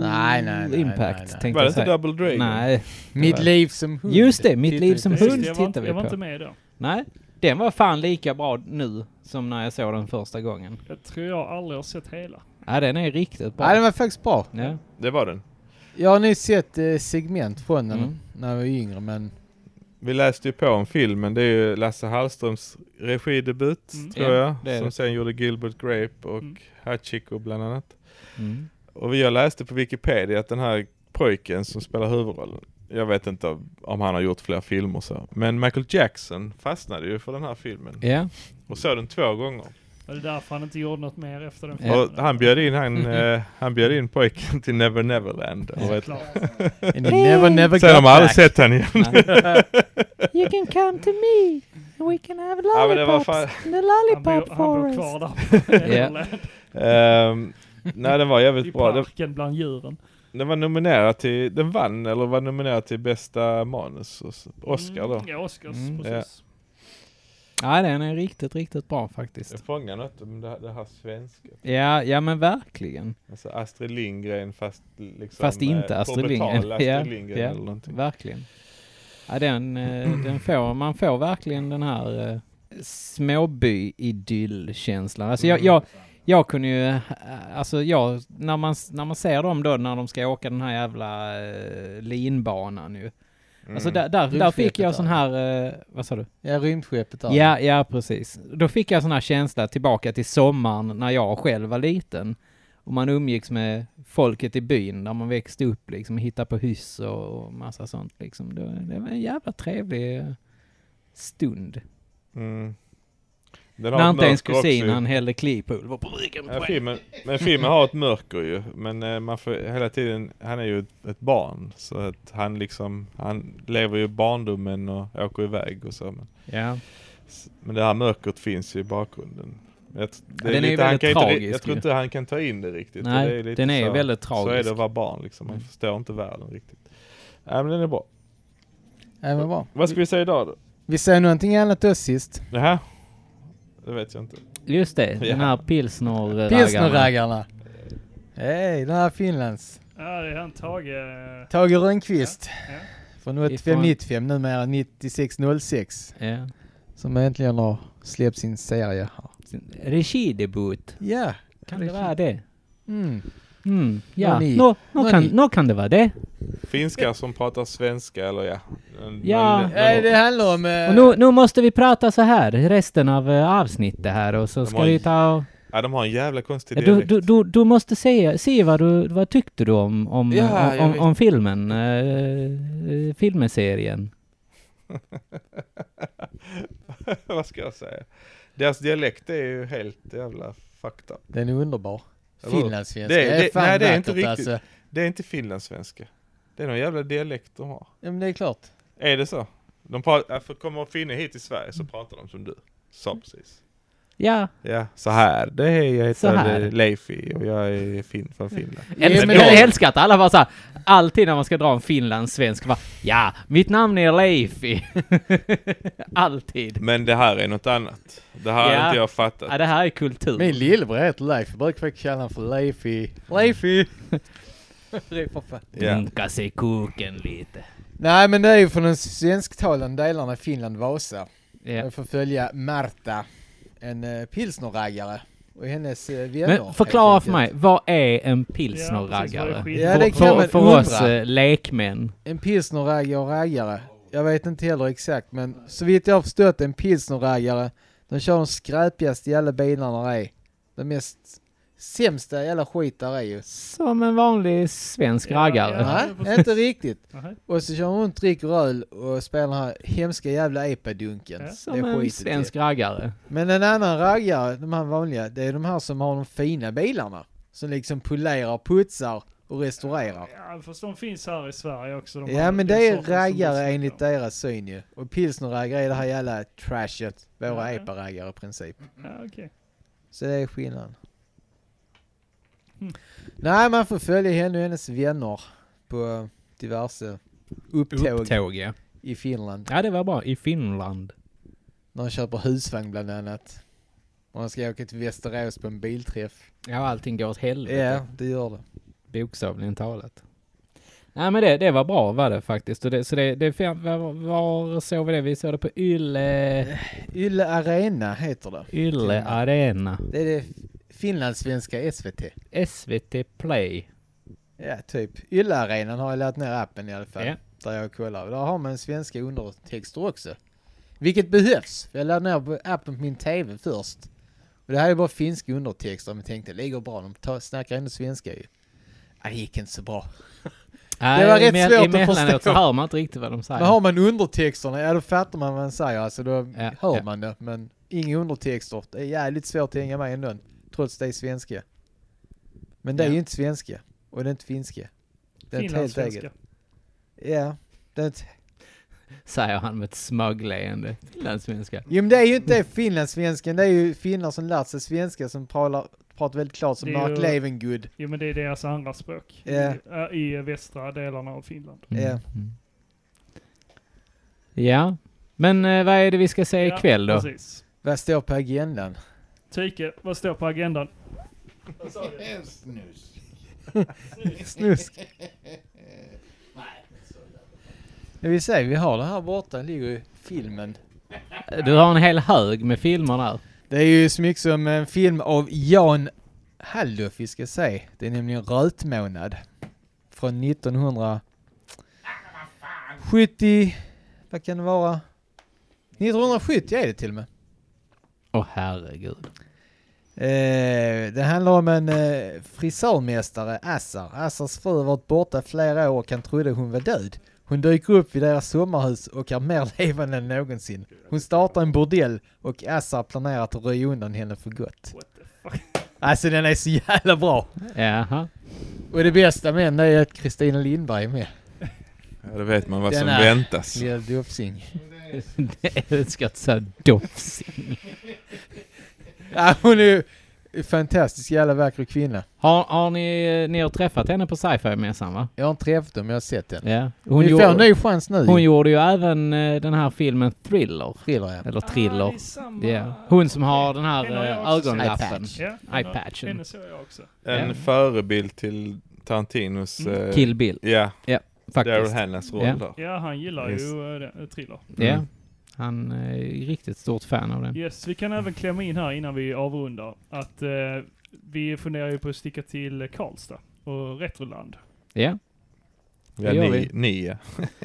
S4: Nej, nej, nej,
S3: impact
S4: nej, nej.
S3: tänkte
S1: var det
S3: jag
S1: inte
S3: säga.
S1: Double Dragon?
S3: Nej,
S4: Mitt liv som hund.
S3: just det. Mitt liv som
S2: Just det,
S3: hund
S2: jag var, inte-
S3: tittar vi
S2: Jag var inte
S3: på.
S2: med då.
S3: Nej, den var fan lika bra nu som när jag såg den första gången.
S2: Jag tror jag aldrig har sett hela.
S3: Ja, den är riktigt bra.
S4: Ja, den var faktiskt bra.
S3: Ja.
S1: Det var den.
S4: Jag har nyss sett eh, segment från den
S3: Mm.
S4: när jag var yngre men...
S1: Vi läste ju på om filmen. Det är ju Lasse Hallströms regidebut,
S2: Mm.
S1: tror
S3: Ja,
S1: jag.
S3: det är
S1: Som
S3: det.
S1: sen gjorde Gilbert Grape och
S2: Mm.
S1: Hachiko bland annat.
S3: Mm.
S1: Och jag läste på Wikipedia att den här pojken som spelar huvudrollen, jag vet inte om- om han har gjort fler filmer så, men Michael Jackson fastnade ju för den här filmen.
S3: ja.
S1: Och såg den två gånger.
S2: Var det därför han inte gjorde något mer efter den
S3: Ja.
S1: Och han bjöd in, han, eh, han bjöd in pojken till Never Neverland. Och ett,
S2: Klart.
S4: And you never never
S1: sen har
S4: got
S1: man aldrig
S4: back.
S1: sett han igen.
S6: You can come to me and we can have
S1: Ja, men det var
S6: lollipops
S1: fan-
S6: in the
S2: Han bor,
S6: lollipop
S2: han bor
S6: forest.
S2: kvar där.
S3: Ja.
S1: Ehm, nej, den var
S2: I
S1: jävligt bra. Den,
S2: parken bland djuren.
S1: den var nominerad till, den vann eller var nominerad till bästa manus. och så- Oscar då.
S2: Mm, ja, Oscars,
S3: Mm.
S2: precis.
S3: Ja, den är riktigt, riktigt bra
S1: Jag
S3: faktiskt.
S1: fångar något om det här, det här svenska.
S3: Ja, ja men verkligen.
S1: Alltså Astrid Lindgren fast liksom...
S3: Fast inte
S1: eh,
S3: Astrid
S1: på betal
S3: Lindgren.
S1: Astrid
S3: Ja,
S1: Lindgren
S3: ja.
S1: eller någonting.
S3: Verkligen. Ja, den, eh, den får, man får verkligen den här eh, småby-idyll-känslan. Alltså jag, jag, jag kunde ju, eh, alltså jag, när man, när man ser dem då när de ska åka den här jävla eh, linbanan ju. Alltså
S1: Mm.
S3: där, där, där fick jag
S4: Rymdskeppet
S3: sån
S4: där.
S3: här, eh, vad sa du?
S4: Ja, rymdskeppet där.
S3: Ja, ja precis. Då fick jag sån här känsla tillbaka till sommaren när jag själv var liten. Och man umgicks med folket i byn där man växte upp liksom, och hittade på hyss och och massa sånt liksom. Det, det var en jävla trevlig eh, stund.
S1: Mm. Den
S3: När
S1: ett
S3: inte ens
S1: mörker också
S3: kusin
S1: ju.
S3: han hällde klipulver på ryggen på
S1: Ja,
S3: en.
S1: filmen, men filmen har ett mörker ju. Men eh, man får hela tiden, han är ju ett, ett barn. Så att han liksom, han lever ju barndomen och åker iväg och så. Men,
S3: Ja.
S1: s- men det här mörkret finns ju i bakgrunden. Jag, t- det
S3: den är
S1: han
S3: ju väldigt
S1: kan inte, ri-
S3: tragisk
S1: Jag tror
S3: ju.
S1: inte han kan ta in det riktigt. och
S3: Nej,
S1: det är lite
S3: den är
S1: så,
S3: väldigt
S1: Så är
S3: tragisk.
S1: det att vara barn liksom. Man
S3: Mm.
S1: förstår inte världen riktigt. Nej men den är bra.
S4: Ja, men bra.
S1: Vad ska vi säga idag då?
S4: Vi säger någonting annat då sist.
S1: Nähä? Det vet jag inte.
S3: Just det,
S1: Ja.
S3: den här pilsner
S4: Pilsnerraggarna. Hej, den här Finlands.
S2: Ja, det är han Tage. eh,
S4: Tage Rönnqvist.
S2: Ja, ja.
S4: Från
S3: Ifrån-
S4: 8595 numera 9606.
S3: Ja.
S4: Som äntligen har släppt sin serie här.
S3: Regidebut.
S4: Ja.
S3: Kan det vara det?
S4: Mm.
S3: Mm, ja.
S4: Nå ni.
S3: Nå, nå,
S4: Nå
S3: kan,
S4: ni.
S3: nå kan det vara det.
S1: Finskar som pratar svenska eller ja. Men-
S3: Ja.
S1: men-
S4: Nej, det handlar om... eh,
S3: Och nu, nu måste vi prata så här resten av eh, avsnittet här och så
S1: De
S3: ska
S1: har-
S3: vi ta och...
S1: Ja, de har en jävla konstig
S3: Ja, Du,
S1: dialekt.
S3: du, du, du måste säga, säga vad, du, vad tyckte du om, om,
S1: Ja,
S3: eh,
S1: jag
S3: om,
S1: vet.
S3: om filmen, eh, eh, filmserien.
S1: Vad ska jag säga? Deras dialekt är ju helt jävla fucked up.
S4: Den är underbar.
S1: Eller hur?
S4: Finlandssvenska.
S1: Det- det- nej, det är
S4: vackert,
S1: inte riktigt.
S4: Alltså.
S1: Det är inte finlandssvenska. Det är någon jävla dialekt de har.
S4: Ja, men det är klart.
S1: Är det så? De pratar, för kommer finne hit till Sverige så pratar de som du. Sa
S3: Mm.
S1: precis.
S3: Ja,
S1: Ja, så här. Det är, jag
S3: Så här.
S1: heter eh, Leifi och jag är fin från Finland.
S4: Ja,
S3: Älsk,
S4: men
S3: jag
S4: de-
S3: älskar att alla bara såhär, alltid när man ska dra en finlandssvensk, bara ja, mitt namn är Leifi. alltid.
S1: Men det här är något annat. Det här
S3: Ja.
S1: har inte jag fattat.
S3: Ja, det här är kultur.
S4: Min lillebror heter Leif, jag brukar faktiskt kalla honom för Leify. Leify!
S1: Ja.
S3: Dunka sig kuken lite.
S4: Nej men det är ju från de svensktalande delarna i Finland, Vasa.
S3: Ja.
S4: Jag får följa Marta, en uh, pilsnerraggare. Och hennes uh, vänner.
S3: Men förklara
S4: helt
S3: för mig,
S4: enkelt.
S3: vad är en
S2: Ja, precis, vad är
S3: pilsnerraggare?
S2: skillnaden?
S4: Ja, det kan
S3: för
S4: man Mm.
S3: för oss
S4: undra.
S3: eh, lekmän.
S4: En pilsnerraggare och raggare. Jag vet inte heller exakt men så vitt jag har förstått en pilsnerraggare, de kör de skräpigaste jävla bilarna där är. De mest sämsta jävla skit där är ju.
S3: Som en vanlig svensk
S2: Ja,
S3: raggare.
S2: ja.
S4: Nej, inte riktigt.
S2: Nej.
S4: Och så kör hon runt, dricker öl och spelar den här hemska jävla epadunken.
S2: Ja.
S3: Som en
S4: skiter jag i.
S3: svensk raggare.
S4: Men en annan raggare, de här vanliga, det är de här som har de fina bilarna. Som liksom polerar, putsar och restaurerar.
S2: Ja, fast de finns här i Sverige också. De
S4: Ja
S2: här-
S4: men
S2: den
S4: det är
S2: sorten som du
S4: raggare
S2: snackar
S4: enligt
S2: om.
S4: deras syn ju. Och pilsnerraggare är det här jävla trashet. Våra
S2: Ja.
S4: epa-raggare i princip.
S2: Ja, okej.
S4: Så det är skillnaden.
S2: Mm.
S4: Nej man får följa henne och hennes vänner på diverse upptåg
S3: Upptåg, ja.
S4: i Finland.
S3: Ja, det var bra. I Finland.
S4: När han köper husvagn bland annat. Och han ska åka till Västerås på en bilträff.
S3: Ja, allting går åt
S4: Ja,
S3: helvete.
S4: det gör det.
S3: Bokstavligen talat. Nej, men det, det var bra var det faktiskt. Och det, så det, det var, var såg vi det? Vi såg det på Yle,
S4: Ylle Arena heter det.
S3: Yle Arena.
S4: Det är det finlandssvenska SVT.
S3: SVT Play.
S4: Ja, typ. Ylle Arenan har jag laddat ner appen i alla fall.
S3: Ja.
S4: Där jag kollar. Där har man svenska undertexter också. Vilket behövs. Jag laddade ner appen på min TV först. Och det här är bara finska undertexter. Men jag tänkte, det går bra. De tar, snackar ändå svenska ju. Nej, det gick inte så bra.
S3: Nej,
S4: var rätt
S3: emell-
S4: svårt att
S3: Emellanåt så
S4: förstå.
S3: hör man inte riktigt vad de säger.
S4: Men har man undertexterna, ja då fattar man vad han säger. Alltså då
S3: Ja,
S4: hör
S3: ja.
S4: man det. Men inga undertexter. Det är jävligt svårt att hänga med ändå. Trots det är svenska. Men det är
S3: Ja.
S4: ju inte svenska. Och det är inte finska. Det är ett helt
S2: Finlandssvenska.
S4: eget. Ja. Det är ett...
S3: Säger han med ett smuggleende. Finlandssvenska.
S4: Jo men det är ju inte det finlandssvenskan. Det är ju finnar som lärt sig svenska som pratar, pratar väldigt klart som
S2: Det är
S4: Mark
S2: ju-
S4: Levengood.
S2: Jo men det är deras andra språk
S4: Ja.
S2: i, äh, i västra delarna av Finland.
S4: Ja.
S3: Mm. Ja. Men eh, vad är det vi ska se
S2: Ja,
S3: ikväll då?
S2: Precis.
S4: Vad står på agendan?
S2: Tyke, vad står på agendan?
S7: Snus.
S4: Snusk. Det vill säga, vi har det här borta, ligger ju filmen.
S3: Du har en hel hög med filmer där.
S4: Det är ju så mycket som en film av Jan Halldorf vi ska se. Det är nämligen Rötmånad. Från 1970... Vad kan det vara? 1970 är det till och med.
S3: Åh herregud.
S4: Eh, det handlar om en eh, frisörmästare, Assar. Assars fru har varit borta flera år och han trodde hon var död. Hon dyker upp vid deras sommarhus och är mer levande än någonsin. Hon startar en bordell och Assar planerar att röja undan henne för gott.
S2: What the fuck?
S4: Alltså den är så jävla bra!
S3: Jaha.
S4: Och det bästa med den är att Kristina Lindberg är med.
S1: Ja, då vet man vad
S4: Den
S1: som
S4: är-
S1: väntas.
S4: Lilla Dofsing.
S3: Det ska inte säga dofsing.
S4: Ja, hon är ju en fantastisk jävla vacker kvinna.
S3: Har, har ni, eh, ni har träffat henne på sci-fi-mässan va?
S4: Jag har inte träffat dem, jag har sett den.
S3: Ja.
S4: Hon
S3: Hon,
S4: Ni får en
S3: gjorde,
S4: ny chans nu.
S3: hon gjorde ju även eh, den här filmen Thriller.
S4: Thriller, ja.
S3: Eller
S2: Ah, det
S3: Thriller.
S2: är samma.
S3: Ja. Hon som har den
S2: Henne har
S3: här
S2: jag
S3: eh,
S2: också
S3: ögonlappen.
S4: sett.
S2: Ja, henne-
S3: Eye-patchen.
S2: Henne såg jag också.
S1: En
S3: Ja.
S1: förebild till Tarantinos...
S2: Mm.
S1: eh,
S3: Kill Bill,
S1: Ja, Daryl
S3: faktiskt.
S1: Hannas roll
S3: Ja.
S1: där.
S2: Ja, han gillar
S1: Yes.
S2: ju eh, den- thriller.
S3: Ja. Mm. Han är riktigt stort fan av den.
S2: Yes, vi kan även klämma in här innan vi avrundar att eh, vi funderar ju på att sticka till Karlstad och Retroland.
S3: Ja.
S1: Ja,
S3: Det gör
S1: ni,
S3: vi.
S1: ni ja.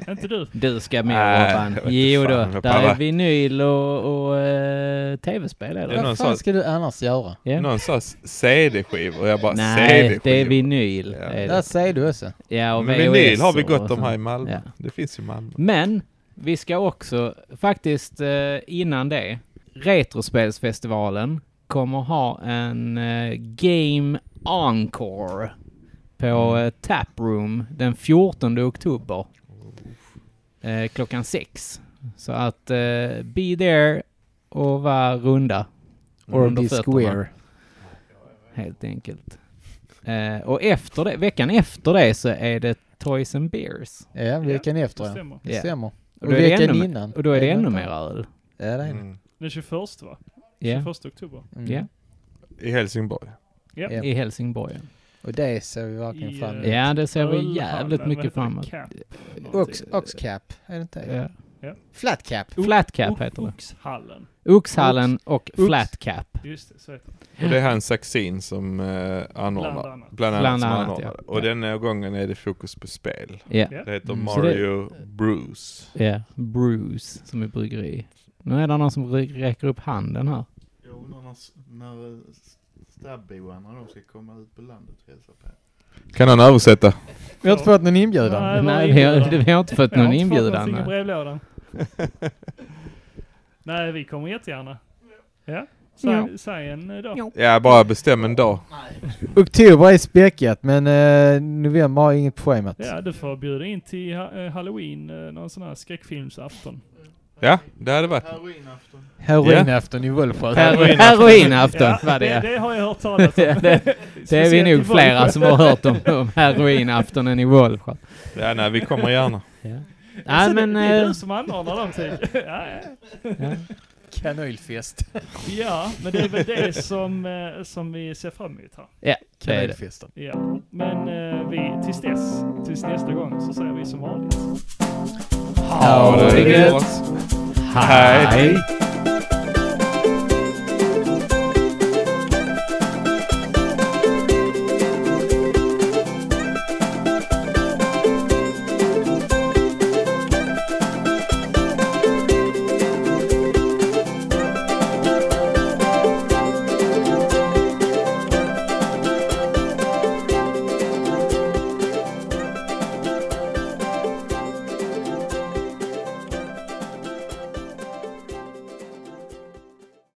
S2: Inte du?
S3: Du ska med
S1: Nej,
S3: Robban.
S1: jag vet
S3: Jo
S1: inte
S3: då,
S1: fan, jag
S3: där är
S1: pallar.
S3: vinyl och, och eh, tv-spel är
S1: Ja,
S3: det.
S1: någon
S4: Vad fan
S1: sa-
S4: ska du annars göra?
S3: Ja.
S1: Någon sa CD-skivor och jag bara
S3: Nej,
S1: CD-skivor.
S3: det är vinyl.
S1: Ja.
S3: Är
S4: Där
S3: det.
S4: säger du också.
S3: Ja, och
S1: Men vinyl har vi
S3: VHS
S1: gott
S3: och
S1: om här i
S3: sånt.
S1: Malmö.
S3: Ja. Mm.
S1: Det finns i Malmö.
S3: Men vi ska också faktiskt eh, innan det. Retrospelsfestivalen kommer ha en eh, Game Encore på
S4: Mm.
S3: eh, Taproom den 14 oktober.
S4: Oh.
S3: Eh, klockan sex. Så att eh, be there och vara runda.
S1: Mm.
S3: under
S4: Be
S3: fötterna.
S4: square.
S3: Helt enkelt. Eh, och efter det, veckan efter det så är det Toys and Beers.
S4: Ja, veckan efter
S2: Det
S4: ja.
S2: stämmer.
S4: Det
S3: Ja.
S4: stämmer.
S3: Och
S4: Och,
S3: då är det
S4: veckan
S3: ännu mer-
S4: innan.
S3: Och då är det ännu
S4: något
S3: mer
S4: annat.
S3: öl.
S4: Ja, det är det.
S1: Mm.
S2: Den 21 va?
S3: Ja.
S2: 21 oktober.
S4: Mm.
S3: Ja.
S1: I Helsingborg.
S4: Ja.
S3: I Helsingborg.
S4: Och det ser vi verkligen
S2: I,
S4: fram
S2: eh,
S4: emot.
S3: Ja, det ser vi
S2: Ölhallen,
S3: jävligt
S2: vad
S3: mycket
S2: heter det?
S3: fram emot.
S2: Cap.
S4: Ox, oxcap, är det inte det?
S3: Ja.
S4: Flat cap.
S3: Flat cap heter det.
S2: Oxhallen.
S3: Oxhallen och
S4: Ox.
S3: flat cap.
S2: Just det, så heter det.
S1: Och det är han Saxin som eh,
S2: Bland
S1: anordnar.
S2: annat.
S1: Bland annat,
S3: Bland
S1: som
S3: annat,
S1: anordnar.
S3: ja.
S1: Och
S3: Ja.
S1: denna gången är det fokus på spel.
S3: Ja.
S2: Ja.
S1: Det heter
S3: Mm. Så det-
S1: Mario Bruce.
S3: ja. Bruce, som är bryggeri. Nu är det någon som ry- räcker upp handen här.
S7: Jag undrar när, s- när eh, s- stabboarna de ska komma ut på landet och hälsa på.
S1: Kan han översätta?
S4: Vi har inte fått någon inbjudan.
S2: Nej,
S3: Nej,
S2: var
S3: vi har,
S2: inbjudan?
S3: vi har inte fått
S2: Jag har
S3: någon
S2: inte fått
S3: inbjudan.
S2: någonting i
S3: nej.
S2: brevlådan. Nej, vi kommer jättegärna. Ja. Säg,
S3: Ja.
S2: säg en eh, dag.
S1: Ja, bara bestäm en dag.
S4: Oktober är späckat men eh, november har inget på schemat.
S2: Ja, du får bjuda in till ha- eh, halloween, eh, någon sån här skräckfilmsafton.
S1: Ja, det hade varit.
S7: Heroinafton.
S4: Heroinafton i Vålsjö.
S3: Her- Heroinafton var
S2: det,
S3: det.
S2: det har jag hört talas om.
S3: Ja, det- Det är vi
S2: Speciellt i
S3: nog flera
S2: Vollsjö.
S3: som har hört om, om heroinaftonen i Vollsjö.
S1: Ja, nej, vi kommer gärna.
S3: Nej,
S2: Så Alltså, det,
S3: men...
S2: det är
S3: eh,
S2: du som anordnar dem typ. Ja, ja.
S4: Kanölfest.
S2: ja, men det är väl det som, eh, som vi ser fram emot här.
S3: Ja, det är det.
S4: Kanölfesten.
S2: Ja. Men eh, vi, tills dess, tills nästa gång, så säger vi som vanligt.
S1: Ha det gött! Hej!
S3: Hej.